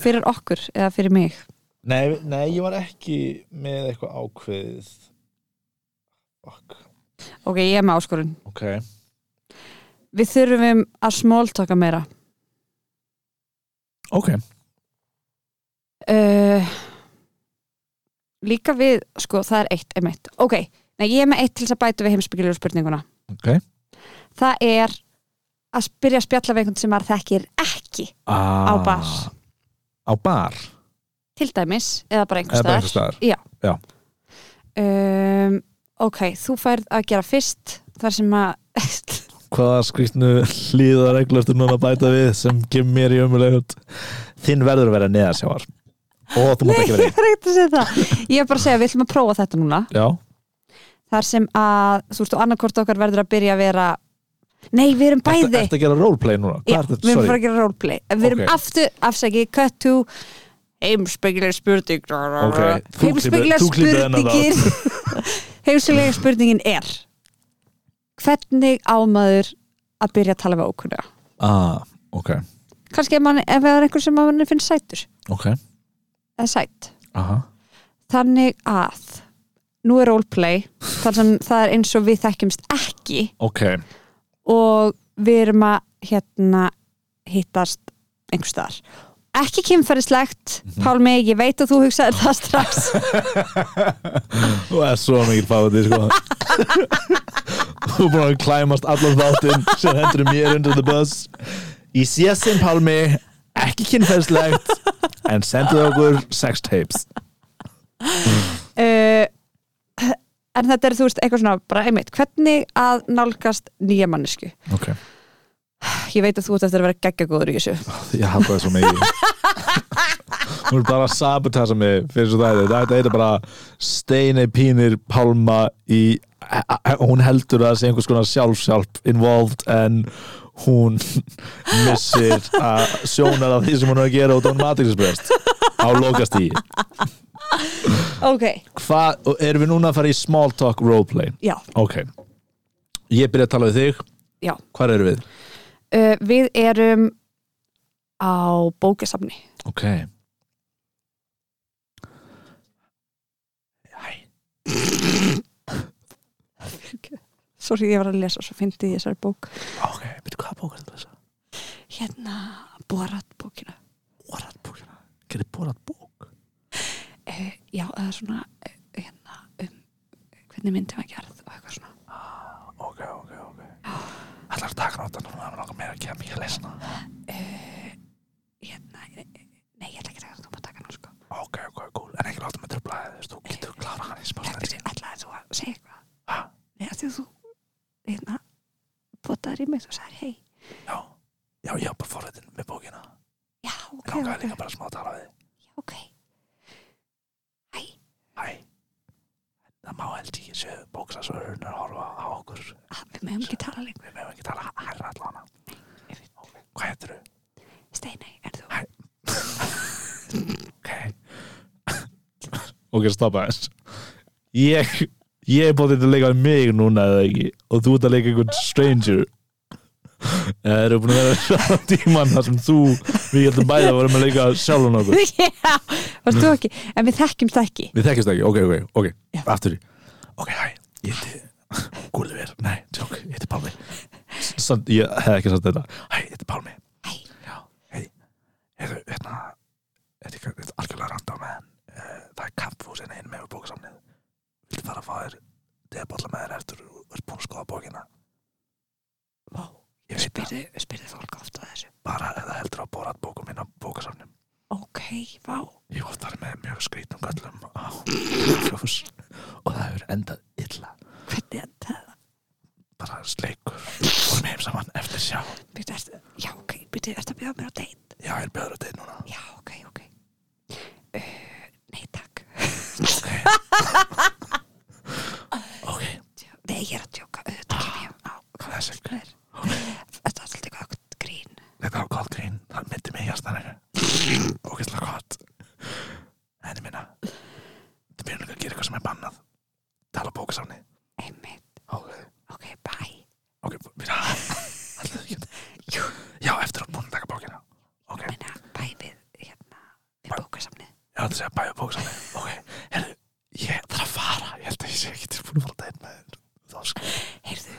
Speaker 1: fyrir okkur eða fyrir mig
Speaker 2: nei, nei, ég var ekki með eitthvað ákveðið Fuck
Speaker 1: Ok, ég er með áskurinn
Speaker 2: Ok
Speaker 1: Við þurfum að smóltaka meira
Speaker 2: Ok
Speaker 1: uh, Líka við, sko, það er eitt einmitt. Ok, nei, ég er með eitt til þess að bæta við heimsbyggjulegu spurninguna
Speaker 2: Ok.
Speaker 1: Það er að byrja að spjalla við einhvern sem maður þekkir ekki
Speaker 2: ah,
Speaker 1: á bar
Speaker 2: Á bar
Speaker 1: til dæmis, eða bara einhvers
Speaker 2: Eða bara
Speaker 1: staðar
Speaker 2: einhvers staðar
Speaker 1: um, ok, þú færð að gera fyrst þar sem að
Speaker 2: Hvaða skrýtnu hlýða reglastur núna að bæta við sem kemur mér í ömulegut Þinn verður að vera neðasjáar Og þú
Speaker 1: nei,
Speaker 2: mátt ekki
Speaker 1: ég
Speaker 2: vera
Speaker 1: er ekkert að segja það ég er bara að segja, við ætlum að prófa þetta núna
Speaker 2: einn Já
Speaker 1: þar sem að, þú veist, og annarkort okkar verður að byrja að vera nei, við erum bæði
Speaker 2: Ertu að gera roleplay núna? Hvað
Speaker 1: Já, við
Speaker 2: ertu-
Speaker 1: erum
Speaker 2: sorry.
Speaker 1: fara að gera roleplay við erum
Speaker 2: Ok.
Speaker 1: aftur, afsæki, cut to heimspekileg spurning
Speaker 2: Ok, þú
Speaker 1: heimspekileg
Speaker 2: klípir- þú klípir þennan
Speaker 1: spurningin heimspekileg spurningin er hvernig ámaður að byrja að tala við ókunna
Speaker 2: Ah, ok,
Speaker 1: kannski ef, mann, ef það er einhver sem að mann finnst sætur
Speaker 2: ok
Speaker 1: eða sæt,
Speaker 2: Aha.
Speaker 1: þannig að nú er roleplay þar sem það er eins og við þekkjumst ekki
Speaker 2: Ok,
Speaker 1: og við erum að hérna hittast einhvers staðar ekki kynferðislegt, Pálmi, ég veit að þú hugsaðir það strax
Speaker 2: þú er svo mikil fáti sko. Þú er búin að klæmast allan þáttinn sem hendur mér undir the bus Í síðastinn Pálmi ekki kynferðslegt en sendið okkur sex tapes
Speaker 1: uh, en þetta er þú veist eitthvað svona bara einmitt, hvernig að nálgast nýja mannesku
Speaker 2: Ok,
Speaker 1: ég veit að þú ert eftir að vera geggjagóður í þessu
Speaker 2: Ég hata það svo mikið Hún er bara að sabotasa mig fyrir svo það Þetta er bara steini pínir pálma í hún heldur að það sé einhvers konar sjálfsjálp involved en hún missir að sjónar af því sem hún er að gera út á hún matriksprest á lokast í
Speaker 1: ok,
Speaker 2: Hvað, og erum við núna að fara í small talk roleplay?
Speaker 1: já,
Speaker 2: Ok Ég byrja að tala við þig,
Speaker 1: já
Speaker 2: hvar eru við?
Speaker 1: uh, við erum á bókasafni
Speaker 2: Ok Hæ
Speaker 1: sorry, ég var að lesa svo fyndi ég þessari bók
Speaker 2: Ok, veitu hvað bók er þetta þessa?
Speaker 1: hérna, Borat bókina
Speaker 2: Borat bókina? Gerði Borat bók?
Speaker 1: uh, já, það er svona uh, hérna, um, hvernig myndi var gerð og eitthvað svona
Speaker 2: Ok, ok, ok Ætlar að taka náttan núna, hann langar meira að gera mikið að lesa hana
Speaker 1: Eh, hérna, eh, nei, ég ætla ekki að taka- þú má taka nú sko
Speaker 2: Ok, ok, cool, en ekki láta mig tröfla þig, þú veist, þú getur klára hann í
Speaker 1: Þetta
Speaker 2: spástan
Speaker 1: sé ætlaði þú að segja eitthvað
Speaker 2: Ha?
Speaker 1: Nei, af því að þú hérna, potaðir í mig og sagði hei
Speaker 2: Já, já, ég var bara forvitin með bókina
Speaker 1: Já, ok,
Speaker 2: Ég langaði
Speaker 1: ok,
Speaker 2: líka bara smá að tala við þig.
Speaker 1: ok Æ,
Speaker 2: Hæ Það má held ég ekki séu bóksasvörun að horfa á okkur
Speaker 1: að, við meðum ekki tala lengur
Speaker 2: Við meðum ekki tala hærra allan Hvað heitir þau?
Speaker 1: Steinei, er þú?
Speaker 2: Ok Ok, stoppa þess Ég, ég er bóðið að leika við mig núna eða ekki og þú ert að leika einhvern stranger Það eru búin að vera tíman þar sem þú, við getum bæða að vorum að leika sjálfum okkur
Speaker 1: Já, varst þú ekki En við þekkjum það ekki
Speaker 2: Við þekkjumst ekki, ok, ok, ok,
Speaker 1: Já.
Speaker 2: aftur í Ok, hæ, ég heiti Gulliver, nei, tjók, ég heiti Pálmi Samt, ég hef ekki sagt þetta Hæ, ég heiti Pálmi
Speaker 1: Hæ.
Speaker 2: Já, hei, heyrðu, hérna Þetta er ekki- þetta er algjörlega random en uh, það er kampfúsin einn með bóksamnið Viltu fara að fá þér deballa með þér eftir og er búin að skoða bókina
Speaker 1: Vá,
Speaker 2: Ég veit það,
Speaker 1: spyrðu, spyrðu fólk ofta þessu
Speaker 2: bara ef það heldur á borat bókum minn á bókasamnum
Speaker 1: Ok, vá
Speaker 2: Ég var þar með mjög skrýtum göllum á fjós og það hefur endað illa
Speaker 1: Hvernig er það?
Speaker 2: bara sleikur vorum heim saman eftir sjá
Speaker 1: Byrðu, ertu, já, ok, byrðu, ertu að bjóða mér á deit?
Speaker 2: já, ég er beður að deyna núna
Speaker 1: Já, ok, ok uh, Nei, takk
Speaker 2: ok,
Speaker 1: Nei, ég er að djóka, auðvitað kem ég á
Speaker 2: Þessi.
Speaker 1: hvað Þetta er alltaf eitthvað grín
Speaker 2: þetta var gott grín það myndi mig hjartanir ógeðslega gott en ég minna það byrjum líka að gera eitthvað sem er bannað tala bókasafni
Speaker 1: Einmitt,
Speaker 2: ok,
Speaker 1: ok, bye
Speaker 2: ok, byrja alltaf ekki
Speaker 1: Jú.
Speaker 2: já, eftir að búin að taka bókina ok,
Speaker 1: Ég meina, bye við hérna við bókasamnið
Speaker 2: ég ætla að segja bæja bókasafni ok, herru, ég þarf að fara ég held að ég sé ekki tilbúin að fara að deyna með þér þá sko,
Speaker 1: Heyrðu,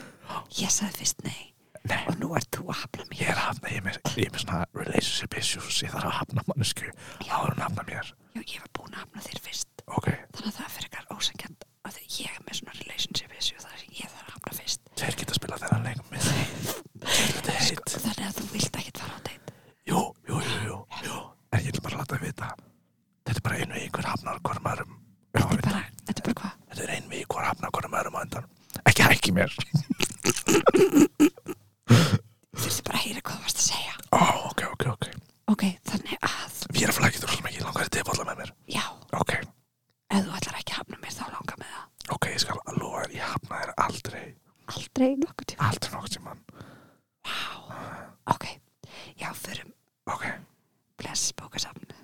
Speaker 1: ég sagði fyrst nei
Speaker 2: nei
Speaker 1: og nú ert þú að hafna
Speaker 2: ég
Speaker 1: mér
Speaker 2: er að hafna, ég er með, ég er með svona relationship issues, ég þarf að hafna mannesku áður en að hafna mér,
Speaker 1: Jú, ég var búin að hafna þér fyrst
Speaker 2: ok
Speaker 1: þannig að það er fyrir eitthvað ósangjönd af því ég er með svona relationship issue þar sem ég þarf að hafna fyrst
Speaker 2: þeir geta að spila þennan leikum með þeim þetta er heitt,
Speaker 1: þannig að þú vilt ekkert fara á deit
Speaker 2: jú, jú, jú, jú, jú en ég vil bara láta það vita þetta er bara einu í hver hafnar hvorum öðrum Já,
Speaker 1: Þetta er bara, þetta
Speaker 2: þetta
Speaker 1: er bara hvað?
Speaker 2: er einu í hver hafnar hvorum öðrum á undan ekki hækki mér,
Speaker 1: Þurfti bara að heyra hvað þú varst að segja
Speaker 2: ó, ok, ok, ok
Speaker 1: Ok, þannig að,
Speaker 2: við erum flækjum þú rosa mikið, langar þið bolla með mér
Speaker 1: já,
Speaker 2: ok,
Speaker 1: ef þú ætlar ekki að hafna mér þá langar með það
Speaker 2: ok, ég skal að lofa þér, ég hafna þér aldrei
Speaker 1: Aldrei nokkuð tíma
Speaker 2: aldrei nokkuð tímann,
Speaker 1: Vá, ok, já, förum
Speaker 2: ok
Speaker 1: bless bókasafn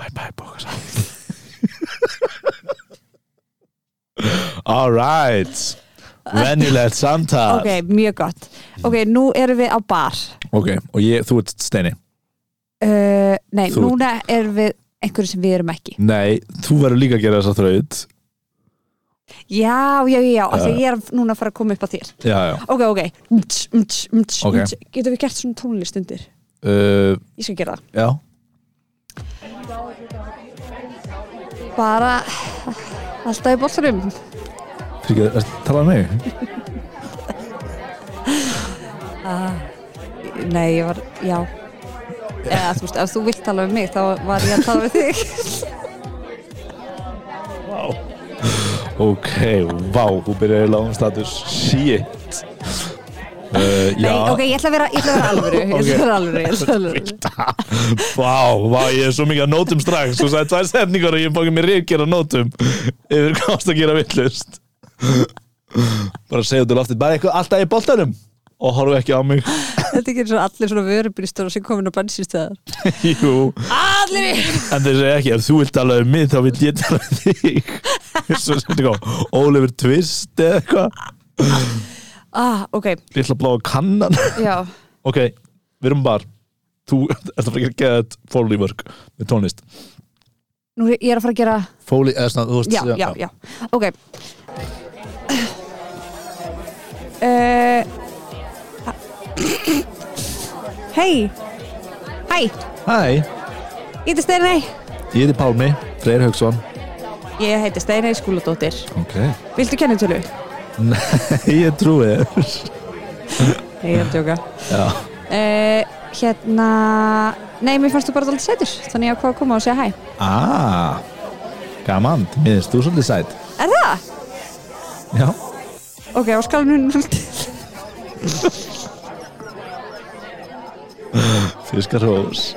Speaker 2: Bye bye bókasafn All right Venjulegt samtal
Speaker 1: Ok, mjög gott
Speaker 2: Mm.
Speaker 1: Ok, nú erum við á bar
Speaker 2: Ok, og ég, þú ert steini
Speaker 1: uh, Nei,
Speaker 2: Þú-
Speaker 1: núna erum við einhverju sem við erum ekki
Speaker 2: Nei, þú verður líka að gera þessa þraut
Speaker 1: Já, já, já, já, af því ég er núna að fara að koma upp á þér
Speaker 2: Já, já
Speaker 1: Ok, ok mts, mts, mts,
Speaker 2: Ok.
Speaker 1: mts. Getum við gert svona tónlist undir?
Speaker 2: uh,
Speaker 1: Ég skal gera það
Speaker 2: Já,
Speaker 1: Bara alltaf í boltarum
Speaker 2: fyrir ekki, er, talaðu mig
Speaker 1: Nei, ég var, já Eða, þú veist, ef þú vilt tala um mig þá var ég að tala um þig
Speaker 2: Ok, vá, þú byrjar í lágum status Shit Uh,
Speaker 1: Nei, ok, ég ætla að vera, ég ætla að vera alvöru Ég ætla að vera alvöru, ég ætla að vera alvöru
Speaker 2: Vá, vá, ég er svo mikið að nótum strax Þú sagði tvær setningar og ég er bókið mér rifgjör að nótum Yfir hvað ást að gera villust Bara segja út í loftið Bara eitthvað alltaf í boltanum Og horfu ekki á mig
Speaker 1: Þetta gerir svo allir svona vörubristur og sem komin á bensinstöðar
Speaker 2: Jú,
Speaker 1: Allir í
Speaker 2: en þeir segja ekki Ef þú vilt tala um mig, þá vil ég tala um þig Svo setningar Ólefur Twist eða eitthvað
Speaker 1: ah, Ok,
Speaker 2: Lilla bláa kannan
Speaker 1: já
Speaker 2: Ok, við erum bara Þú ert að fara að gera þetta fólí vörk með tónlist
Speaker 1: Nú er ég er að fara að gera
Speaker 2: Fólí, eða svona, þú veist
Speaker 1: Já, já, já, ok uh, Hei Hæ,
Speaker 2: Hæ,
Speaker 1: ég heiti Steinei
Speaker 2: ég heiti Pálmi, Freyr Hauksson
Speaker 1: Ég heiti Steinei Skúladóttir
Speaker 2: Ok
Speaker 1: Viltu kennitölu?
Speaker 2: Ég trúi þér
Speaker 1: Nei, ég er að tjóka
Speaker 2: Já,
Speaker 1: uh, Hérna Nei, mér fannst þú bara alltaf setur Þannig ég ákvað að koma og segja hæ
Speaker 2: aaa Ah, Gaman, mér finnst þú svolítið sætt
Speaker 1: Er það?
Speaker 2: Já
Speaker 1: Ok, á skalanum 0 til
Speaker 2: Fiskar hós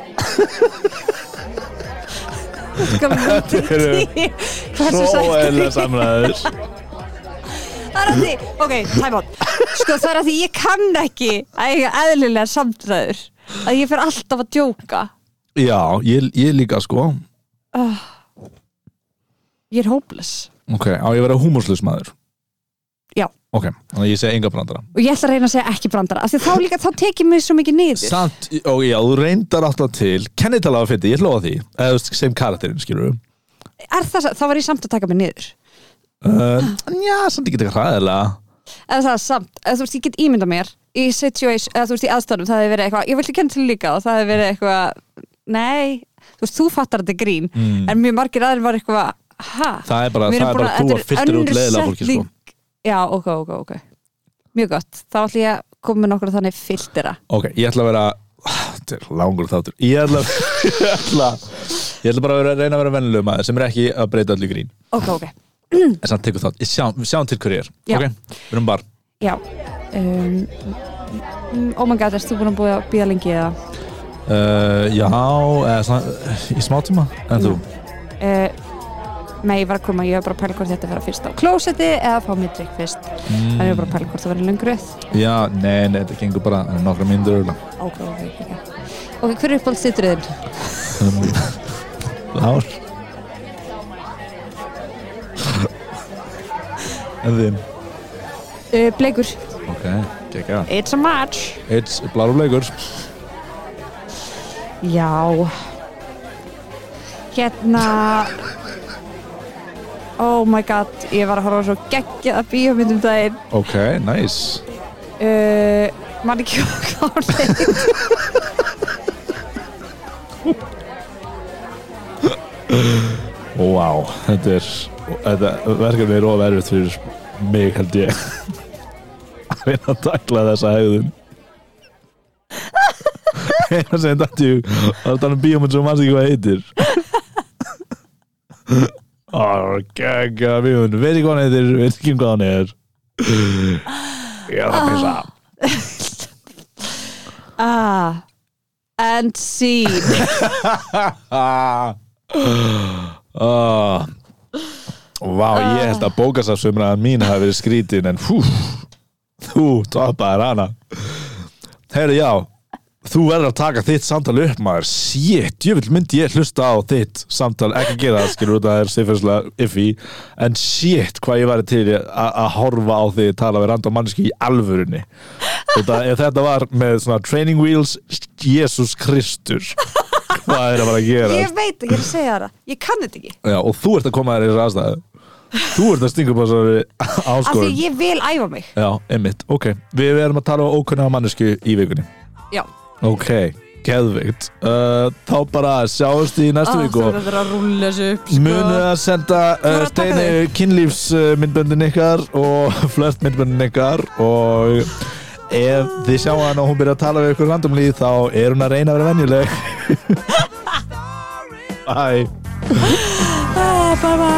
Speaker 1: Skalanum 0 til
Speaker 2: Þetta eru
Speaker 1: 10 Hversu
Speaker 2: Svo
Speaker 1: sætt
Speaker 2: eða samræður
Speaker 1: Það er að því, ok, time out Sko það er að því ég kann ekki að eiga eðlilegar samtræður að ég fer alltaf að djóka
Speaker 2: Já, ég, ég líka sko
Speaker 1: Ég er hopeless
Speaker 2: Ok, á ég að vera húmuslus maður
Speaker 1: Já.
Speaker 2: Ok, þannig að ég segi enga brandara
Speaker 1: og ég ætla að reyna að segja ekki brandara af því að þá líka, þá tekið mér svo mikið niður
Speaker 2: Samt, og já, þú reyndar átt að til Kennitalaða fyndi, ég hlóða því eða, þú veist, sem karakterinn, skilur við
Speaker 1: er það, sa- þá var ég samt að taka mér niður Ah.
Speaker 2: uh, Já, samt ekki þetta hræðilega
Speaker 1: eða það er samt, eða þú veist, ég get ímynda mér í situation, eða þú veist, í aðstæðum það hefur verið eitthvað, ég vilti kenna til líka og það hefur verið eitthvað, nei þú veist, þú fattar þetta er grín en mjög margir aðrir var eitthvað, ha
Speaker 2: Mm. Það er bara,
Speaker 1: Við erum
Speaker 2: það er
Speaker 1: búin
Speaker 2: bara þú
Speaker 1: þetta
Speaker 2: að
Speaker 1: er
Speaker 2: fylltir út
Speaker 1: önnur
Speaker 2: leiðilega fólki sko.
Speaker 1: setning. Já, ok, ok, ok Mjög gott, þá ætlum ég að koma með nokkur þannig fylltira
Speaker 2: Ok, ég ætla að vera Þetta er langur þáttur Ég ætla, ég ætla, ég ætla bara að vera, reyna að vera vennilegum maður sem er ekki að breyta öllu í grín
Speaker 1: Ok, ok,
Speaker 2: en samt tekur þátt, Ég sjá, við sjáum til hverju ég er
Speaker 1: Já.
Speaker 2: Ok, við erum bara
Speaker 1: já um, mm, Oh my god, erst þú búin að búið að býða lengi eða
Speaker 2: uh, Já, eða, svona, í smá tíma En þú,
Speaker 1: uh, Nei, ég var að koma, ég var bara að pæla hvort þetta vera fyrst á klósetti eða að fá mér drikk fyrst mm. En ég var bara að pæla hvort það vera lengur öð
Speaker 2: já, nei, nei, þetta gengur bara nokkra myndur örugglega.
Speaker 1: Ok, ok, ok Ok, hver er uppáld sittriðin?
Speaker 2: Lár En þinn
Speaker 1: Uh, bleikur
Speaker 2: Ok, gekka
Speaker 1: It's a match
Speaker 2: It's blárubleikur
Speaker 1: Já Hérna Oh my god Ég var að horfa á svo geggjaða bíómynd um daginn
Speaker 2: Ok, nice
Speaker 1: uh, Man ekki hvað hún heit
Speaker 2: Vá, þetta er þetta verkefni er oferðið fyrir mig held ég að reyna að takla þessa hegðun eina sem dætti ég það er þannig um bíómynd sem mannst ekki hvað heitir Ó, gegga bíómynd veit ekki hvað hann heitir, veit ekki um hvað hann er ég er að pissa
Speaker 1: ah, And scene
Speaker 2: ah. ah. Vá, ég held að bókasafsumraðan mín hafi verið skrítin en hú, þú topaðir hana Heyri, já þú verður að taka þitt samtal upp maður shit, ég vil myndi ég hlusta á þitt samtal, ekki gera það skilur út að það er siffislega iffi en shit, hvað ég væri til í að- að horfa á þig tala við random mannski í alvörunni þetta, ef þetta var með svona training wheels Jesus Kristur hvað er að fara að gera
Speaker 1: Ég veit ekki, ég er að segja það Ég kann þetta ekki
Speaker 2: Já, og þú ert að koma þér í þessar aðstæðu Þú ert að stinga upp á þessari
Speaker 1: Af því
Speaker 2: áskorun
Speaker 1: ég vil æfa mig
Speaker 2: Já, einmitt, ok Við erum að tala á ókunna mannesku í vikunni
Speaker 1: Já
Speaker 2: Ok, geðvikt uh, Þá bara sjáumst í næstu
Speaker 1: Ah,
Speaker 2: viku
Speaker 1: Það verður að rúlla þessu upp sko.
Speaker 2: Munið að senda
Speaker 1: Þú
Speaker 2: uh,
Speaker 1: verður að taka
Speaker 2: steinu kynlífsmyndböndin ykkar og flörtmyndböndin ykkar og ef þið sjáu hann og hún byrja að tala við ykkur randomlí þá er hún að reyna að vera venjuleg Bye
Speaker 1: ah, Bye bye